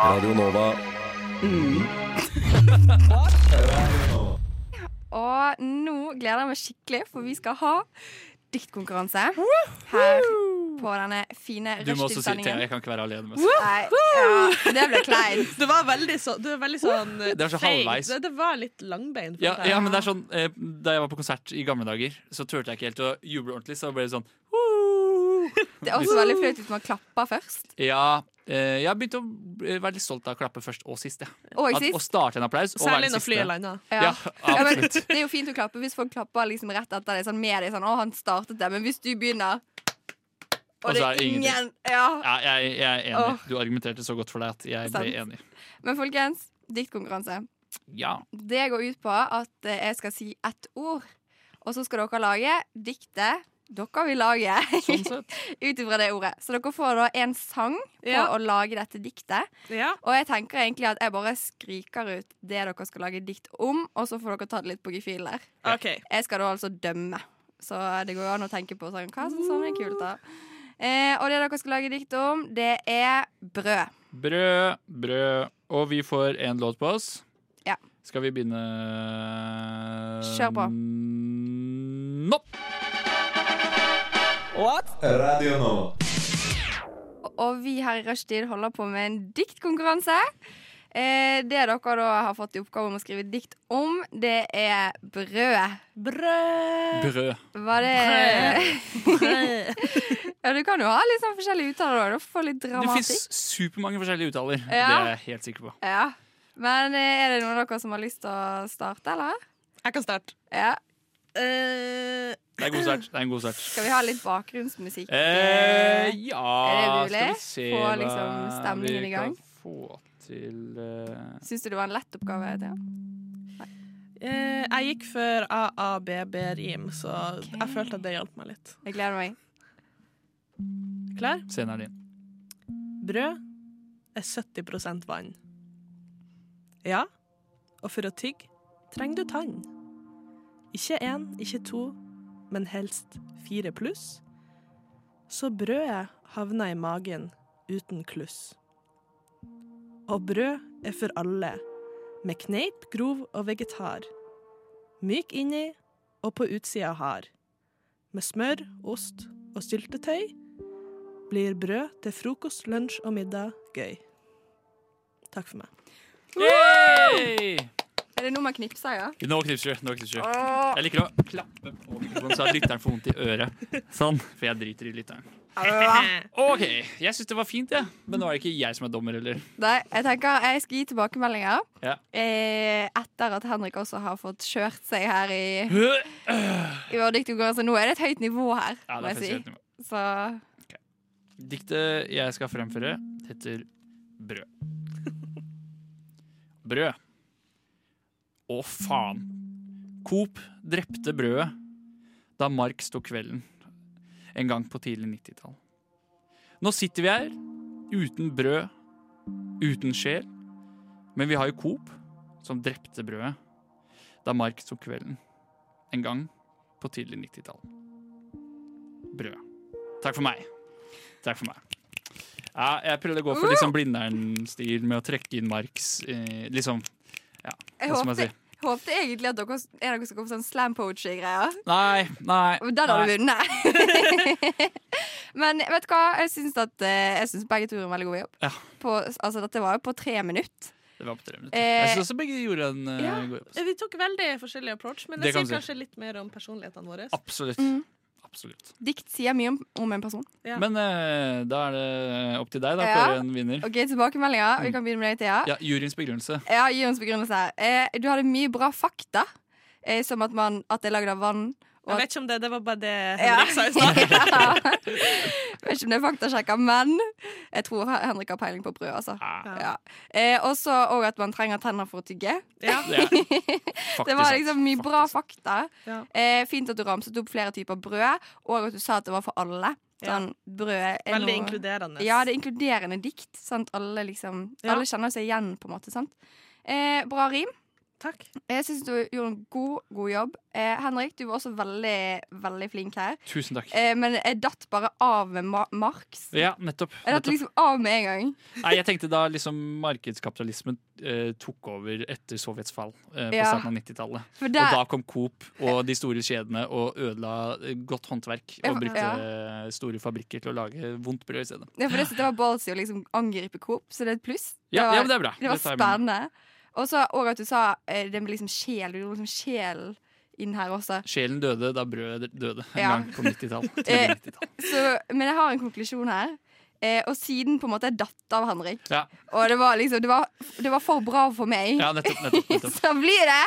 [SPEAKER 8] Radio Nova.
[SPEAKER 6] Og nå gleder jeg meg skikkelig, for vi skal ha diktkonkurranse her på denne fine
[SPEAKER 2] Du må også si Thea,
[SPEAKER 6] rushtidssendingen.
[SPEAKER 2] jeg kan ikke være alene. Med.
[SPEAKER 6] Nei, ja, det ble kleint.
[SPEAKER 7] Du var veldig, så, du er veldig sånn eh,
[SPEAKER 2] Det var så
[SPEAKER 7] fake.
[SPEAKER 2] halvveis.
[SPEAKER 7] Det, det var litt langbein.
[SPEAKER 2] Ja, ja, men det er sånn eh, Da jeg var på konsert i gamle dager, så turte jeg ikke helt å juble ordentlig. Så ble det sånn
[SPEAKER 6] Det er også veldig flaut hvis man klapper først.
[SPEAKER 2] Ja. eh, jeg begynte å eh, være litt stolt av å klappe først og sist. Ja.
[SPEAKER 6] Og
[SPEAKER 2] At, å
[SPEAKER 6] sist.
[SPEAKER 2] starte en applaus og være
[SPEAKER 7] Særlig
[SPEAKER 2] den
[SPEAKER 7] når flyet
[SPEAKER 2] siste.
[SPEAKER 7] lander.
[SPEAKER 2] Ja,
[SPEAKER 6] Ja, men,
[SPEAKER 2] absolutt.
[SPEAKER 6] det er jo fint å klappe hvis folk klapper liksom rett etter deg sånn med deg. Sånn, 'Å, han startet det.' Men hvis du begynner, og,
[SPEAKER 2] Og
[SPEAKER 6] det
[SPEAKER 2] så
[SPEAKER 6] er
[SPEAKER 2] er det ingenting.
[SPEAKER 6] ingen ja.
[SPEAKER 2] Ja, jeg, jeg er enig.
[SPEAKER 6] Åh.
[SPEAKER 2] Du argumenterte så godt for deg at jeg ble
[SPEAKER 6] Sant.
[SPEAKER 2] enig.
[SPEAKER 6] Men folkens, diktkonkurranse.
[SPEAKER 2] Ja.
[SPEAKER 6] Det går ut på at eh, jeg skal si ett ord, og så skal dere lage diktet dere vil lage
[SPEAKER 2] Sånn sett.
[SPEAKER 6] ut ifra det ordet. Så dere får da en sang på
[SPEAKER 7] Ja.
[SPEAKER 6] å lage dette diktet.
[SPEAKER 7] Ja.
[SPEAKER 6] Og jeg tenker egentlig at jeg bare skriker ut det dere skal lage dikt om, og så får dere ta det litt på gefühl der.
[SPEAKER 7] OK.
[SPEAKER 6] Jeg skal da altså dømme. Så det går jo an å tenke på sånn, hva som sånn er kult. da eh, Og det dere skal lage dikt om, det er brød.
[SPEAKER 2] Brød, brød. Og vi får en låt på oss.
[SPEAKER 6] Ja.
[SPEAKER 2] Skal vi begynne
[SPEAKER 6] Kjør på.
[SPEAKER 2] Nå!
[SPEAKER 8] Radio Nova.
[SPEAKER 6] Og- Og vi her i Rushtid holder på med en diktkonkurranse. Eh, det dere da har fått i oppgave om å skrive dikt om, det er brød.
[SPEAKER 7] Brød.
[SPEAKER 2] Brød.
[SPEAKER 6] Var det Ja, du kan jo ha litt sånn forskjellige uttaler, da. Du får litt
[SPEAKER 2] Det fins
[SPEAKER 6] dramatikk.
[SPEAKER 2] supermange forskjellige uttaler. Det
[SPEAKER 6] Ja.
[SPEAKER 2] er jeg helt sikker på.
[SPEAKER 6] Ja. Men eh, er det noen av dere som har lyst til å starte, eller?
[SPEAKER 7] Jeg kan starte.
[SPEAKER 6] Ja.
[SPEAKER 7] Eh,
[SPEAKER 2] Det er god start. Det er en god start.
[SPEAKER 6] Skal vi ha litt bakgrunnsmusikk?
[SPEAKER 2] Eh, ja
[SPEAKER 6] er det
[SPEAKER 2] Skal
[SPEAKER 6] mulig?
[SPEAKER 2] vi se
[SPEAKER 6] Få
[SPEAKER 2] hva
[SPEAKER 6] liksom stemningen
[SPEAKER 2] vi
[SPEAKER 6] i gang?
[SPEAKER 2] kan få til eh,
[SPEAKER 6] Syns du det var en lett oppgave? Thea?
[SPEAKER 7] eh, jeg gikk for AABB-rim, så jeg følte at det hjalp meg litt.
[SPEAKER 6] Jeg gleder meg.
[SPEAKER 7] Klar?
[SPEAKER 2] Scenen er din.
[SPEAKER 7] Brød er 70 vann. Ja, og for å tygge trenger du tann. Ikke én, ikke to, men helst fire pluss. Så brødet havner i magen uten kluss. Og brød er for alle, med kneip, grov og vegetar. Myk inni, og på utsida har med smør, ost og syltetøy blir brød til frokost, lunsj og middag gøy. Takk for meg.
[SPEAKER 2] Yay!
[SPEAKER 6] Er det noe man knipser, ja?
[SPEAKER 2] Nå knipser du. Nå knipser du. Jeg liker å klappe på mikrofonen så at lytteren får vondt i øret. Sånn, For jeg driter i lytteren. OK. Jeg syns det var fint, jeg. Ja. Men nå er det ikke jeg som er dommer, eller?
[SPEAKER 6] Nei, jeg tenker jeg skal gi tilbakemeldinger.
[SPEAKER 2] Ja.
[SPEAKER 6] Eh, etter at Henrik også har fått kjørt seg her i, i vår diktkonkurranse. Nå er det et høyt nivå her,
[SPEAKER 2] Ja,
[SPEAKER 6] må
[SPEAKER 2] det er
[SPEAKER 6] jeg
[SPEAKER 2] faktisk
[SPEAKER 6] si.
[SPEAKER 2] helt nivå.
[SPEAKER 6] Så
[SPEAKER 2] Diktet jeg skal fremføre, heter Brød. Brød. Å, faen. Coop drepte brødet da Mark sto kvelden en gang på tidlig 90-tall. Nå sitter vi her uten brød, uten sjel, men vi har jo Coop som drepte brødet da Mark sto kvelden en gang på tidlig 90-tall. Brød. Takk for meg. Takk for meg. Ja, jeg prøvde å gå for liksom Blindern-stil med å trekke inn Marx. Eh, liksom,
[SPEAKER 6] jeg
[SPEAKER 2] hva skal man
[SPEAKER 6] håpte,
[SPEAKER 2] si?
[SPEAKER 6] håpte egentlig at dere er dere som kommer på sånn slam poetry-greier.
[SPEAKER 2] Nei, nei.
[SPEAKER 6] Og Den hadde
[SPEAKER 2] nei.
[SPEAKER 6] du vunnet. Men vet du hva, jeg syns at eh, Jeg synes begge to gjorde en veldig god jobb.
[SPEAKER 2] Ja.
[SPEAKER 6] På, altså, dette var jo på tre minutter.
[SPEAKER 2] Det var på tre minutter.
[SPEAKER 6] Eh,
[SPEAKER 2] Jeg syns også begge gjorde en eh,
[SPEAKER 7] ja.
[SPEAKER 2] god jobb.
[SPEAKER 7] Vi tok veldig forskjellig approach, men
[SPEAKER 2] Det
[SPEAKER 7] det,
[SPEAKER 2] kan
[SPEAKER 7] sier
[SPEAKER 2] vi
[SPEAKER 7] kanskje litt mer om personlighetene våre.
[SPEAKER 2] Absolutt.
[SPEAKER 6] Mm.
[SPEAKER 2] Absolutt.
[SPEAKER 6] Dikt sier mye om, om en person.
[SPEAKER 7] Ja.
[SPEAKER 2] Men eh, da er det opp til deg, da,
[SPEAKER 6] Ja.
[SPEAKER 2] Kåre, en vinner.
[SPEAKER 6] OK, tilbakemeldinger.
[SPEAKER 2] Mm.
[SPEAKER 6] Vi kan begynne med deg, Thea.
[SPEAKER 2] Ja, Juryens begrunnelse.
[SPEAKER 6] Ja, gi oss begrunnelse her. Eh, du hadde mye bra fakta, eh, som at, man, at det er lagd av vann.
[SPEAKER 7] Jeg vet ikke om det, det var bare det
[SPEAKER 6] Ja.
[SPEAKER 7] Henrik sa i stad.
[SPEAKER 6] Ja. Jeg vet ikke om det er faktasjekka, men jeg tror Henrik har peiling på brød, altså.
[SPEAKER 2] Ja.
[SPEAKER 6] Ja. Eh, også, og at man trenger tenner for å tygge.
[SPEAKER 7] Ja.
[SPEAKER 2] Det, er faktisk
[SPEAKER 6] Det var
[SPEAKER 2] sant.
[SPEAKER 6] liksom mye bra
[SPEAKER 2] Faktisk sant.
[SPEAKER 6] fakta.
[SPEAKER 7] Ja.
[SPEAKER 6] Eh, fint at du ramset opp flere typer brød, og at du sa at det var for alle. Sånn, brød er
[SPEAKER 7] Veldig
[SPEAKER 6] noe-
[SPEAKER 7] inkluderende.
[SPEAKER 6] Ja, det er inkluderende dikt. Sant? Alle, liksom,
[SPEAKER 7] Ja.
[SPEAKER 6] alle kjenner seg igjen, på en måte. Sant? Eh, bra rim.
[SPEAKER 7] Takk.
[SPEAKER 6] Jeg syns du gjorde en god, god jobb. Eh, Henrik, du var også veldig, veldig flink her.
[SPEAKER 2] Tusen takk.
[SPEAKER 6] Eh, men jeg datt bare av med ma Marx.
[SPEAKER 2] Ja, nettopp.
[SPEAKER 6] Jeg datt
[SPEAKER 2] nettopp.
[SPEAKER 6] liksom av med en gang.
[SPEAKER 2] Nei, jeg tenkte da liksom markedskapitalismen eh, tok over etter Sovjets fall eh, på
[SPEAKER 6] Ja.
[SPEAKER 2] starten av 90-tallet.
[SPEAKER 6] For
[SPEAKER 2] Og da
[SPEAKER 6] der,
[SPEAKER 2] kom Coop og de store kjedene og ødela eh, godt håndverk.
[SPEAKER 6] Ja,
[SPEAKER 2] Og
[SPEAKER 6] for-
[SPEAKER 2] brukte eh, store fabrikker til å lage vondt brød i stedet.
[SPEAKER 6] ja, for det, det var ballsy å liksom angripe Coop, så det er et pluss.
[SPEAKER 2] Ja,
[SPEAKER 6] det
[SPEAKER 2] ja,
[SPEAKER 6] var,
[SPEAKER 2] men det er bra.
[SPEAKER 6] det var
[SPEAKER 2] Det tar jeg med meg.
[SPEAKER 6] spennende. Og så og at du sa eh, det med liksom sjel. Du gjorde liksom sjel inn her også.
[SPEAKER 2] Sjelen døde da brødet døde en
[SPEAKER 6] Ja.
[SPEAKER 2] gang på 90-tall.
[SPEAKER 6] Eh.
[SPEAKER 2] Tidlig 90-tall.
[SPEAKER 6] Så, men jeg har en konklusjon her. Eh, og siden på en måte jeg datt av Henrik.
[SPEAKER 2] Ja.
[SPEAKER 6] Og det var liksom Det var, det var for bra for meg.
[SPEAKER 2] ja, nettopp. nettopp, nettopp.
[SPEAKER 6] så blir det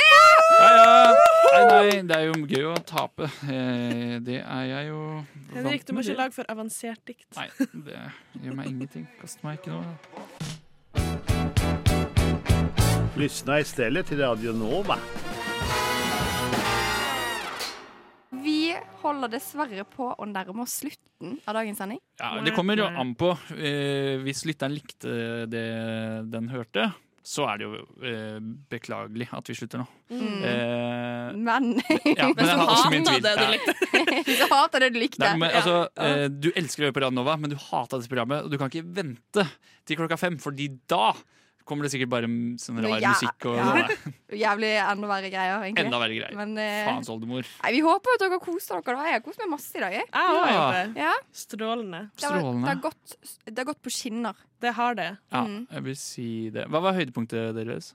[SPEAKER 2] Ja, ja. Nei, nei, det er jo gøy å tape. Eh, det er jeg jo vant
[SPEAKER 7] Henrik, du må
[SPEAKER 2] med
[SPEAKER 7] ikke
[SPEAKER 2] det.
[SPEAKER 7] lage for avansert dikt.
[SPEAKER 2] Sånn. Nei, det gjør meg ingenting. Kaster meg ikke noe.
[SPEAKER 4] Lyssna istället till Radio Nova.
[SPEAKER 6] Vi holder dessverre på å nærme oss slutten av dagens sending.
[SPEAKER 2] Ja, det kommer jo an på. Eh, hvis lytteren likte det den hørte, så er det jo eh, beklagelig at vi slutter nå. Eh,
[SPEAKER 6] Men
[SPEAKER 2] ja, men jeg
[SPEAKER 7] du
[SPEAKER 2] har også min tvil.
[SPEAKER 7] hater det du
[SPEAKER 2] Ja.
[SPEAKER 7] likte.
[SPEAKER 6] hvis jeg hater det du likte.
[SPEAKER 2] Nei, men, altså, eh, du elsker å høre på Radionova, men du hata dette programmet. Og du kan ikke vente til klokka fem, Fordi da kommer det sikkert bare m- sånn
[SPEAKER 6] Noe
[SPEAKER 2] rar
[SPEAKER 6] jæ-
[SPEAKER 2] musikk og
[SPEAKER 6] ja.
[SPEAKER 2] sånn.
[SPEAKER 6] Jævlig enda verre greier, egentlig.
[SPEAKER 2] Enda verre greier.
[SPEAKER 6] Men eh,
[SPEAKER 2] Faens oldemor.
[SPEAKER 6] nei, vi håper at dere koser dere. da. Jeg har kost meg masse i dag. Jeg.
[SPEAKER 7] Jeg har
[SPEAKER 2] Ja.
[SPEAKER 7] gjort det.
[SPEAKER 6] Ja,
[SPEAKER 7] Strålende.
[SPEAKER 6] det, har, det, har
[SPEAKER 2] Strålende.
[SPEAKER 6] gått, det har gått på skinner.
[SPEAKER 7] Det har det.
[SPEAKER 2] Ja,
[SPEAKER 6] Mm.
[SPEAKER 2] jeg vil si det. Hva var høydepunktet deres?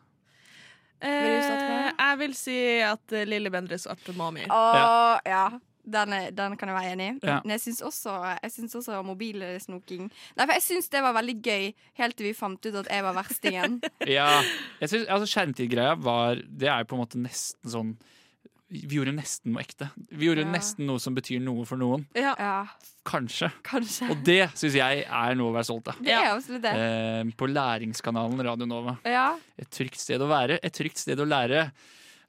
[SPEAKER 7] Eh,
[SPEAKER 6] du si at det-
[SPEAKER 7] jeg vil si at eh, Lille Bendriss og Arthur Mami.
[SPEAKER 6] Å, ja. Den, er, den kan jeg være enig i.
[SPEAKER 2] Ja.
[SPEAKER 6] Men jeg syns også, jeg syns også mobilsnoking Nei, for jeg syns det var veldig gøy helt til vi fant ut at jeg var verstingen.
[SPEAKER 2] Ja, jeg synes, altså Skjermtidgreia var Det er jo på en måte nesten sånn Vi gjorde nesten noe ekte. Vi gjorde
[SPEAKER 6] Ja.
[SPEAKER 2] nesten noe som betyr noe for noen.
[SPEAKER 7] Ja.
[SPEAKER 6] Ja,
[SPEAKER 2] Kanskje.
[SPEAKER 6] kanskje.
[SPEAKER 2] Og det syns jeg er noe å være stolt av.
[SPEAKER 6] Det er absolutt det.
[SPEAKER 2] Eh, på læringskanalen Radio Nova.
[SPEAKER 6] Ja.
[SPEAKER 2] Et trygt sted å være. Et trygt sted å lære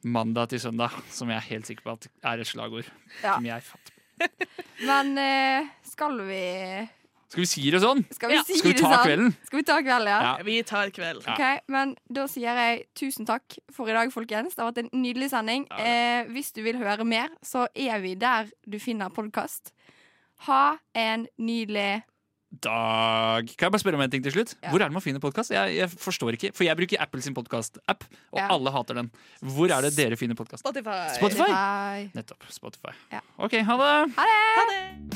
[SPEAKER 2] mandag til søndag, som jeg er helt sikker på at er et slagord.
[SPEAKER 6] Ja.
[SPEAKER 2] Som jeg fatter.
[SPEAKER 6] Men eh, skal vi
[SPEAKER 2] Skal vi si det sånn?
[SPEAKER 6] Skal vi
[SPEAKER 7] Ja.
[SPEAKER 6] si
[SPEAKER 2] Skal vi
[SPEAKER 6] det
[SPEAKER 2] ta
[SPEAKER 6] sånn?
[SPEAKER 2] kvelden?
[SPEAKER 6] Skal vi ta kvelden, ja?
[SPEAKER 2] Ja.
[SPEAKER 7] Vi tar kveld.
[SPEAKER 2] Ja.
[SPEAKER 6] Ok, men Da sier jeg tusen takk for i dag, folkens. Det har vært en nydelig sending.
[SPEAKER 2] Ja, det
[SPEAKER 6] Eh, hvis du vil høre mer, så er vi der du finner podkast. Ha en nydelig
[SPEAKER 2] dag. Kan jeg bare spørre om en ting til slutt?
[SPEAKER 6] Ja.
[SPEAKER 2] Hvor er det man finner podkast? Jeg, jeg forstår ikke, for jeg bruker Apple sin podkast-app, og
[SPEAKER 6] Ja.
[SPEAKER 2] alle hater den. Hvor er det dere finner podkast?
[SPEAKER 7] Spotify.
[SPEAKER 2] Spotify?
[SPEAKER 6] Hei.
[SPEAKER 2] Nettopp. Spotify.
[SPEAKER 6] Ja.
[SPEAKER 2] OK, ha det!
[SPEAKER 6] Ha det!
[SPEAKER 7] Ha det!